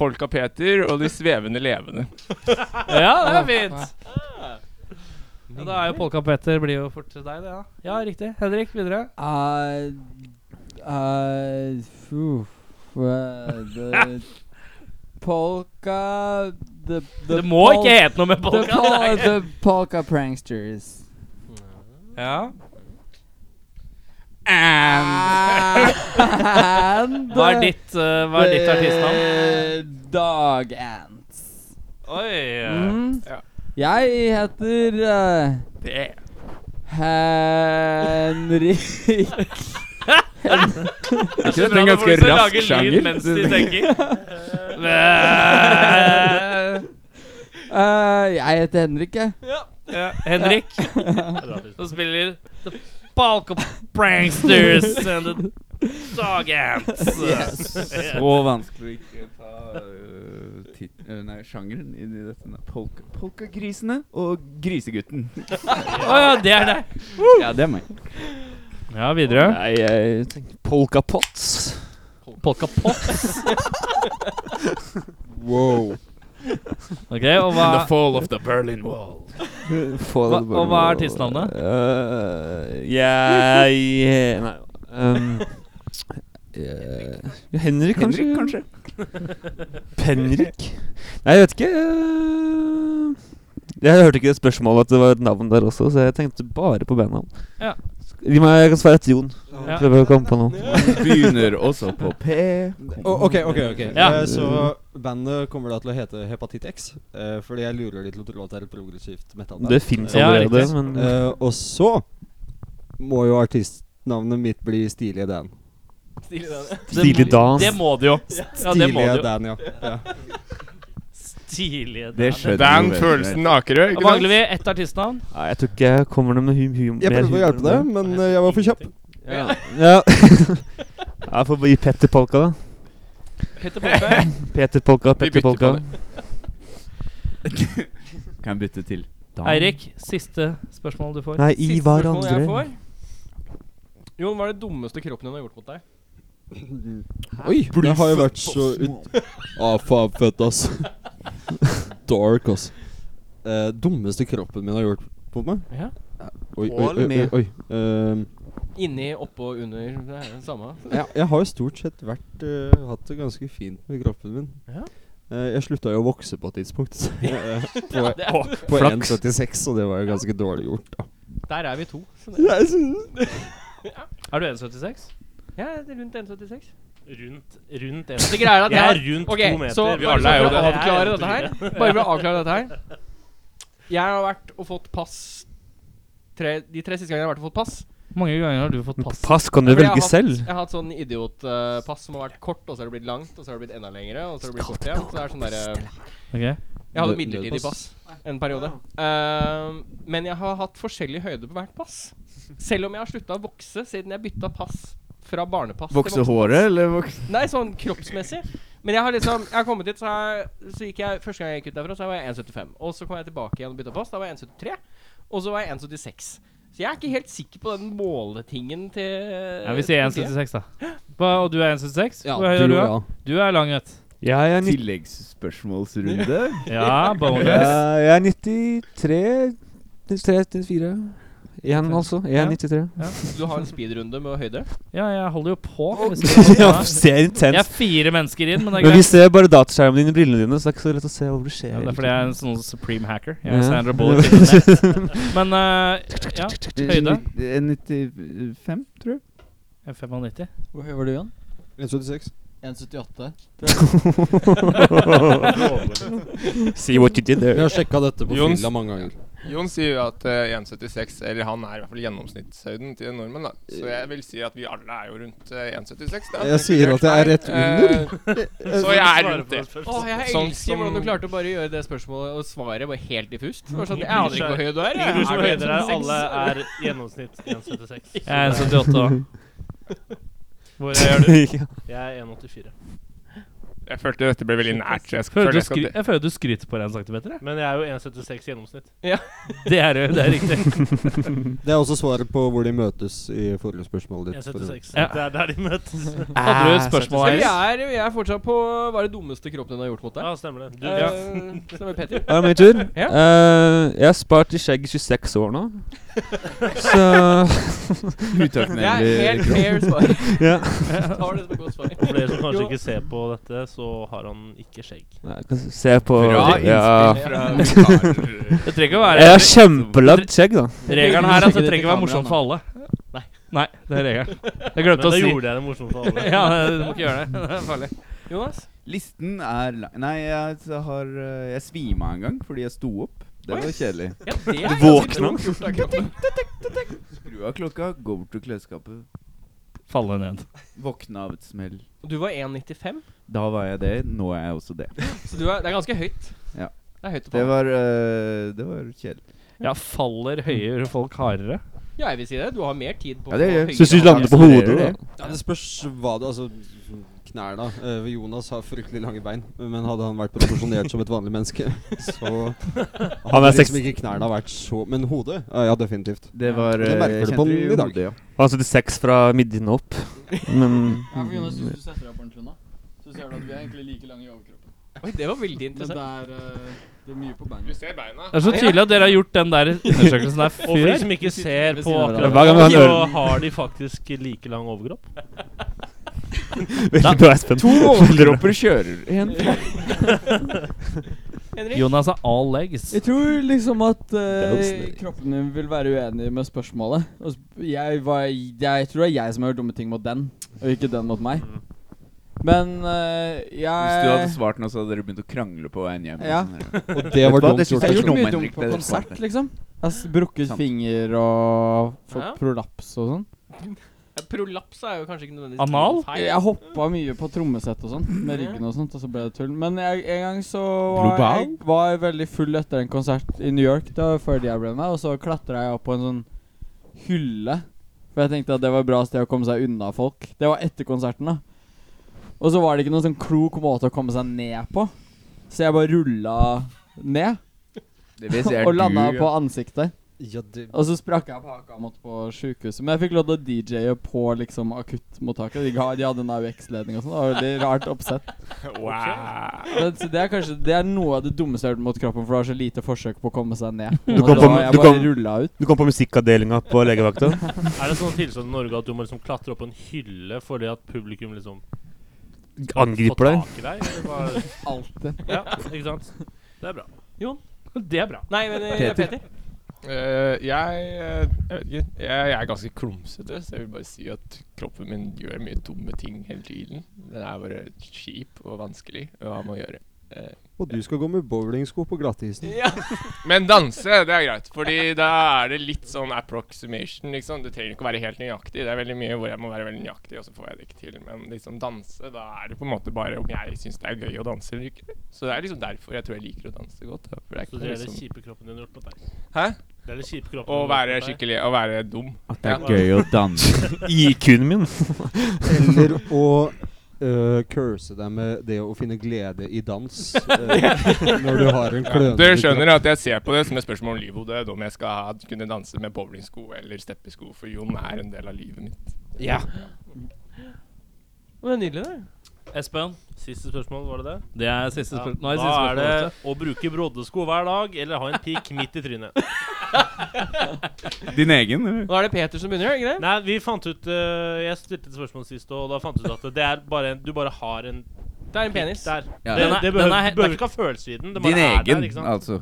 Speaker 9: Polka Peter og De svevende levende.
Speaker 2: Ja, det er fint! Ja, da er jo Polka-Peter blir jo fort til deg, det. Ja. ja, riktig. Henrik, videre.
Speaker 8: Eh, eh, fuh, eh, the Polka the, the
Speaker 2: Det må
Speaker 8: pol-
Speaker 2: ikke hete noe med
Speaker 8: the,
Speaker 2: polka.
Speaker 8: pol-
Speaker 2: det er-
Speaker 8: the polka pranksters.
Speaker 2: Ja.
Speaker 8: And
Speaker 2: Hva er ditt, eh, hva er ditt artistnavn?
Speaker 8: Dog Ants.
Speaker 2: Oi. eh.
Speaker 8: Mm.
Speaker 9: ja.
Speaker 8: Jeg heter eh,
Speaker 9: Det.
Speaker 8: Henrik
Speaker 6: Det er en ganske rask sjanger.
Speaker 2: Mens de tenker.
Speaker 8: Eh, Jeg heter Henrik, jeg.
Speaker 2: ja, Henrik, som spiller The Balk of Pranksters and The Dog Ants.
Speaker 6: Så vanskelig å ikke ta øh, tit øh, nei, sjangeren inn i dette. nei. Polka, polkagrisene og Grisegutten.
Speaker 2: Å Oh ja, det er det.
Speaker 6: ja, det er meg.
Speaker 2: Ja, videre.
Speaker 7: Nei, jeg tenker Polka Pots.
Speaker 2: Polka Pots.
Speaker 5: Wow.
Speaker 2: Ok, og hva
Speaker 6: fall of the Berlin Wall.
Speaker 7: Hva,
Speaker 2: Hva- og hva er artistnavnet?
Speaker 7: Eh, jeg Nei um, eh, ja, Henrik, kanskje?
Speaker 6: Henrik, kanskje?
Speaker 7: Henrik? Nei, jeg vet ikke. eh, jeg hørte ikke det spørsmålet at det var et navn der også, så jeg tenkte bare på bandnavn.
Speaker 2: Ja.
Speaker 7: Gi meg, jeg kan svare etter Jon.
Speaker 2: Ja.
Speaker 7: Prøver å komme på noe.
Speaker 6: Begynner også på P.
Speaker 5: O- ok, ok. ok
Speaker 2: Ja.
Speaker 5: Eh, Så bandet kommer da til å hete Hepatitt X, eh, fordi jeg lurer de til å tro at det er et progressivt metallband.
Speaker 7: Det fins
Speaker 2: Ja,
Speaker 7: allerede,
Speaker 2: riktig.
Speaker 7: men
Speaker 5: Eh, og så må jo artistnavnet mitt bli Stilige Dan.
Speaker 1: Stilig, det.
Speaker 7: Stilig dans.
Speaker 2: Det må det jo. Ja, det må
Speaker 5: Stilige
Speaker 2: det jo.
Speaker 5: Dan, ja. ja.
Speaker 2: Stilige
Speaker 6: Det
Speaker 2: Dan.
Speaker 6: skjønner du
Speaker 9: Dan
Speaker 6: veldig
Speaker 9: Følelsen Akerø,
Speaker 2: Da
Speaker 9: ikke
Speaker 2: mangler vi
Speaker 9: sant?
Speaker 2: ett artistnavn.
Speaker 7: Nei, jeg tror ikke jeg kommer noe med hum humor.
Speaker 5: Jeg prøvde å hjelpe deg, men eh, jeg var for kjapp.
Speaker 7: Ja. ja. jeg får gi Petter Polka, da.
Speaker 2: Peter Polka.
Speaker 7: Peter Polka,
Speaker 9: Vi
Speaker 7: Petter
Speaker 9: bytter på
Speaker 7: Polka.
Speaker 9: det.
Speaker 6: vel. Kan bytte til Dan.
Speaker 2: Eirik, siste spørsmål du får.
Speaker 7: Nei,
Speaker 1: Siste
Speaker 7: Ivar
Speaker 1: spørsmål jeg
Speaker 7: Andre.
Speaker 1: får. Jon, hva er det dummeste kroppen din har gjort mot deg?
Speaker 5: Oi, det har jo vært så ut... Ah, faen, fett, ass. Dark, ass. Eh, dummeste kroppen min har gjort på meg?
Speaker 1: Ja.
Speaker 5: Oi, oi,
Speaker 7: På eller
Speaker 5: oi. oi,
Speaker 7: med?
Speaker 5: oi. Ehm,
Speaker 1: Inni, oppå, under. Det er det samme.
Speaker 5: jeg, jeg har jo stort sett vært eh, hatt det ganske fint med kroppen min.
Speaker 1: Ja.
Speaker 5: Eh, jeg slutta jo å vokse på et tidspunkt. Eh, på
Speaker 1: Det er,
Speaker 5: på 1,76, og det var jo ganske dårlig gjort. Da.
Speaker 1: der er vi to. Så det,
Speaker 5: Jeg synes-
Speaker 2: Er du 1,76?
Speaker 1: ja, det er rundt 1,76.
Speaker 3: Rundt, rundt en.
Speaker 1: Det greier at
Speaker 3: Jeg er
Speaker 1: jeg-
Speaker 3: rundt
Speaker 1: Ok,
Speaker 3: to meter.
Speaker 1: Så
Speaker 3: Vi
Speaker 1: bare
Speaker 3: alle
Speaker 1: for
Speaker 3: er jo
Speaker 1: å
Speaker 3: det.
Speaker 1: avklare dette her Bare for å avklare dette her Jeg har vært og fått pass tre, De tre siste gangene jeg har vært og fått pass
Speaker 2: Hvor mange ganger har du fått pass?
Speaker 7: Pass kan du
Speaker 1: Fordi jeg har
Speaker 7: velge
Speaker 1: hatt-
Speaker 7: selv.
Speaker 1: Jeg har hatt sånn idiotpass som har vært kort Og så har det blitt langt, og så har det blitt enda lengre Og så har det blitt kort igjen Så det er sånn der eh,
Speaker 2: Ok.
Speaker 1: Jeg hadde
Speaker 5: Nød-
Speaker 1: midlertidig pass
Speaker 5: nødpass.
Speaker 1: en periode Ehm, Men jeg har hatt forskjellig høyde på hvert pass Selv om jeg har sluttet å vokse Siden jeg bytta pass Fra barnepass til
Speaker 6: Vokse
Speaker 1: voksen.
Speaker 6: håret, eller vokse
Speaker 1: Nei, sånn kroppsmessig. Men jeg har liksom Jeg har kommet dit, så, jeg, så gikk jeg Første gang jeg gikk ut derfra, så var jeg 1,75. Og så kom jeg tilbake igjen og bytta pass. Da var jeg 1,73. Og så var jeg 1,76. Så jeg er ikke helt sikker på den måletingen til
Speaker 2: Ja, vi sier
Speaker 1: til det.
Speaker 2: 1,76, da. Hva, og du er 1,76?
Speaker 5: Ja,
Speaker 2: Hvor høy er
Speaker 5: du
Speaker 2: du,
Speaker 5: og
Speaker 2: da? Du er lang, vet du.
Speaker 7: Jeg er, nitt-
Speaker 6: tilleggsspørsmålsrunde?
Speaker 2: Ja, bonus.
Speaker 7: jeg er 93 93, 94 Én, altså. Jeg
Speaker 2: Ja.
Speaker 7: er 93.
Speaker 1: Du har en speedrunde med høyde.
Speaker 2: Ja, jeg holder jo på. hvis jeg-
Speaker 7: Ja, ser
Speaker 2: Jeg er
Speaker 7: intenst
Speaker 2: fire mennesker inn, men det er
Speaker 7: Men vi
Speaker 2: greit.
Speaker 7: ser bare dataskjermen din i brillene dine, så det er ikke så lett å se hva du ser.
Speaker 2: Ja, det er fordi jeg er en sånn supreme hacker. Jeg er
Speaker 7: Ja.
Speaker 2: Sandra Bullock. i den der. Men eh, ja, høyde?
Speaker 6: Eh, 95, tror jeg.
Speaker 2: Jeg er 95.
Speaker 8: Hvor høy var du, Jon?
Speaker 5: 1,76.
Speaker 8: 1,78.
Speaker 7: See what you did
Speaker 5: Vi
Speaker 7: there.
Speaker 5: har sjekka dette på
Speaker 9: Jons.
Speaker 5: fylla mange ganger.
Speaker 9: Jon sier jo at eh, 1,76, eller han er i hvert fall gjennomsnittshøyden til nordmenn, da. Så jeg vil si at vi alle er jo rundt eh, 1,76. da.
Speaker 5: Jeg sier at jeg er rett under.
Speaker 9: Eh, så jeg er rundt det.
Speaker 1: Åh, jeg elsker
Speaker 9: Sånn som-
Speaker 1: hvordan du klarte å bare gjøre det spørsmålet og svaret var helt diffust. Det var sånn, jeg aner ikke hvor høy du er.
Speaker 3: Du som
Speaker 1: jeg. Er
Speaker 3: høyder
Speaker 1: du
Speaker 3: deg,
Speaker 1: 1,76?
Speaker 3: alle er gjennomsnitt 1,76.
Speaker 2: Jeg er 1,78 òg.
Speaker 3: Hvor er du?
Speaker 7: Ja.
Speaker 3: Jeg er 1,84.
Speaker 9: Jeg følte dette ble veldig nært. så Jeg, skal,
Speaker 2: altså. Føler du
Speaker 9: føler jeg, skal,
Speaker 2: skry- Jeg føler du skryter på deg en centimeter. jeg.
Speaker 3: Men jeg er jo 1,76 i gjennomsnitt.
Speaker 2: Det er jo det er riktig.
Speaker 5: Det er også svaret på hvor de møtes i forrige spørsmål ditt. for øvrig.
Speaker 3: 1,76.
Speaker 2: Ja.
Speaker 3: Det er der de møtes.
Speaker 7: Ah,
Speaker 2: Hadde du et spørsmål,
Speaker 1: Så vi
Speaker 2: Eiris?
Speaker 1: er, vi er fortsatt på Hva er det dummeste kroppen din har gjort mot deg?
Speaker 3: Ja, stemmer det. Du,
Speaker 1: Eh, Stemmer Petter.
Speaker 7: Er det min tur?
Speaker 1: Ja.
Speaker 7: Eh, jeg har spart i skjegg i 26 år nå. Så
Speaker 1: Det er helt
Speaker 6: Utakknemlig.
Speaker 1: fair svar.
Speaker 7: Ja.
Speaker 1: Tar det som et godt svar.
Speaker 3: For dere som kanskje
Speaker 1: Jo.
Speaker 3: ikke ser på dette, så har han ikke skjegg.
Speaker 7: Nei, jeg kan se på
Speaker 9: Bra
Speaker 7: ja.
Speaker 9: innspill fra vikarer.
Speaker 2: Det trenger ikke å være
Speaker 7: Jeg har kjempelangt skjegg, da.
Speaker 2: Regelen her er at det trenger ikke å være morsomt for alle. Nei. Nei, det er regelen. Jeg
Speaker 3: Men
Speaker 2: glemte
Speaker 3: da
Speaker 2: å si
Speaker 3: gjorde jeg det morsomt for alle.
Speaker 2: Ja, du må ikke gjøre det. Det er farlig.
Speaker 1: Jonas?
Speaker 6: Listen er lang Nei, jeg s- har eh, Jeg svima en gang fordi jeg sto opp. Det
Speaker 1: Oi.
Speaker 6: var kjedelig.
Speaker 1: Ja, det er
Speaker 7: Våkna.
Speaker 1: ganske dumt gjort av kroppen.
Speaker 6: Skru av klokka, gå bort til klesskapet,
Speaker 2: Falle ned.
Speaker 6: våkne av et smell.
Speaker 1: Du var 1,95,
Speaker 6: Da var jeg det, nå er jeg også det.
Speaker 1: så du er, det er ganske høyt.
Speaker 6: Ja.
Speaker 1: Det er høyt å
Speaker 6: Det
Speaker 1: ta.
Speaker 6: var, eh, det var kjedelig.
Speaker 2: Ja, faller høyere folk hardere?
Speaker 1: Ja, jeg vil si det. Du har mer tid på
Speaker 6: Ja, det
Speaker 1: å
Speaker 6: gjør
Speaker 1: få
Speaker 6: jeg.
Speaker 7: Syns du
Speaker 1: høyere-
Speaker 7: lander på hodet, da?
Speaker 5: Ja, det spørs hva du Altså, knærne. Eh, Jonas har fryktelig lange bein, men hadde han vært proporsjonert som et vanlig menneske, så
Speaker 7: Han er
Speaker 5: hadde
Speaker 7: seks-
Speaker 5: liksom ikke knærne vært så Men hodet? Ja, ja, definitivt.
Speaker 6: Det var
Speaker 5: Det
Speaker 6: eh,
Speaker 5: merker du
Speaker 6: jeg
Speaker 5: på den i
Speaker 6: kjente
Speaker 5: dag.
Speaker 6: hodet, ja.
Speaker 7: Han altså, er 76 fra midjen og opp. Men
Speaker 8: Ja, for Jonas,
Speaker 7: Mm.
Speaker 8: hvis du setter deg på ordentlig nå, så ser du at vi er egentlig like lange i overkroppen.
Speaker 1: Oi, det var veldig
Speaker 8: Men det
Speaker 1: interessant.
Speaker 8: er, eh, det er mye på
Speaker 9: Du
Speaker 8: bandet.
Speaker 9: ser beina.
Speaker 2: Det er så tydelig at dere har gjort den der undersøkelsen der
Speaker 3: Og for de
Speaker 2: før.
Speaker 3: som ikke ser på
Speaker 8: siden av
Speaker 3: akkurat nå,
Speaker 7: hverandre. Hver gang vi har en
Speaker 3: så har de faktisk like lang overkropp.
Speaker 7: Veldig bra, Espen.
Speaker 6: To overkropper kjører. En
Speaker 1: Henrik?
Speaker 2: Jonas er all legs.
Speaker 8: Jeg tror liksom at
Speaker 7: er jo
Speaker 8: eh,
Speaker 7: snill.
Speaker 8: kroppen din vil være uenig med spørsmålet. Og sp- jeg, var, jeg tror det er jeg som har gjort dumme ting mot den, og ikke den mot meg. Men eh,
Speaker 6: Hvis du hadde
Speaker 8: jeg
Speaker 6: svart nå, så hadde dere begynt å krangle på veien hjem. og
Speaker 8: Ja.
Speaker 6: sånn der.
Speaker 5: Og det
Speaker 6: Vet
Speaker 5: var
Speaker 6: du hva,
Speaker 5: dumt
Speaker 6: det synes
Speaker 5: gjort.
Speaker 8: jeg har
Speaker 6: jeg
Speaker 5: av
Speaker 8: gjort
Speaker 6: ikke noe
Speaker 8: mye
Speaker 6: om,
Speaker 8: dumt
Speaker 6: Henrik,
Speaker 8: på
Speaker 6: det er
Speaker 8: konsert,
Speaker 6: smart.
Speaker 8: liksom. Altså, brukket
Speaker 6: Sant.
Speaker 8: finger og fått
Speaker 1: Ja.
Speaker 8: prolaps og sånn.
Speaker 1: Ja, Prolaps er jo kanskje ikke nødvendigvis
Speaker 2: Anal?
Speaker 1: feil.
Speaker 8: Jeg hoppa mye på trommesett og sånn, med ryggen og sånt, og så ble det tull. Men jeg, en gang så var
Speaker 6: Global?
Speaker 8: jeg, var jeg veldig full etter en konsert i New York, da før de ble med, og så klatra jeg opp på en sånn hylle. For jeg tenkte at det var et bra sted å komme seg unna folk. Det var etter konserten, da. Og så var det ikke noen sånn klok måte å komme seg ned på, så jeg bare rulla ned.
Speaker 6: Det vil si er
Speaker 8: Og landa
Speaker 6: du, ja.
Speaker 8: på ansiktet.
Speaker 5: Ja, det
Speaker 8: Og så sprakk jeg på haka og måtte på sjukehuset. Men jeg fikk lov til å DJ-e på liksom akuttmottaket. De, ga, de hadde en AUX-ledning og sånn. Det var veldig rart oppsett.
Speaker 9: Wow.
Speaker 8: Men, så det er kanskje Det er noe av det dummeste jeg har gjort mot kroppen, for det var så lite forsøk på å komme seg ned.
Speaker 7: Du
Speaker 8: Og
Speaker 7: kom
Speaker 8: da
Speaker 7: på-
Speaker 8: var
Speaker 7: du
Speaker 8: jeg bare
Speaker 7: kom-
Speaker 8: rulla ut.
Speaker 7: Du kom på musikkavdelinga på legevakta.
Speaker 3: Er det sånn tilstand i Norge at du må liksom klatre opp på en hylle fordi at publikum liksom
Speaker 7: Angriper deg.
Speaker 3: tak i deg? Eller bare,
Speaker 8: Alltid.
Speaker 3: ja, ikke sant? Det er bra.
Speaker 2: Det er bra.
Speaker 1: Nei, men eh,
Speaker 6: Peter.
Speaker 1: Peter.
Speaker 9: Eh, jeg, eh, jeg vet ikke. Jeg, jeg er ganske klumsete, så jeg vil bare si at kroppen min gjør mye dumme ting hele tiden. Den er bare kjip og vanskelig å ha med å gjøre.
Speaker 6: eh,
Speaker 5: Og du skal gå med bowlingsko på glattisen.
Speaker 1: Ja.
Speaker 9: Men danse, det er greit, Fordi da er det litt sånn approximation, liksom. Det trenger ikke å være helt nøyaktig. Det er veldig mye hvor jeg må være veldig nøyaktig, og så får jeg det ikke til. Men liksom danse, da er det på en måte bare om jeg syns det er gøy å danse eller ikke. Så det er liksom derfor jeg tror jeg liker å danse godt. Da. For det er
Speaker 3: Så det
Speaker 9: ikke
Speaker 3: er den
Speaker 9: liksom
Speaker 3: kjipe kroppen din har gjort mot deg.
Speaker 9: Hæ?
Speaker 3: Det er det kjipe kroppen
Speaker 9: Å
Speaker 3: min
Speaker 9: være
Speaker 3: vet du.
Speaker 9: skikkelig Å være dum.
Speaker 6: At det er gøy å danse.
Speaker 7: IQ-en min.
Speaker 5: Eller å øh, curse deg med det å finne glede i dans øh, når du har en
Speaker 9: Ja.
Speaker 5: klønete
Speaker 9: Dere skjønner at jeg ser på det som et spørsmål om liv og død. Om jeg skal ha, kunne danse med bowlingsko eller steppesko, for Jon er en del av livet mitt.
Speaker 5: Ja.
Speaker 1: Det er nydelig, det.
Speaker 2: Espen,
Speaker 3: Siste spørsmål, var det det?
Speaker 2: det er siste
Speaker 3: Ja.
Speaker 2: spørsmål. Nå er det
Speaker 3: Da
Speaker 2: siste
Speaker 3: er
Speaker 2: spørsmål.
Speaker 3: det å bruke broddesko hver dag eller ha en pikk midt i trynet.
Speaker 6: Din egen? eller?
Speaker 1: Nå er det Peter som begynner, er det ikke det?
Speaker 3: Nei, vi fant ut eh, Jeg stilte et spørsmål sist, og da fant vi ut at det er bare en, du bare har en
Speaker 1: Det er en
Speaker 3: pikk
Speaker 1: penis.
Speaker 3: der.
Speaker 6: Ja.
Speaker 3: Det,
Speaker 2: Den er-
Speaker 3: det
Speaker 2: den er
Speaker 3: behøver,
Speaker 2: he-
Speaker 3: behøver ikke ha følelse i den. Det bare
Speaker 6: Din
Speaker 3: er
Speaker 6: egen,
Speaker 3: der, ikke sant? Eh,
Speaker 6: altså.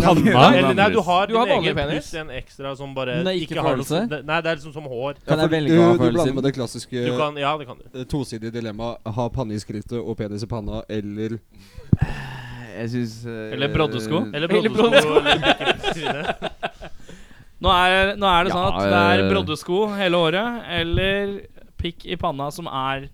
Speaker 7: Panna?
Speaker 3: Eller nei, du har,
Speaker 1: Du
Speaker 3: din
Speaker 1: har vanlig
Speaker 3: egen
Speaker 1: penis.
Speaker 3: pluss en ekstra som bare
Speaker 8: Den er ikke
Speaker 3: har noe-
Speaker 8: følelse?
Speaker 3: det- Nei, det er liksom som
Speaker 5: Ja,
Speaker 3: hår.
Speaker 8: Kan jeg
Speaker 5: for
Speaker 8: velge
Speaker 5: du,
Speaker 8: å ha
Speaker 5: du blander
Speaker 8: følelsen?
Speaker 5: med det klassiske
Speaker 3: Du kan, ja, det kan du.
Speaker 5: eh, tosidige dilemmaet ha panne i skrittet og penis i panna, eller
Speaker 6: Eh, Jeg eh, syns
Speaker 2: Eller broddesko?
Speaker 3: Eh, Eller
Speaker 1: Eller
Speaker 3: broddesko.
Speaker 1: broddesko.
Speaker 3: eller pikk midt i trynet.
Speaker 2: Nå er, nå er det
Speaker 6: Ja,
Speaker 2: sånn at det er
Speaker 6: eh.
Speaker 2: broddesko hele året, eller pikk i panna som er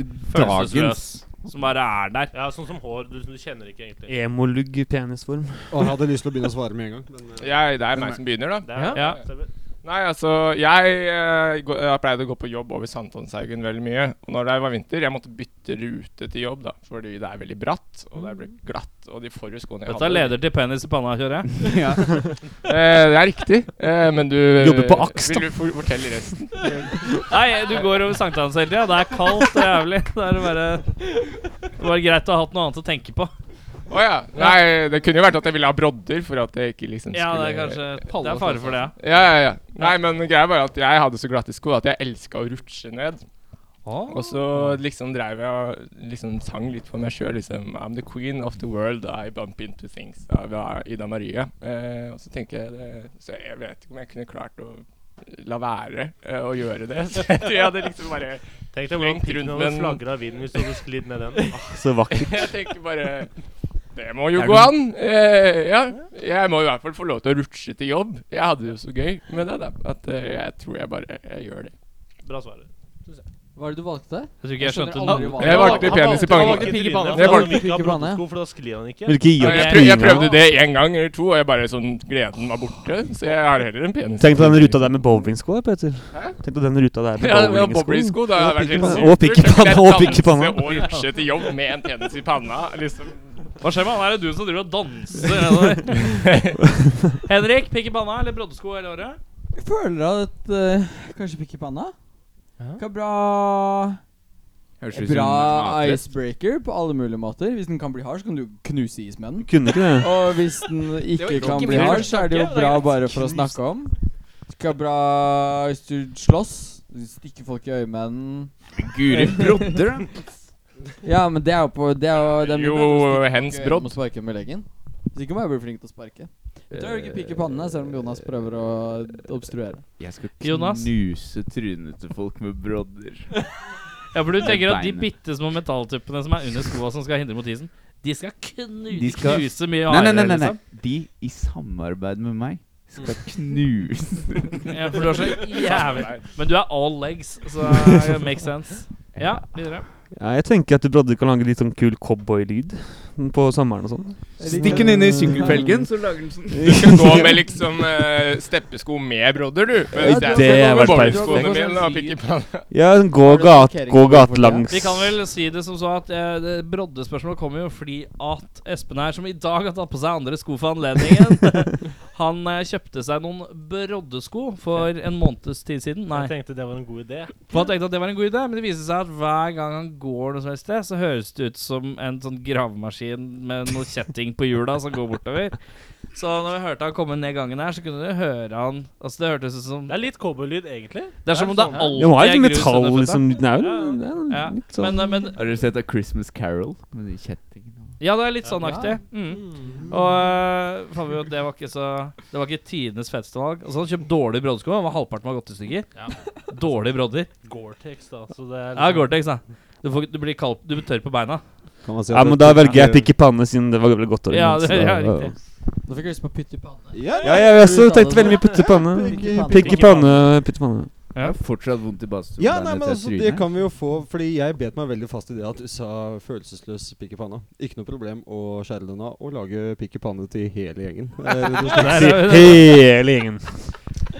Speaker 2: følelsesløs.
Speaker 6: Dagens.
Speaker 2: Som bare er der.
Speaker 3: Ja, sånn som hår. Du, du kjenner ikke egentlig.
Speaker 7: Emolugg i penisform.
Speaker 5: Å, Jeg hadde lyst til å begynne å svare med en gang. Men, eh,
Speaker 9: Jeg, det er meg som begynner, da.
Speaker 3: Det er,
Speaker 2: Ja.
Speaker 3: ser vi.
Speaker 9: Nei, altså Jeg, eh, gå- jeg pleide å gå på jobb over Sankthanshaugen veldig mye. Og når det var vinter, jeg måtte bytte rute til jobb, da. Fordi det er veldig bratt, og det ble glatt. Og de forrige skoene jeg
Speaker 2: Dette er leder til penis i panna, hører jeg.
Speaker 6: Ja.
Speaker 9: Eh, det er riktig, eh, men du
Speaker 7: Jobber på Aks, da.
Speaker 9: Vil du for fortelle resten?
Speaker 2: Nei, du går over sankthans hele tida. Det er kaldt og jævlig. Det er bare, det var greit å ha hatt noe annet å tenke på.
Speaker 9: Å ja. Nei, det kunne jo vært at jeg ville ha brodder for at jeg ikke liksom
Speaker 2: Ja, det
Speaker 9: skulle
Speaker 2: er kanskje Det er fare for det, ja.
Speaker 9: Ja, ja, ja. Nei, men greia var at jeg hadde så glatte sko at jeg elska å rutsje ned.
Speaker 2: Ah.
Speaker 9: Og så liksom drev jeg og liksom sang litt for meg sjøl, liksom. I'm the queen of the world, I bump into things. Av Ida Marie. Eh, og så tenker jeg det, Så jeg vet ikke om jeg kunne klart å la være eh, å gjøre det. Så jeg tror jeg hadde liksom bare
Speaker 3: Tenk deg hvordan
Speaker 9: Slengt rundt
Speaker 3: pikken
Speaker 9: med
Speaker 3: hadde
Speaker 9: en-
Speaker 3: flagra av vinden hvis du hadde sklidd ned den.
Speaker 7: Ah, Så vakkert.
Speaker 9: Jeg tenker bare Det må jo
Speaker 7: Er
Speaker 9: gå
Speaker 7: du-
Speaker 9: an. Eh, ja. Jeg må i hvert fall få lov til å rutsje til jobb. Jeg hadde det jo så gøy med det, da. At eh, jeg tror jeg bare jeg gjør det.
Speaker 3: Bra svar.
Speaker 8: Hva er det du valgte?
Speaker 2: Jeg tror ikke jeg skjønte
Speaker 8: aldri
Speaker 2: noe.
Speaker 8: hva-
Speaker 9: Jeg valgte penis i panna.
Speaker 8: valgte pikk i panna.
Speaker 9: Jeg valgte
Speaker 3: Han vil ikke ha
Speaker 8: pikk i panna, ja.
Speaker 3: broddesko, for da sklir han ikke.
Speaker 7: Vil ikke gi
Speaker 9: Ja,
Speaker 7: opp
Speaker 9: Jeg, prøv, jeg prøvde det én gang eller to, og jeg bare sånn gleden var borte. Så jeg har heller en penis.
Speaker 7: Tenk på den ruta der med bowlingsko, da, Peter. Tenk på den ruta der
Speaker 9: Ja, det var
Speaker 7: med bowlingsko.
Speaker 9: bowlingsko. Da hadde jeg vært helt
Speaker 7: panna. Og pikk i
Speaker 9: supert.
Speaker 7: panna, og pikk i panna.
Speaker 9: Danse og rutsje til jobb med en penis i panna. Liksom.
Speaker 2: Hva skjer med han der du som driver og danser? nedover? Henrik, pikk i panna eller broddesko hele året?
Speaker 8: Jeg føler at eh, Kanskje pikk i panna? Hva bra
Speaker 6: Høres ut som
Speaker 8: Bra
Speaker 6: matrett.
Speaker 8: icebreaker på alle mulige måter. Hvis den kan bli hard, så kan du knuse is med den.
Speaker 7: Kunne ikke det.
Speaker 8: Og hvis den ikke
Speaker 1: ikke
Speaker 8: kan
Speaker 1: min
Speaker 8: bli hard,
Speaker 1: første
Speaker 8: så er det jo
Speaker 1: tanke, det er
Speaker 8: bra
Speaker 1: greit.
Speaker 8: bare for å snakke om. Skal bra hvis du slåss. Stikke folk i øyet med den.
Speaker 6: Guri brodder, da.
Speaker 8: Ja, men det er jo på Det er jo det er mye
Speaker 9: Jo,
Speaker 8: bedre å stikke
Speaker 9: hens
Speaker 8: folk i øyet
Speaker 9: brodd.
Speaker 8: med å sparke med leggen. Hvis ikke må jeg bli flink til å sparke. Jeg tror jeg ikke pike pannene, selv om Jonas prøver å obstruere.
Speaker 6: Jeg skal
Speaker 2: Jonas?
Speaker 6: knuse trynet til folk med brodder.
Speaker 2: Ja, for du tenker at de
Speaker 6: Beinet.
Speaker 2: bitte små metalltuppene som er under skoa som skal hindre mot isen, de skal knu-
Speaker 6: De skal-
Speaker 2: knuse mye
Speaker 6: Nei, nei,
Speaker 2: hardere.
Speaker 6: nei, nei, nei.
Speaker 2: liksom.
Speaker 6: De i samarbeid med meg skal knuse
Speaker 2: Ja, for du er så jævlig Men du er all legs, så det makes sense. Ja, videre.
Speaker 7: Ja, jeg tenker at brodder kan lage litt sånn kul cowboy-lyd på sommeren og sånn.
Speaker 6: Stikk den inn i sykkelfelgen, så lager den sånn.
Speaker 9: Du skal gå med liksom eh, steppesko med brodder, du.
Speaker 8: Ja,
Speaker 9: Mens jeg skal
Speaker 7: det
Speaker 9: gå
Speaker 7: er
Speaker 9: med
Speaker 7: vært
Speaker 9: bowlingskoene
Speaker 8: perfekt.
Speaker 9: mine og pikk i panna.
Speaker 7: Ja, sånn gå, gat, gå gatelangs.
Speaker 2: Vi kan vel si det som så at eh, det broddespørsmålet kommer jo fordi at Espen her, som i dag har tatt på seg andre sko for anledningen, han eh, kjøpte seg noen broddesko for en måneds tid siden. Nei.
Speaker 3: Jeg tenkte det var en god idé.
Speaker 2: For han tenkte at det var en god idé, men det viser seg at hver gang han går noe som helst sted, så høres det ut som en sånn gravemaskin med noe kjetting på hjula som går bortover. Så når vi hørte han komme ned gangen her, så kunne du høre han Altså, det hørtes ut som
Speaker 3: Det er litt cowboylyd, egentlig.
Speaker 2: Det er som om det
Speaker 3: sånn, ja.
Speaker 2: alltid
Speaker 7: Den har
Speaker 2: er
Speaker 7: litt
Speaker 2: grus
Speaker 7: metall,
Speaker 2: under føtta.
Speaker 7: liksom. Den er jo
Speaker 3: Ja.
Speaker 7: det er jo
Speaker 2: Ja,
Speaker 7: litt sånn
Speaker 2: Men, eh, men
Speaker 6: Har dere sett A Christmas Carol? Med de kjettingene og
Speaker 2: Ja, det er litt sånn aktig. Mm. Og øh, fant vi jo at det var ikke så Det var ikke tidenes feteste valg. Altså, han kjøpte dårlige broddsko. Han var Halvparten var gått i stykker. Dårlige brodder.
Speaker 3: Gore-Tex, da. Så det er liksom-
Speaker 2: Ja,
Speaker 7: liksom.
Speaker 2: Gore-Tex, da. Du, får, du blir kald Du blir tørr på beina.
Speaker 5: Kan man si at
Speaker 7: Ja,
Speaker 5: det-
Speaker 7: men da velger jeg pikk i panne, siden det var vel godt år.
Speaker 2: Ja, det, ja, riktig.
Speaker 8: Da fikk jeg lyst på å putte i panne.
Speaker 5: Ja,
Speaker 7: Ja, jeg også tenkte veldig mye putt i panne.
Speaker 8: Pikk i panne.
Speaker 7: Pikk i panne, putt i panne.
Speaker 6: Jeg har fortsatt vondt i badstolen.
Speaker 5: Ja,
Speaker 6: der
Speaker 5: nei,
Speaker 6: nede
Speaker 5: men
Speaker 6: til
Speaker 5: altså,
Speaker 6: trynet.
Speaker 5: det kan vi jo få, fordi jeg bet meg veldig fast i det at du sa følelsesløs pikk i panna. Ikke noe problem å skjære den av og lage pikk i panne til hele gjengen. Eh, rett og slett.
Speaker 7: Hele gjengen.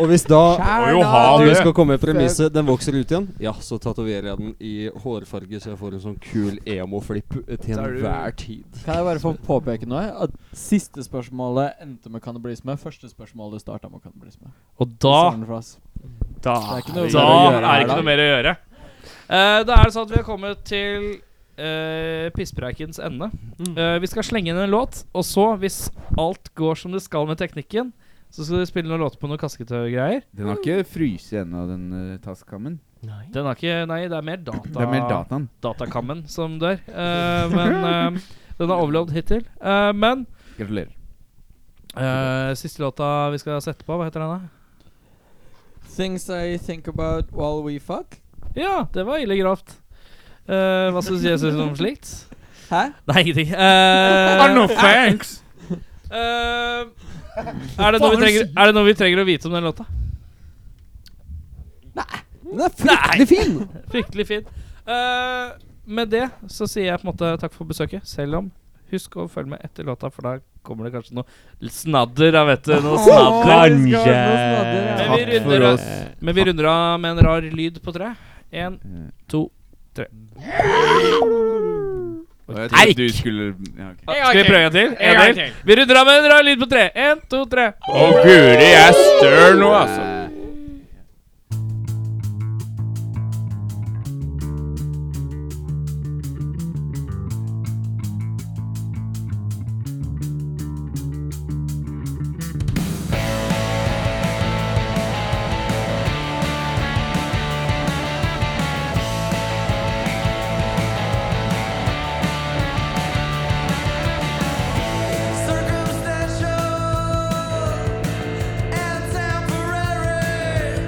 Speaker 5: og hvis da
Speaker 8: Skjær
Speaker 4: Må jo
Speaker 8: da!
Speaker 4: ha
Speaker 5: du
Speaker 4: det!
Speaker 5: skal komme med premisset 'den vokser ut igjen', ja, så tatoverer jeg den i hårfarge, så jeg får en sånn kul emo-flipp til
Speaker 6: Da er du-
Speaker 5: enhver tid.
Speaker 8: Kan jeg bare få påpeke noe? At Siste spørsmålet endte med kannibalisme. Første spørsmålet starta med kannibalisme.
Speaker 2: Og da
Speaker 8: Sånn for oss.
Speaker 7: Da
Speaker 8: Det er ikke noe
Speaker 2: Da
Speaker 8: å gjøre
Speaker 2: er
Speaker 8: her
Speaker 2: det ikke
Speaker 8: da.
Speaker 2: noe mer å gjøre. Eh, da er det sånn at vi har kommet til uh, pisspreikens ende.
Speaker 7: Mm.
Speaker 2: Eh, vi skal slenge inn en låt, og så, hvis alt går som det skal med teknikken, så skal vi spille noen låter på noen kasketøygreier.
Speaker 6: Den har ikke fryst ennå, den uh, tasskammen.
Speaker 2: Den er ikke Nei, det er mer data...
Speaker 6: Det er mer dataen.
Speaker 2: datakammen som dør. Eh, men eh, den er overlevd hittil. Eh, men
Speaker 6: Gratulerer.
Speaker 2: eh, siste låta vi skal sette på, hva heter den? da?
Speaker 8: Things I think about while we fuck.
Speaker 2: Ja, det var ille grovt. Eh, hva syns Jesus om slikt?
Speaker 8: Hæ?
Speaker 2: Nei, ingenting. Eh,
Speaker 6: thanks!
Speaker 2: Eh, er, det noe vi trenger, er det noe vi trenger å vite om den låta?
Speaker 5: Den er fryktelig fin!
Speaker 2: Fryktelig fin. Eh, med det så sier jeg på en måte takk for besøket, selv om Husk å følge med etter låta, for da kommer det kanskje noe litt snadder. Da vet du, noe snadder Men vi
Speaker 6: Takk
Speaker 2: runder
Speaker 6: for
Speaker 2: av.
Speaker 6: oss.
Speaker 2: Men vi runder av med en rar lyd på tre. Én, to
Speaker 6: Eik! Du skulle ja, ok.
Speaker 2: Skal vi prøve en til? En til? Vi runder av med en rar lyd på tre. Én, to, tre.
Speaker 9: Å guri, jeg er støl nå, altså.
Speaker 6: Eh,
Speaker 10: Circumstantial and temporary.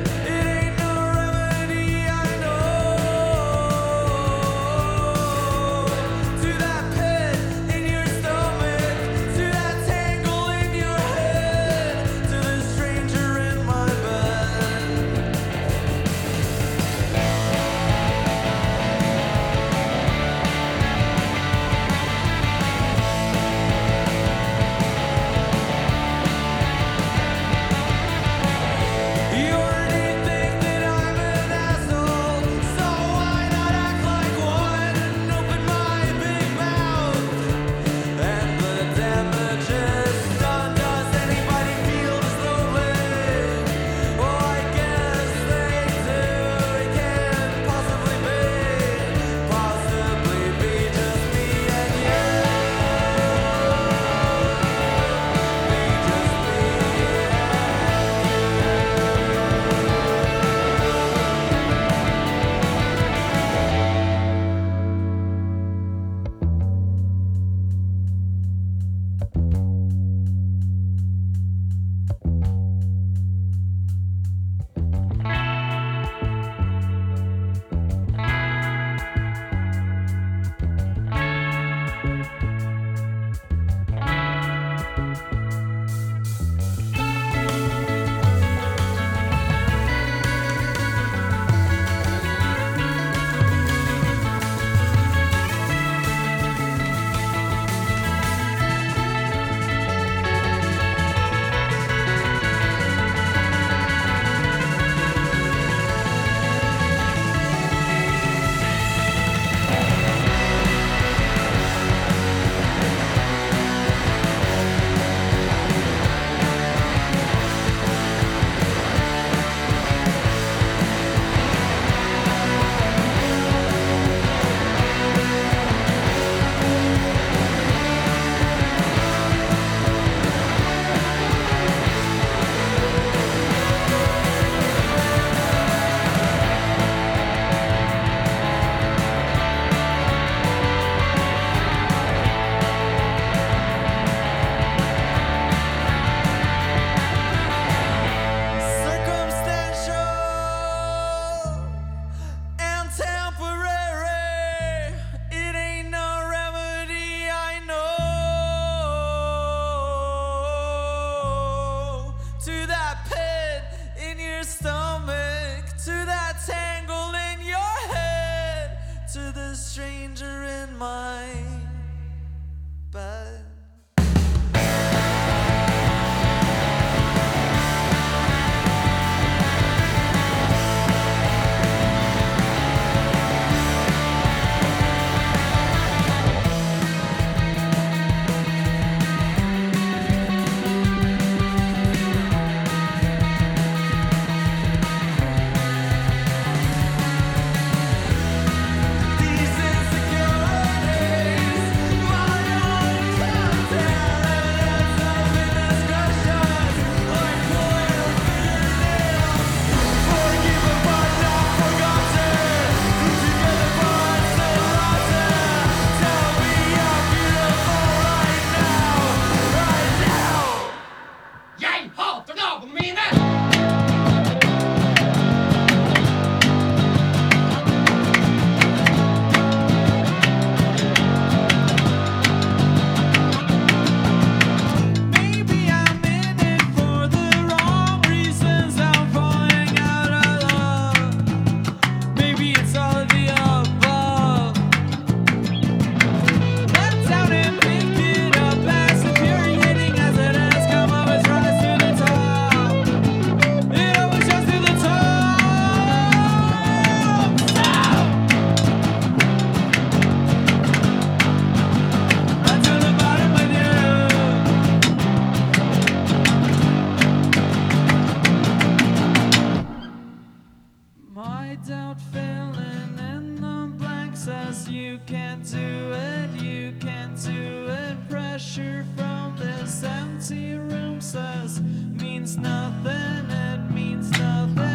Speaker 10: stranger in my bed. These insecurities, my own content, happiness crushes like oil fingernails. Forgiven but not forgotten, together but still rotten. Tell me you're beautiful right now, right now.
Speaker 11: Jeg hater naboene mine!
Speaker 10: Maybe I'm in it for the wrong reasons. I'm falling out of love. Maybe it's all of the above. Let's out and pick it up. As infuriating as it has come, always rise to the top. It always rises to the top. Stop until the bottom with you. My doubt filling in the blank says you can't do it, you can't do it. Pressure from this empty room says means nothing, it means nothing.